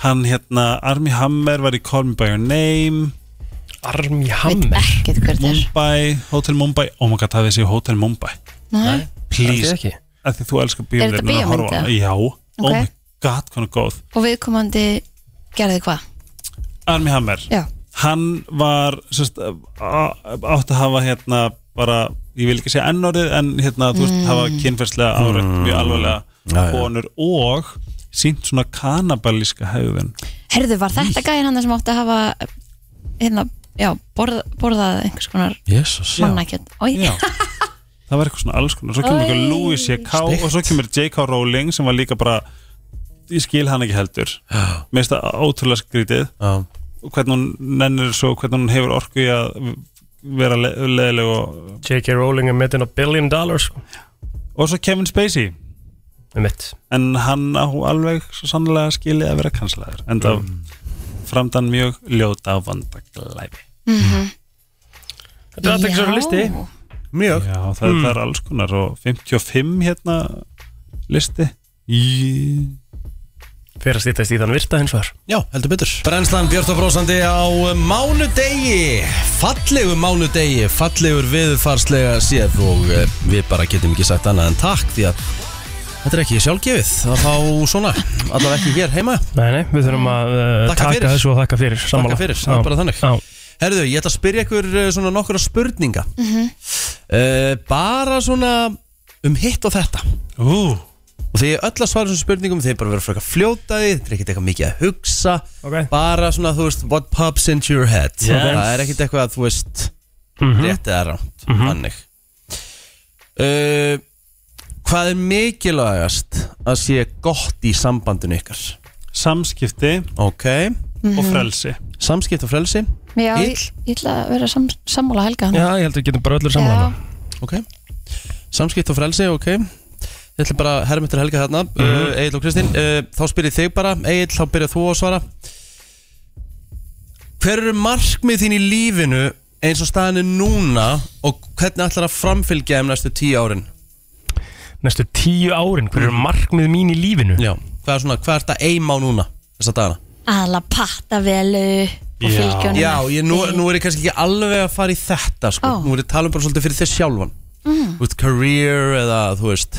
hann hérna, Armie Hammer var í Call Me By Your Name Armi veit Hammer ekkert hver það Mm. er Mumbai, Hotel Mumbai oh my god, það þessi Hotel Mumbai Nei. please, ekki af því þú elskar þetta bíómyndir núna að horfa á bíómynd, hana. já, oh Ok. my god, hvað er góð og viðkomandi gerði hvað Armie Hammer, já, hann var sérst, átt að hafa hérna bara, ég vil ekki segja ennorðið en hérna, þú veist, hafa kynferðslega áreitt mjög alvarlega konur og sínt svona kanabalíska hegðun herðu var þetta gæðin hann sem átti að hafa hérna, já, borð, borðað einhers konar Jesus mannakjönd Já. það var eitthvað svona alls konar svo kemur Æ. eitthvað Louis J.K. Steikt. og svo kemur J.K. Rowling sem var líka bara ég skil hann ekki heldur Já. mér finnst það ótrúlega skrítið Já. og hvernig hún nennir svo hvernig hún hefur orku í að vera le leðileg og, J.K. Rowling er metin á billion dollars sko. og svo Kevin Spacey með Um mitt en hann á alveg svo sannlega skilið að vera kanslæður en það framdann mjög ljóta og vanda glæfi Þetta er alltaf ekki svo listi Mjög Já, það, það er alls konar og 55 hérna listi í Fyrir að stýttast í þann virta hins var Já, heldur betur Brennslan Björn og Brósandi á mánudegi Fallegur mánudegi Fallegur viðfarslega séð Og eh, við bara getum ekki sagt annað en takk Því að þetta er ekki sjálfgefið Að fá svona Allar ekki hér heima Nei, nei, við Mm. þurfum að uh, Þakka taka fyrir. þessu og þakka fyrir sammála. Takk fyrir, það Já. er bara þannig Já, Herðu, ég ætla að spyrja ykkur eh, svona nokkura spurninga mm Bara svona um hitt og þetta Ú, Og þið öll að svara þessum spurningum Þið bara verður frekar fljótaði, þið er ekkert eitthvað mikið að hugsa Ok. Bara svona, þú veist, what pops into your head Yes. Mhm. Það er ekkert eitthvað að þú veist Mm-hmm. Rétt eða rámt, þannig uh, Hvað er mikilvægast að sé gott í sambandinu ykkar? samskipti Ok, og frelsi samskipt og frelsi já, ég, Ill. ég ætla að vera sam, sammála helga hann já, ég held að við getum bara öllur sammála já, hana. Ok, samskipt og frelsi, ok Ég ætla bara að herra mitt til helga þarna mm Egil og Kristín, uh, þá spyrir þig bara Egil, þá byrjar þú að svara Hver eru markmið þín í lífinu eins og staðan er núna og hvernig ætlar að framfylgja þeim næstu tíu árin? Næstu tíu árin, hver eru markmið mín í lífinu? Já, hvað er svona, hvað er þetta eima á núna þessa dagana? aðla patta velu og Já. fylgjónum Já, ég, nú, nú er ég kannski ekki alveg að fara í þetta sko. Ó. Nú er ég að tala um bara svolítið fyrir þess sjálfan mm. Þú veist, career eða þú veist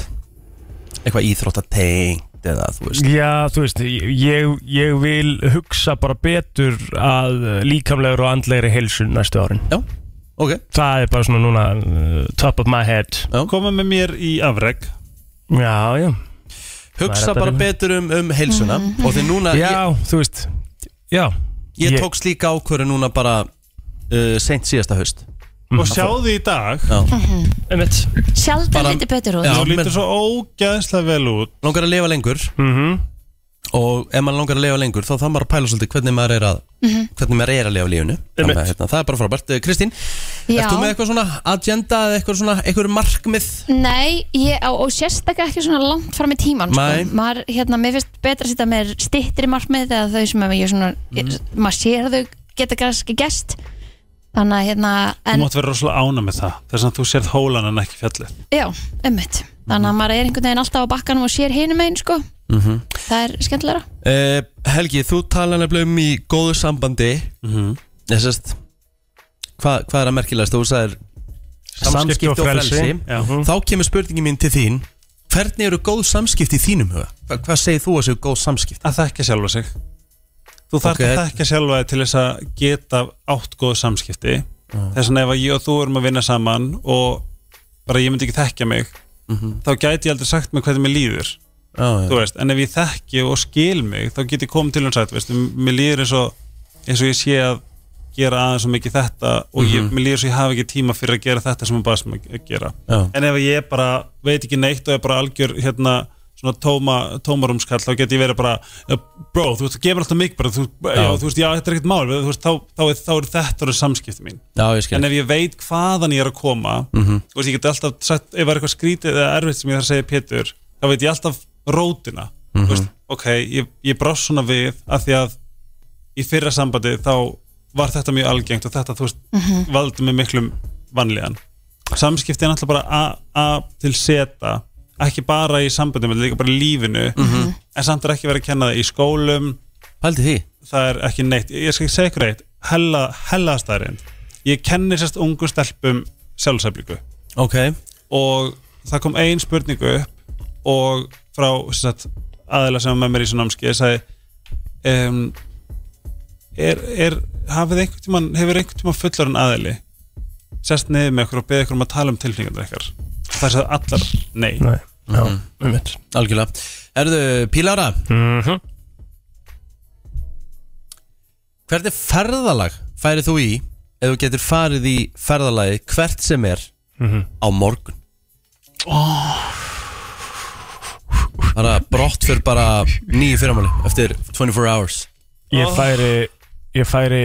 Eitthvað íþróttatengt eða þú veist Já, þú veist, ég, ég vil hugsa bara betur að líkamlegur og andlegri heilsu næstu árin. Já, ok Það er bara svona núna uh, top of my head. koma með mér í afreg Já, já. Hugsa Hvað er þetta bara fyrir? betur um, um heilsuna Og því núna, ég, Já, þú veist, já. ég tók slíka ákvöru núna bara uh, Seint síðasta haust og sjáðu í dag Já, Einmitt. sjaldan Bara- lítið betur út Já. þú menn- lítur svo ógæðslega vel út langar að lifa lengur Mm Og ef maður langar að lifa lengur Þá þarf maður að pæla svolítið hvernig maður er að Hvernig maður er að lifa lífinu Þannig, að, hérna, Það er bara frábært Eh, Kristín, Já. ert þú með eitthvað svona agenda eða eitthvað svona, eitthvað markmið Nei, ég, á, og sérstaklega ekki svona langt fram í tíman Nei. sko. maður, hérna, mér finnst betra að setja mér stittri markmið eða þau sem að ég svona, ég, maður sér að þau geta kannski gest þannig að hérna, þú en, mátt vera rosalega ána með það þess að þú sérð hólan en ekki fjallið já, emmitt þannig að maður er einhvern veginn alltaf á bakkanum og sér hinum einn, sko það er skemmtilega Uh, Helgi, þú tala nefnilega um í góðu sambandi mm -hmm. sest, hva, Hvað er að merkilegast? Þú sagðir Samskipti og frelsi. Já. Þá kemur spurningin mín til þín Hvernig eru góð samskipti í þínum huga? Hva, hvað segir þú að séu góð samskipti? að þekka sjálfa sig þú þarf Ok. að þekka sjálfa þig til þess að geta átt góð samskipti þess að ef að ég og þú erum að vinna saman og bara ég myndi ekki þekka mig þá gæti ég aldrei sagt mig hvernig mér líður Ah, þú veist, en ef ég þekki og skil mig þá get ég komið til hans að, veist, mér líður eins og, eins og ég sé að gera aðeins og mikið þetta og ég, mér líður svo ég hafi ekki tíma fyrir að gera þetta sem ég bara sem að gera Já. en ef ég bara veit ekki neitt og er bara algjör hérna svona tóma, tómarúmskall þá get ég verið bara bro, þú veist, þú gefur alltaf mikið bara, þú, já. þú veist, já, þetta er ekkert mál þú veist, þá, þá, er, þá er þetta eru samskipti mín Já, ég skil en ef ég veit hvaðan ég er að koma þú veist, ég get alltaf sagt, ef það er eitthvað skrítið eða erfitt sem ég þarf að segja Pétur þá veit ég alltaf rótina þú veist, ok, ég, ég brást svona við af því að í fyrra sambandi þá var þetta mjög algengt og þetta, þú veist, valdi mig miklum vanlíðan samskipti er náttúrulega bara a, a til seta ekki bara í sambandi, menn líka bara í lífinu en samt er ekki verið að kenna það í skólum Pældi því það er ekki neitt ég skal ekki segja ykkur eitt, hella, hella staðarinn ég kenni sérst ungu stelpum sjálfsæflingu Ok og það kom ein spurningu upp og frá sem sagt, aðila sem var með mér í svona námski ég sagði um, er, er, hafið einhvern tíman hefur einhvern tíman fullar en aðili sérst niður með ykkur og beðið ykkur um að tala um tilfningarnar ykkar það sagði allar nei Nei, já, um mitt Algjörlega Erðu, Pílára, Mhm. hvert er ferðalag færið þú í ef þú getur farið í ferðalagi hvert sem er Mhm. á morgun oh. Bara brott fyrir bara nýju fyrramáli eftir 24 hours Ég færi Ég færi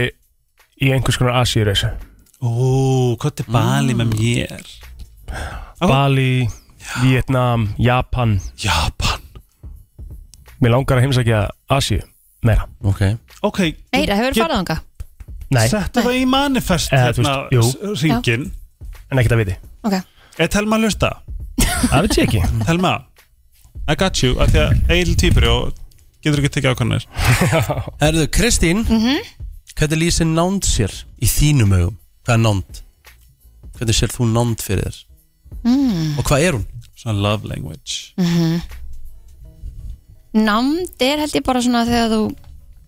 í einhvers konar Asíureisa ó, hvað er Bali með mér Bali, Vietnam, Japan Japan Mér langar að heimsækja Asíu meira Ok ok, Meira, hefur farið þanga? Nei, settu það í manifest Eða, þú veist, jú. hérna, ringin en ekkert að viti Ok, er Telma að hlusta? Það veit ég ekki Telma, I got you af því að eil týpur og getur ekki tekið ákvæmleir Erðu, Kristín Hvernig lýsir nánd sér í þínum augum? Hvað er nánd? Hvernig sér þú nánd fyrir þér? Mm. Og hvað er hún? svona love language námd er held ég bara svona þegar þú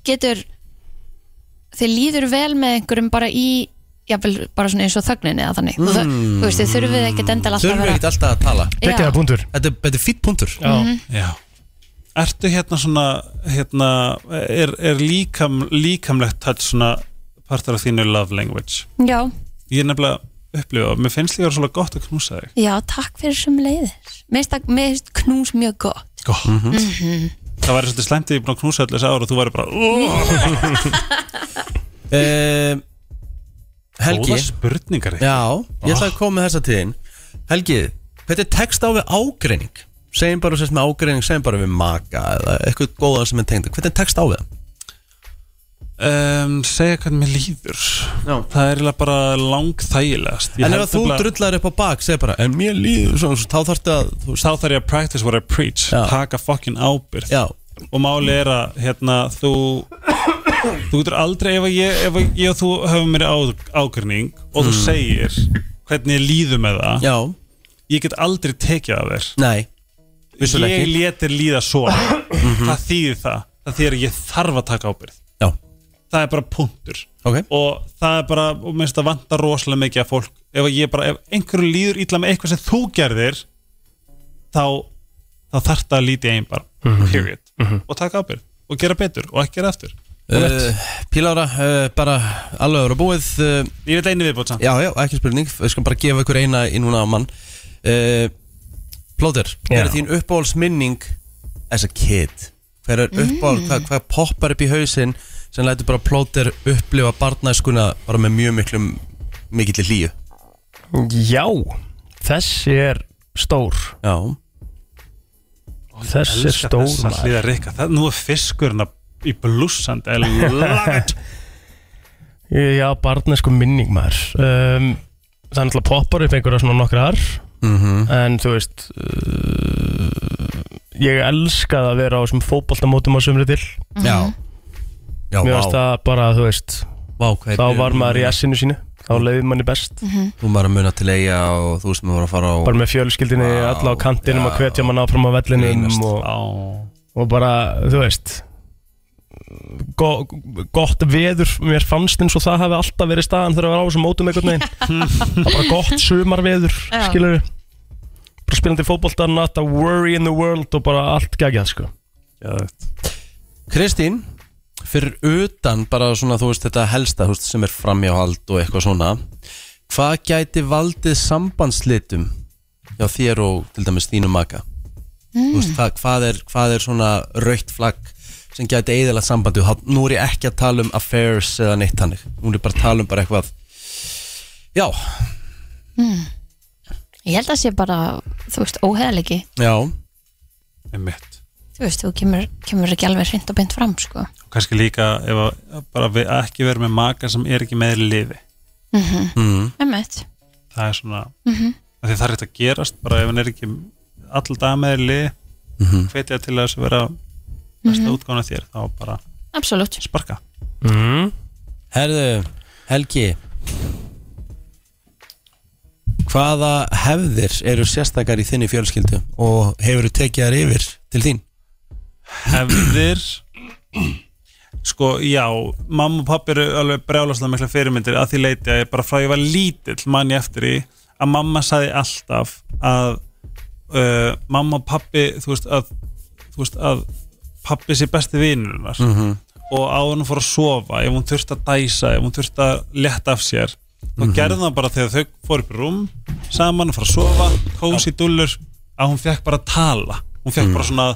getur þið líður vel með einhverjum bara í jafnvel bara svona eins og þögnin eða þannig mm. þú, þú veist, þið þurfið ekkert endal alltaf Þurfum við ekkert alltaf að tala Gekkið að punktur Þetta er, þetta er fýtt punktur Mhm. já Ertu hérna svona hérna, er, er líkam, líkamlegt touch svona partur af þínu love language Já, ég er nefnilega upplifa og mér finnst líka svolítið gott að knúsa þig já, takk fyrir sem leiðis Mér finnst það- mér finnst knús mjög gott gott mm -hmm. það væri svolítið slæmt að ég er búin að knúsa allir þessi ára og þú væri bara "Ugh, uh, Helgi góða spurningar ja. Já, ég ætla að koma með þessa tíðin Helgi, hvernig tekst á við ágreining? Segjum bara sérst með ágreining, segjum bara við maka eða eitthvað góða sem er tengd Hvernig tekst á við það? um, segja hvernig mér líður Já. það er eiginlega bara langþægilegast Ég En held ef þú nefnilega- drullar upp á bak, segja bara En mér líður svona, svo, þá þarftu að þú, veist, þá þarf ég að practice what I preach Já. taka fucking ábyrð Já, og máli er að hérna, þú þú getur aldrei ef að ég, ef að ég og þú höfum mér ágrinning og þú segir hvernig ég líður með það Mm. já, ég get aldrei tekið af nei þér Vissulega ég ekki. Mhm. letir líða svo það þýðir það það þýðir að ég þarf að taka ábyrð Já, það er bara punktur ok og það er bara, og minnst það vantar rosalega mikið að fólk, ef að ég bara ef einhverju líður illa með eitthvað sem þú gerðir þá þá þarf það að líti einn bara, period og taka ábyrgð og gera betur og ekki gera aftur uh, Pílára, uh, bara alveg voru búið uh, ég vil einu viðbót samt Já, já, ekki spurning, við skulum bara gefa ykkur eina í núna á mann uh, Plóter, hver Já. er þín uppáhaldsminning as a kid? Hver er uppáhald, hvað, hvað poppar upp í hausinn sem lætur bara Plóter upplifa barnæskuna bara með mjög miklum mikill hlýju Já, þessi er stór Já, Þessi er stór maður hlýða rikka, það, nú er fiskurinn að- í blússand, I love it Já, barnesku minning maður um, Það er náttúrulega poppar upp einhverja svona nokkrar -hmm. En þú veist uh, Ég elskaði að vera á þessum fótboltamótum á sömri til já Já, Mér vá, varst það bara, þú veist vá hvað Þá var maður í essinu sínu Þá leiði manni best Þú maður að muna til eiga og þú sem voru að fara á Bara með fjölskyldinni, alla á kantinum Að hvetja mann áfram á vellinum Grínast. og, Á. og bara, þú veist go, gott veður mér fannst eins og það hafi alltaf verið staðan þegar að vera á þessum mótum einhvern veginn það var bara gott sumarveður, Já. skilur bara spilandi fótbolta, not a worry in the world og bara allt geggjað, sko Kristín, fyrir utan bara svona þú veist þetta helsta þú veist, sem er framjáhald og eitthvað svona hvað gæti valdið sambandslitum hjá þér og til dæmis þínu maka mm. veist, hvað, hvað, er, hvað er svona raukt flagg sem gæti eðalagt sambandi og þá- nú er ég ekki að tala um affairs eða neitt hannig, nú er ég bara að tala um bara eitthvað já, Ég held að sé bara, þú veist, óheðalegi já Einmitt. Þú veist, þú kemur, kemur ekki alveg hreint og beint fram, sko og kannski líka ef að, bara við, að ekki vera með maka sem er ekki með í liði mm. Emmett það er svona af því það er eitthvað að gerast bara ef hann er ekki all dag með í liði Mhm. hvetja til að þess að vera besta mm -hmm. útgána þér þá bara absolutt sparka mm. Herðu, Helgi Hvaða hefðir eru sérstakar í þinni fjölskyldu og hefur þú tekið þær yfir til þín? hefðir sko, já, mamma og pappi eru alveg brjálaslega mikla fyrirmyndir að því leiti að ég bara frá ég var lítill mann ég eftir í að mamma sagði alltaf að uh, mamma og pappi þú veist að, þú veist, að pappi sé besti vinurinnar mm -hmm. og áður hún fór að sofa ef hún þurfti að dæsa, ef hún þurfti að letta af sér þá gerði það bara þegar þau fór upp í rúm saman og fór að sofa, kósi dullur að hún fekk bara að tala hún fekk bara svona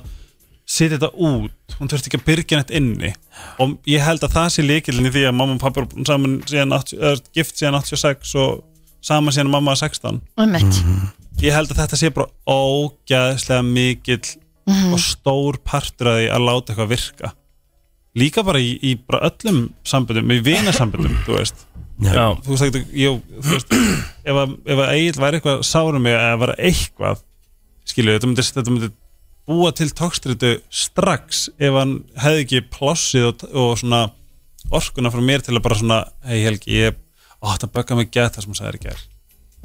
setja þetta út, hún þurfti ekki að byrja nætt inni og ég held að það sé líkilin í því að mamma og pappa eru búin saman síðan 80, er, gift síðan 86 og saman síðan mamma er 16 Einmitt. Mhm. ég held að þetta sé bara ógæðslega mikill og stór partur að því að láta eitthvað virka líka bara í, í bara öllum sambundum, í vinasambundum þú veist, Já, þú veist, ekki, jú, þú veist ef að, ef að Egil væri eitthvað sárum mig að vera eitthvað skilju, þetta myndi, þetta myndi búa til tókstritu strax ef hann hefði ekki plássið og, og svona orkuna frá mér til að bara svona, hei Helgi, ég ó, þetta bögga mig gett það sem hann sagði þér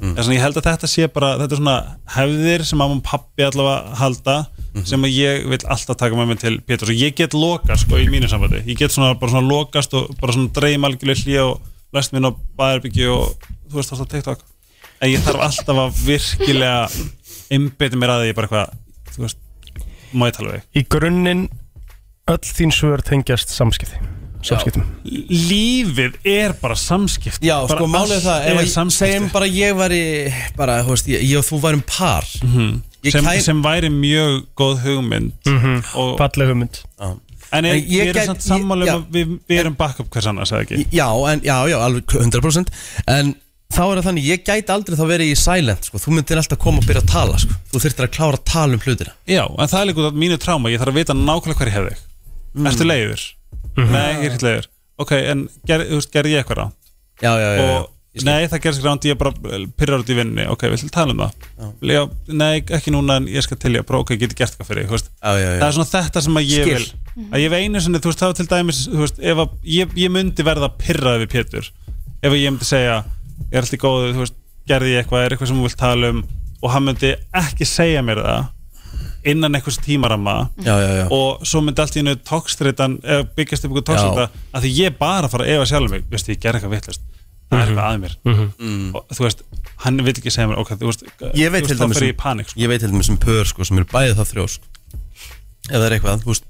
í mm. svona, ég held að þetta sé bara, þetta er svona hefðir sem mamma og pappi allavega halda Mhm. sem að ég vil alltaf taka með mig til Pétur og ég get lokast sko í mínu sambandi ég get svona bara svona lokast og bara svona dreym algjörlega hlýja og læst minn á bæðarbyggju og þú veist alltaf TikTok en ég þarf alltaf að virkilega einbytti mér að því ég bara eitthvað þú veist, má ég tala við þig? í grunninn öll þín svör tengjast samskipti Samskiptum lífið er bara samskipt Já, bara sko málið er allt það, ef er að segjum samskipti bara ég væri, bara, þú veist, ég, ég og þú værum par ég, Mhm. sem, kæ, sem væri mjög góð hugmynd og, Falleg hugmynd en En ég, ég ég er gæti- samt sammála um já. að við, við erum back up hvers annars, eða ekki? Já, en, já, já, alveg 100% En þá er það þannig, ég gæti aldrei þá verið í silent, sko, þú myndir alltaf koma og byrja að tala, sko, þú þurftir að klára að tala um hlutina já, en það er líka út af mínu tráma ég þarf að vita nákvæmlega hvað ég hefði ertu leiður? nei, ég er ekki leiður ok, en ger, þú veist, gerði ég eitthvað rátt? Já, já, já, já. og nei það gerðs gránd ég bara pyrrar út í vinninni, ok, við ætlum að tala um það já, nei, ekki núna en ég skal til ég bara, ok, ég geti gert eitthvað fyrir þig, þú veist. Já, já, já. það er svona þetta sem að ég Skil. vil að ég vil einu sinni, þú veist, þá til dæmis þú veist, ef að, ég, ég myndi verða pyrrað við Pétur ef að ég myndi segja ég er alltaf góð, þú veist, gerði ég eitthvað er eitthvað sem hún vil tala um og hann myndi ekki segja mér það innan einhvers tímarama Já, já, já. og svo myndi allt í hennu tókstritan eða byggjast upp ykkur tókstrita að því ég er bara að fara að efa sjálf mig veist, ég ger eitthvað vittlust, það er eitthvað að mér og þú veist, hann vil ekki segja mér ok, þú veist, ég veit þú til veist, þá dæmis um- fer sem, ég í panik sko. ég veit til dæmis sem pör sko, sem eru bæðið það þrjó sko. ef það er eitthvað þú veist,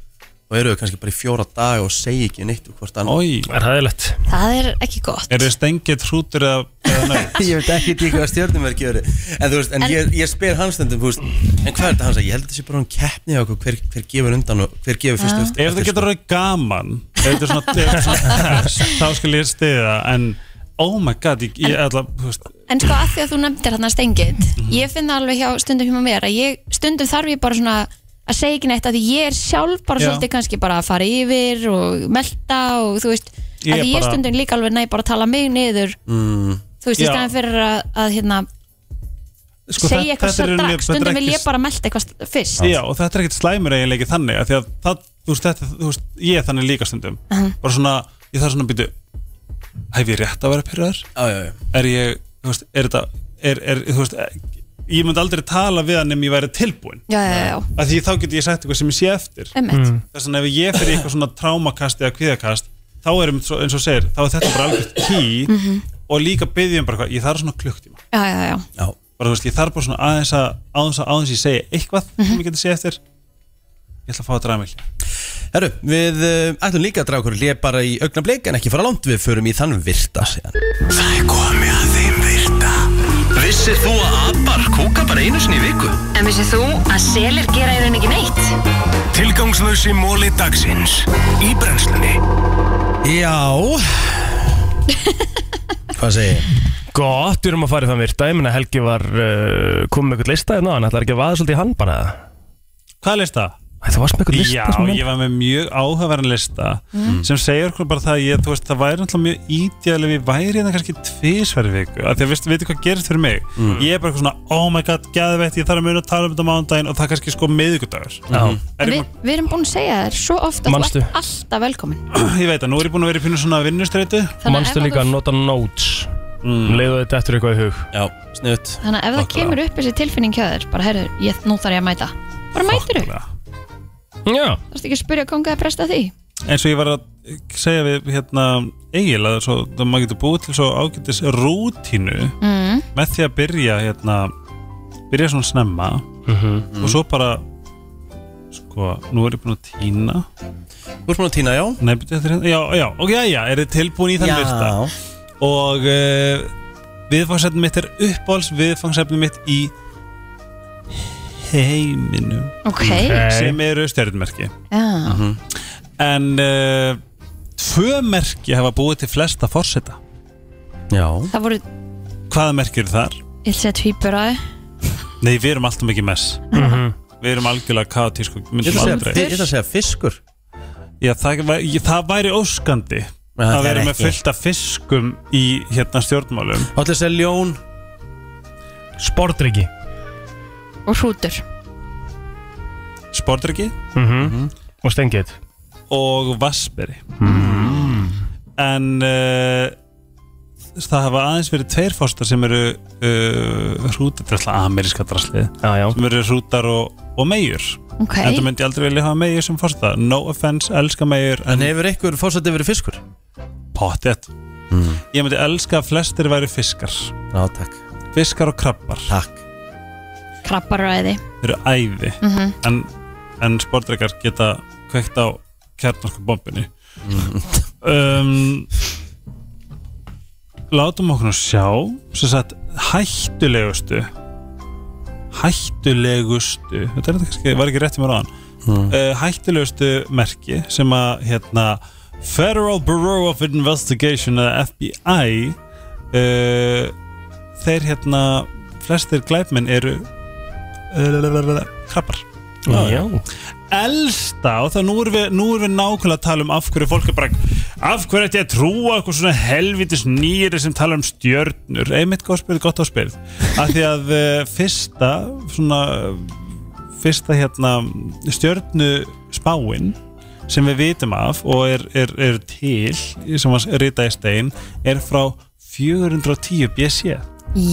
þá eru þau kannski bara í fjóra daga og segja ekki neitt um hvort annað Oj, Það er hæðilegt það er ekki gott er þið stengið trútur eða, eða nei ég veit ekki því hvað stjórnum er gjöri en, þú veist, en, En- ég, ég spyr hans stundum þú veist, en hvað er þetta hans að ég held að þetta sé bara um keppni á okkur, hver, hver gefur undan og hver gefur fyrst eftir, ef það eftir getur orðið gaman ef þetta er svona, ef þetta er svona test, þá skal ég stiða en oh my god, ég, ég ætla þú veist, En sko að því að þú nefndir hérna stengið Ég finn það alveg hjá stundum hjá mér að ég, Stundum þarf ég bara svona að segja ekki neitt að ég er sjálf bara Já. svolítið kannski bara að fara yfir og melta og þú veist að Ég er því ég bara- stundum líka alveg næ bara að tala mig niður mm. þú veist, í Já. staðan fyrir að, að hérna, sko, segja þetta- eitthvað þetta er í strax, rauninni- þetta er stundum vil ekki- ég bara melta eitthvað fyrst Já, og þetta er ekkert slæmur eiginleiki þannig af því að það, þú veist, þetta, þú veist, ég er þannig líka stundum bara svona, ég þarf svona að býtu hef ég rétt að vera pyrraður? já, já, já. Er ég, þú veist, er þetta er, er, þú veist, ég myndi aldrei tala við hann ef ég væri tilbúin já, já, já, af því þá geti ég sagt eitthvað sem ég sé eftir emmitt þess vegna ef ég fyrir í eitthvað svona trámakast eða kvíðakast, þá er um, eins og segir þá er þetta bara algjört ký Mhm. og líka byggjum bara hvað, ég þarf svona klukktíma já, já, já, Já. bara þú veist, ég þarf bara svona aðeins að aðeins að aðeins ég segja eitthvað Mhm. sem ég geti segja eftir ég ætla að fá að draga mig hlja Herru, við uh, ætlum líka að draga okkur hlið bara í augnablik en ekki fara langt, við förum í þann virta síðan. Það er komið að þeim virta Vissir þú að abar kúka bara einu sinni í viku? En vissið þú að selir gera í raun ekki neitt? Tilgangslösi móli dagsins Í brennslunni Já Hvað segir ég? Gott, við erum að fara í þann virta Ég meina Helgi var uh, komið með eitthvað lista hérna Hann ætlar ekki að vaða svolítið í hann bara Hvað leist það? Þú varst með eitthvað lista Já, sem- Mhm. ég var með mjög áhugaverðan lista sem segir okkur bara það að ég, þú veist, það væri náttúrulega mjög ídjæðilega við væri þetta kannski tvísverði viku af því að veistu, veitu hvað gerist fyrir mig ég er bara eitthvað svona, oh my god, geðveitt ég þarf að muna að tala um þetta á mánudaginn og það er kannski sko miðvikudagur Já. Er Vi, ég Við erum búin að segja þér svo ofta Manstu? Þú ert alltaf velkomin búin- ég veit að nú er ég búin að vera í pínu svona vinnustreitu Manstu líka að nota notes mm. Leiðu þetta eftir eitthvað í hug Já, sniðut Þannig að ef það kemur upp þessi tilfinning hjá þér bara heyrðu, ég, nú þarf ég að mæta bara mætir upp, Já, þarfst ekki að spyrja konga að presta því eins og ég var að segja við hérna Egil að svo, það maður getur búið til svo ágætis rútínu mm. með því að byrja hérna, byrja svona snemma og svo bara sko, nú er ég búin að týna Þú ert búin að týna, já Nei, byrja þetta hérna, já, já, ok, já, já er þið tilbúin í þann virta og uh, viðfangsefni mitt er uppáhalds viðfangsefni mitt í heiminum ok, sem eru stjörnmerki já, en uh, tvö merki hafa búið til flesta forseta Já það voru hvaða merki eru þar? ég ætla að segja tvíbura Nei, við erum alltaf mikið mess Mhm. Við erum algjörlega kaotísku Ég ætla að segja- aldrei ég ætla að segja fiskur Já, það, væ- ég- það væri óskandi Nei, það að er vera með ekki. fullt af fiskum í hérna stjórnmálum Þá ætla ég að segja ljón sportryggi og hrútur Sportryggi og stengið og vassberi Hmm. En uh, það hafa aðeins verið tveir fórstar sem eru uh, hrútadrasla, ameríska draslið Já, já, sem eru hrútar og, og meijur ok, En þú myndi ég aldrei vilja hafa meijur sem fórsta No offense, elska meijur En hefur einhver fórsætti verið fiskur? pottet Ég myndi elska að flestir væri fiskar Já, takk Fiskar og krabbar Takk krabbaræði Þeir eru æði en, en sportreikar geta kveikt á kjarnarsku bombinni um, Látum okkur að sjá sem sagt hættulegustu hættulegustu þetta er þetta kannski, var ekki rétt í mér áðan Hmm. uh, hættulegustu merki sem að hérna Federal Bureau of Investigation eða FBI uh, þeir hérna flestir glæpmenn eru eh, krabbar já. elsta og það nú erum við, nú erum við nákvæmlega að tala um af hverju fólk er bara af hverju ætti ég að trúa eitthvað svona helvitis nýri sem tala um stjörnur einmitt góð spyrð, gott á spyrð af því að eh, fyrsta svona fyrsta hérna stjörnu spáin sem við vitum af og er, er, er til sem var rita í stein er frá 410 BC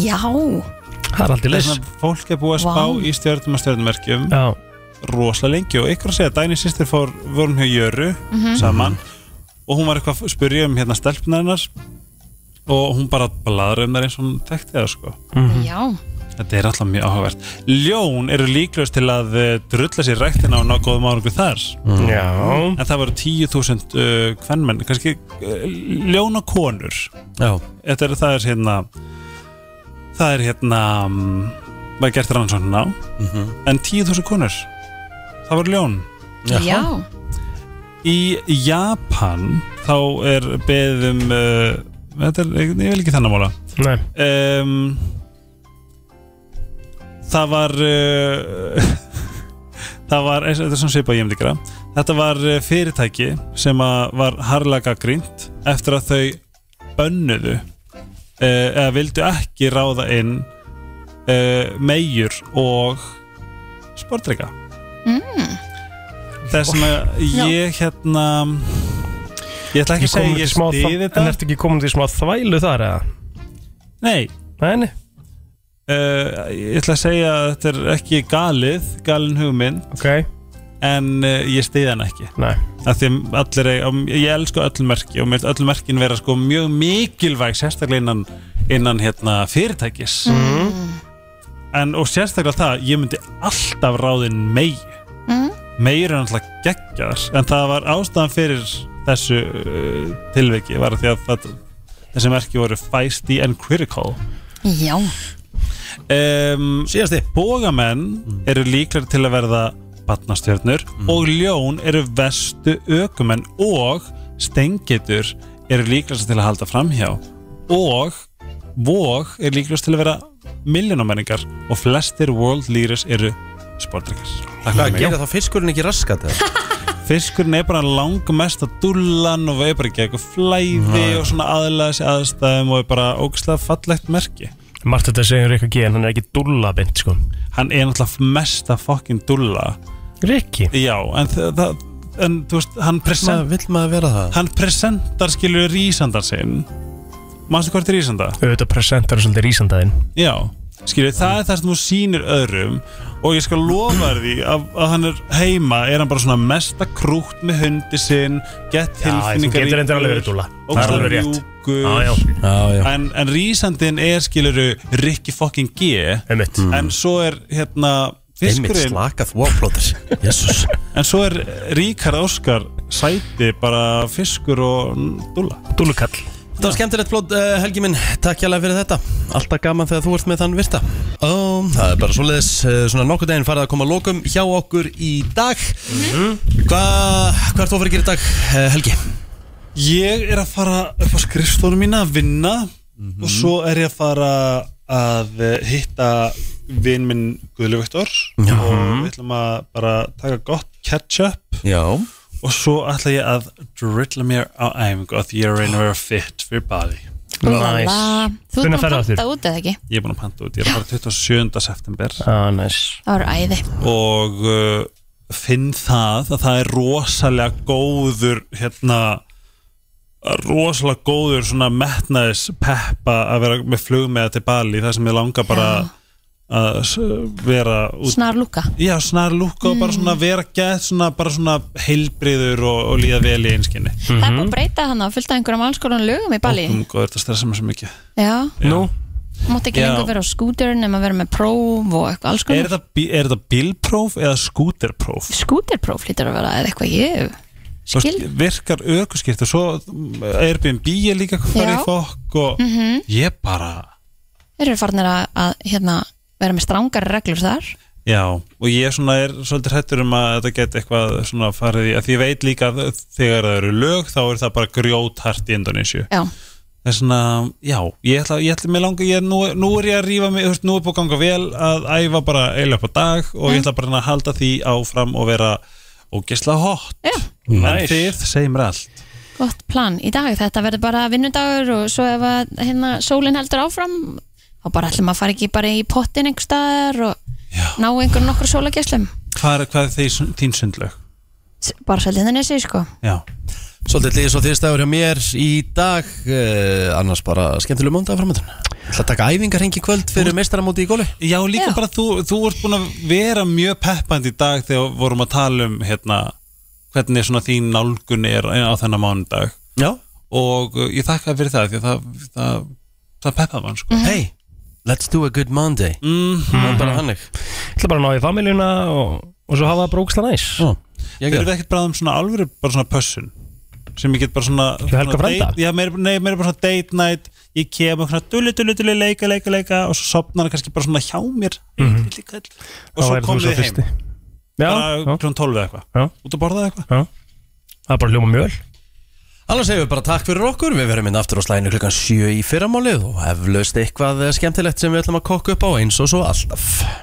já, það er aldrei þess leys að fólk er búið að spá Vá. í stjörnum og stjörnumerkjum Já, rosalega lengi og ykkur að segja að Dæni sýstir fór, vorum hjá Jöru saman og hún var eitthvað að spyrja um hérna stelpunarinnar og hún bara bladra um þær eins og hún þekkti það sko. já Þetta er alltaf mjög áhugavert. Ljón eru líklegust til að eh, drulla sér ræktina og ná góðum árangu þar já en það voru 10.000 uh, kvennmenn, kannski uh, ljónakonur Já Þetta er, það er hérna það er hérna um, maður gert rannsóknin á en 10.000 konur það voru ljón já, Í Japan þá er beðum uh, þetta er, ég vil ekki þannig mála Nei, um, það var uh, það var eins- þetta er svona svipað ég myndi gera þetta var eh, fyrirtæki sem að var harlaga grínt eftir að þau bönnuðu uh, eða vildu ekki ráða inn uh, meijur og sportreika mm. þess að ég hérna ég ætla ekki ég komum að segja til ég smá stið þvæ- En þetta ertu ekki komum til smá þvælu þar eða? nei Nei, nei Uh, ég ætla að segja að þetta er ekki galið, galin hugmynd Ok, en uh, ég stiði hann ekki nei að því að allir, eiga- um, ég elska öll merki og mér finnst öll merkin vera sko mjög mikilvæg sérstaklega innan, innan hérna, fyrirtækis en, og sérstaklega það ég myndi alltaf ráðin megi Mm. meir en alltaf geggjar en það var ástæðan fyrir þessu uh, tilviki var að því að það, þessi merki voru feisty and critical já um, Síðasti Bógamenn eru líklar til að verða batnastjörnur og ljón eru vestu ökumenn og stengitur eru líklar til að halda framhjá og vóg er líklar til að vera milljónamenningar og flestir world leaders eru sportreikar Takk Hvað, fyrir mig. gerir þá fiskurinn ekki raskat eða? Fiskurinn er bara langmest að dullan og er bara ekki eitthvað flæði og svona aðlaða sér aðstæðum og er bara ógæslega fallegt merki Marta þetta segir Rikki G en hann er ekki dulla beint sko Hann er náttúrulega mesta fucking dulla Rikki Já, en það, það en þú veist, hann, present, Vill maður vera það? hann presentar skilur rísandar sinn Manstu hvort er rísanda? auðvitað presentar svolítið rísandaðinn Já, skilur, það er það sem þú sýnir öðrum og ég skal lofa þér því að, að hann er heima, er hann bara svona mesta krútt með hundi sinn gett þú tilfinningar getur endur alveg verið dúlla það er ógeðslega alveg rétt mjúkur. Já, já, Já, já En, en rísandin er skiluru Rikki fucking G einmitt en svo er hérna Einmitt fiskurinn, slakað wowplóter Jésús en svo er Ríkar Óskar sæti bara fiskur og dúlla Dúllukall Þetta var skemmtilegt blót, uh, Helgi minn, takk hérlega fyrir þetta Alltaf gaman þegar þú ert með þann virta um, Það er bara svoleiðis, uh, svona nokkuð deginn farið að koma að lókum hjá okkur í dag Hvað, hvað ert þú að fara að gera í dag, uh, Helgi? Ég er að fara upp á skrifstónu mína að vinna og svo er ég að fara að eh, hitta vinn minn Guðlu Viktor og við ætlum að bara taka gott ketchup Já og svo ætla ég að drilla mér á æfingu að ég er að reyna að vera fit fyrir bali Næs Þú Hvenær ert búin ferðu að aftur? panta út eða ekki? Ég er búin að panta út, ég er að fara 27. september Ah, næs Það var æði og uh, finn það að það er rosalega góður hérna rosalega góður svona metnaðis peppa að vera með flug með til Bali það sem ég langar bara að s- vera út Snar Mm. lúka Já, snar lúka og bara svona vera gett svona, bara svona heilbriður og, og líða vel í einskinni Það er búin að breyta hann á fullt af einhverjum alls konar lögum í Bali Ókum góður, þetta stressa mér svo mikið Já, Nú, mátt ekki Já. lengur vera á skútur nema vera með próf og eitthvað alls Er konar þetta, bí- er þetta bílpróf eða skúterpróf? Skúterpróf lítur að vera eða eitthvað ég Þú veist, Skil virkar ökuskipti og svo eh, Airbnb er líka hvað farið Já. Mhm. í fokk og ég bara Þeir eru farnir að, að hérna, vera með strángar reglur þar Já, og ég svona er svolítið hrættur um að þetta geti eitthvað svona farið í að því ég veit líka að þegar það eru lög þá er það bara grjóthart í Indonésiu Já, það er svona, já, ég ætla, ég ætla mig langa, ég, nú, nú er ég að rífa mig þú veist, nú er búið að ganga vel að æfa bara eiginlega upp á dag og Mhm. ég ætla bara að reyna að halda því áfram og vera ógesla hot Já. en þið segir mér allt gott plan í dag Þetta verður bara vinnudagur og svo ef að, hérna, sólin heldur áfram þá bara ætlum að fara ekki bara í pottin einhver staðar og ná einhver nokkur sólageslum hvað er, hvað er því, þín sundlög? bara sældi henni sér sko Já, Svolítið líðis og þýrstæður hjá mér í dag uh, Annars bara skemmtileg mándag framöndan Það taka æfingar hengi kvöld fyrir meistaramóti í góli já líka Já. bara þú, þú ert búin að vera mjög peppandi í dag þegar vorum að tala um hérna, hvernig svona þín nálgun er á þennan mánudag Já og uh, ég þakka fyrir það því að það, það, það peppaði mann sko Mm-hmm. Hey, let's do a good Monday Það er bara hannig ég ætla bara að ná í familjuna og, og svo hafa það bróksla næs Ég Erum er við ekkert bara um svona alvöru, bara svona pössun sem ég get bara svona Helga svona frænda? date- Já, meira, nei, meira bara svona date night Ég kem og svona dullu, dullu, dullu, leika, leika, leika og svo sopnar það kannski bara svona hjá mér litli köll. Mhm. Þá Og svo værir þú komum við heim fyrsti. Já, Bara já, klón 12 Já. eða eitthvað Út að borða eitthvað það er bara hljóma mjöl Annars hefur við bara takk fyrir okkur, við verðum inn aftur á slæðinu klukkan eh, 7 í fyrramálið og eflaust eitthvað skemmtilegt sem við ætlum að kokka upp á eins og svo alltaf.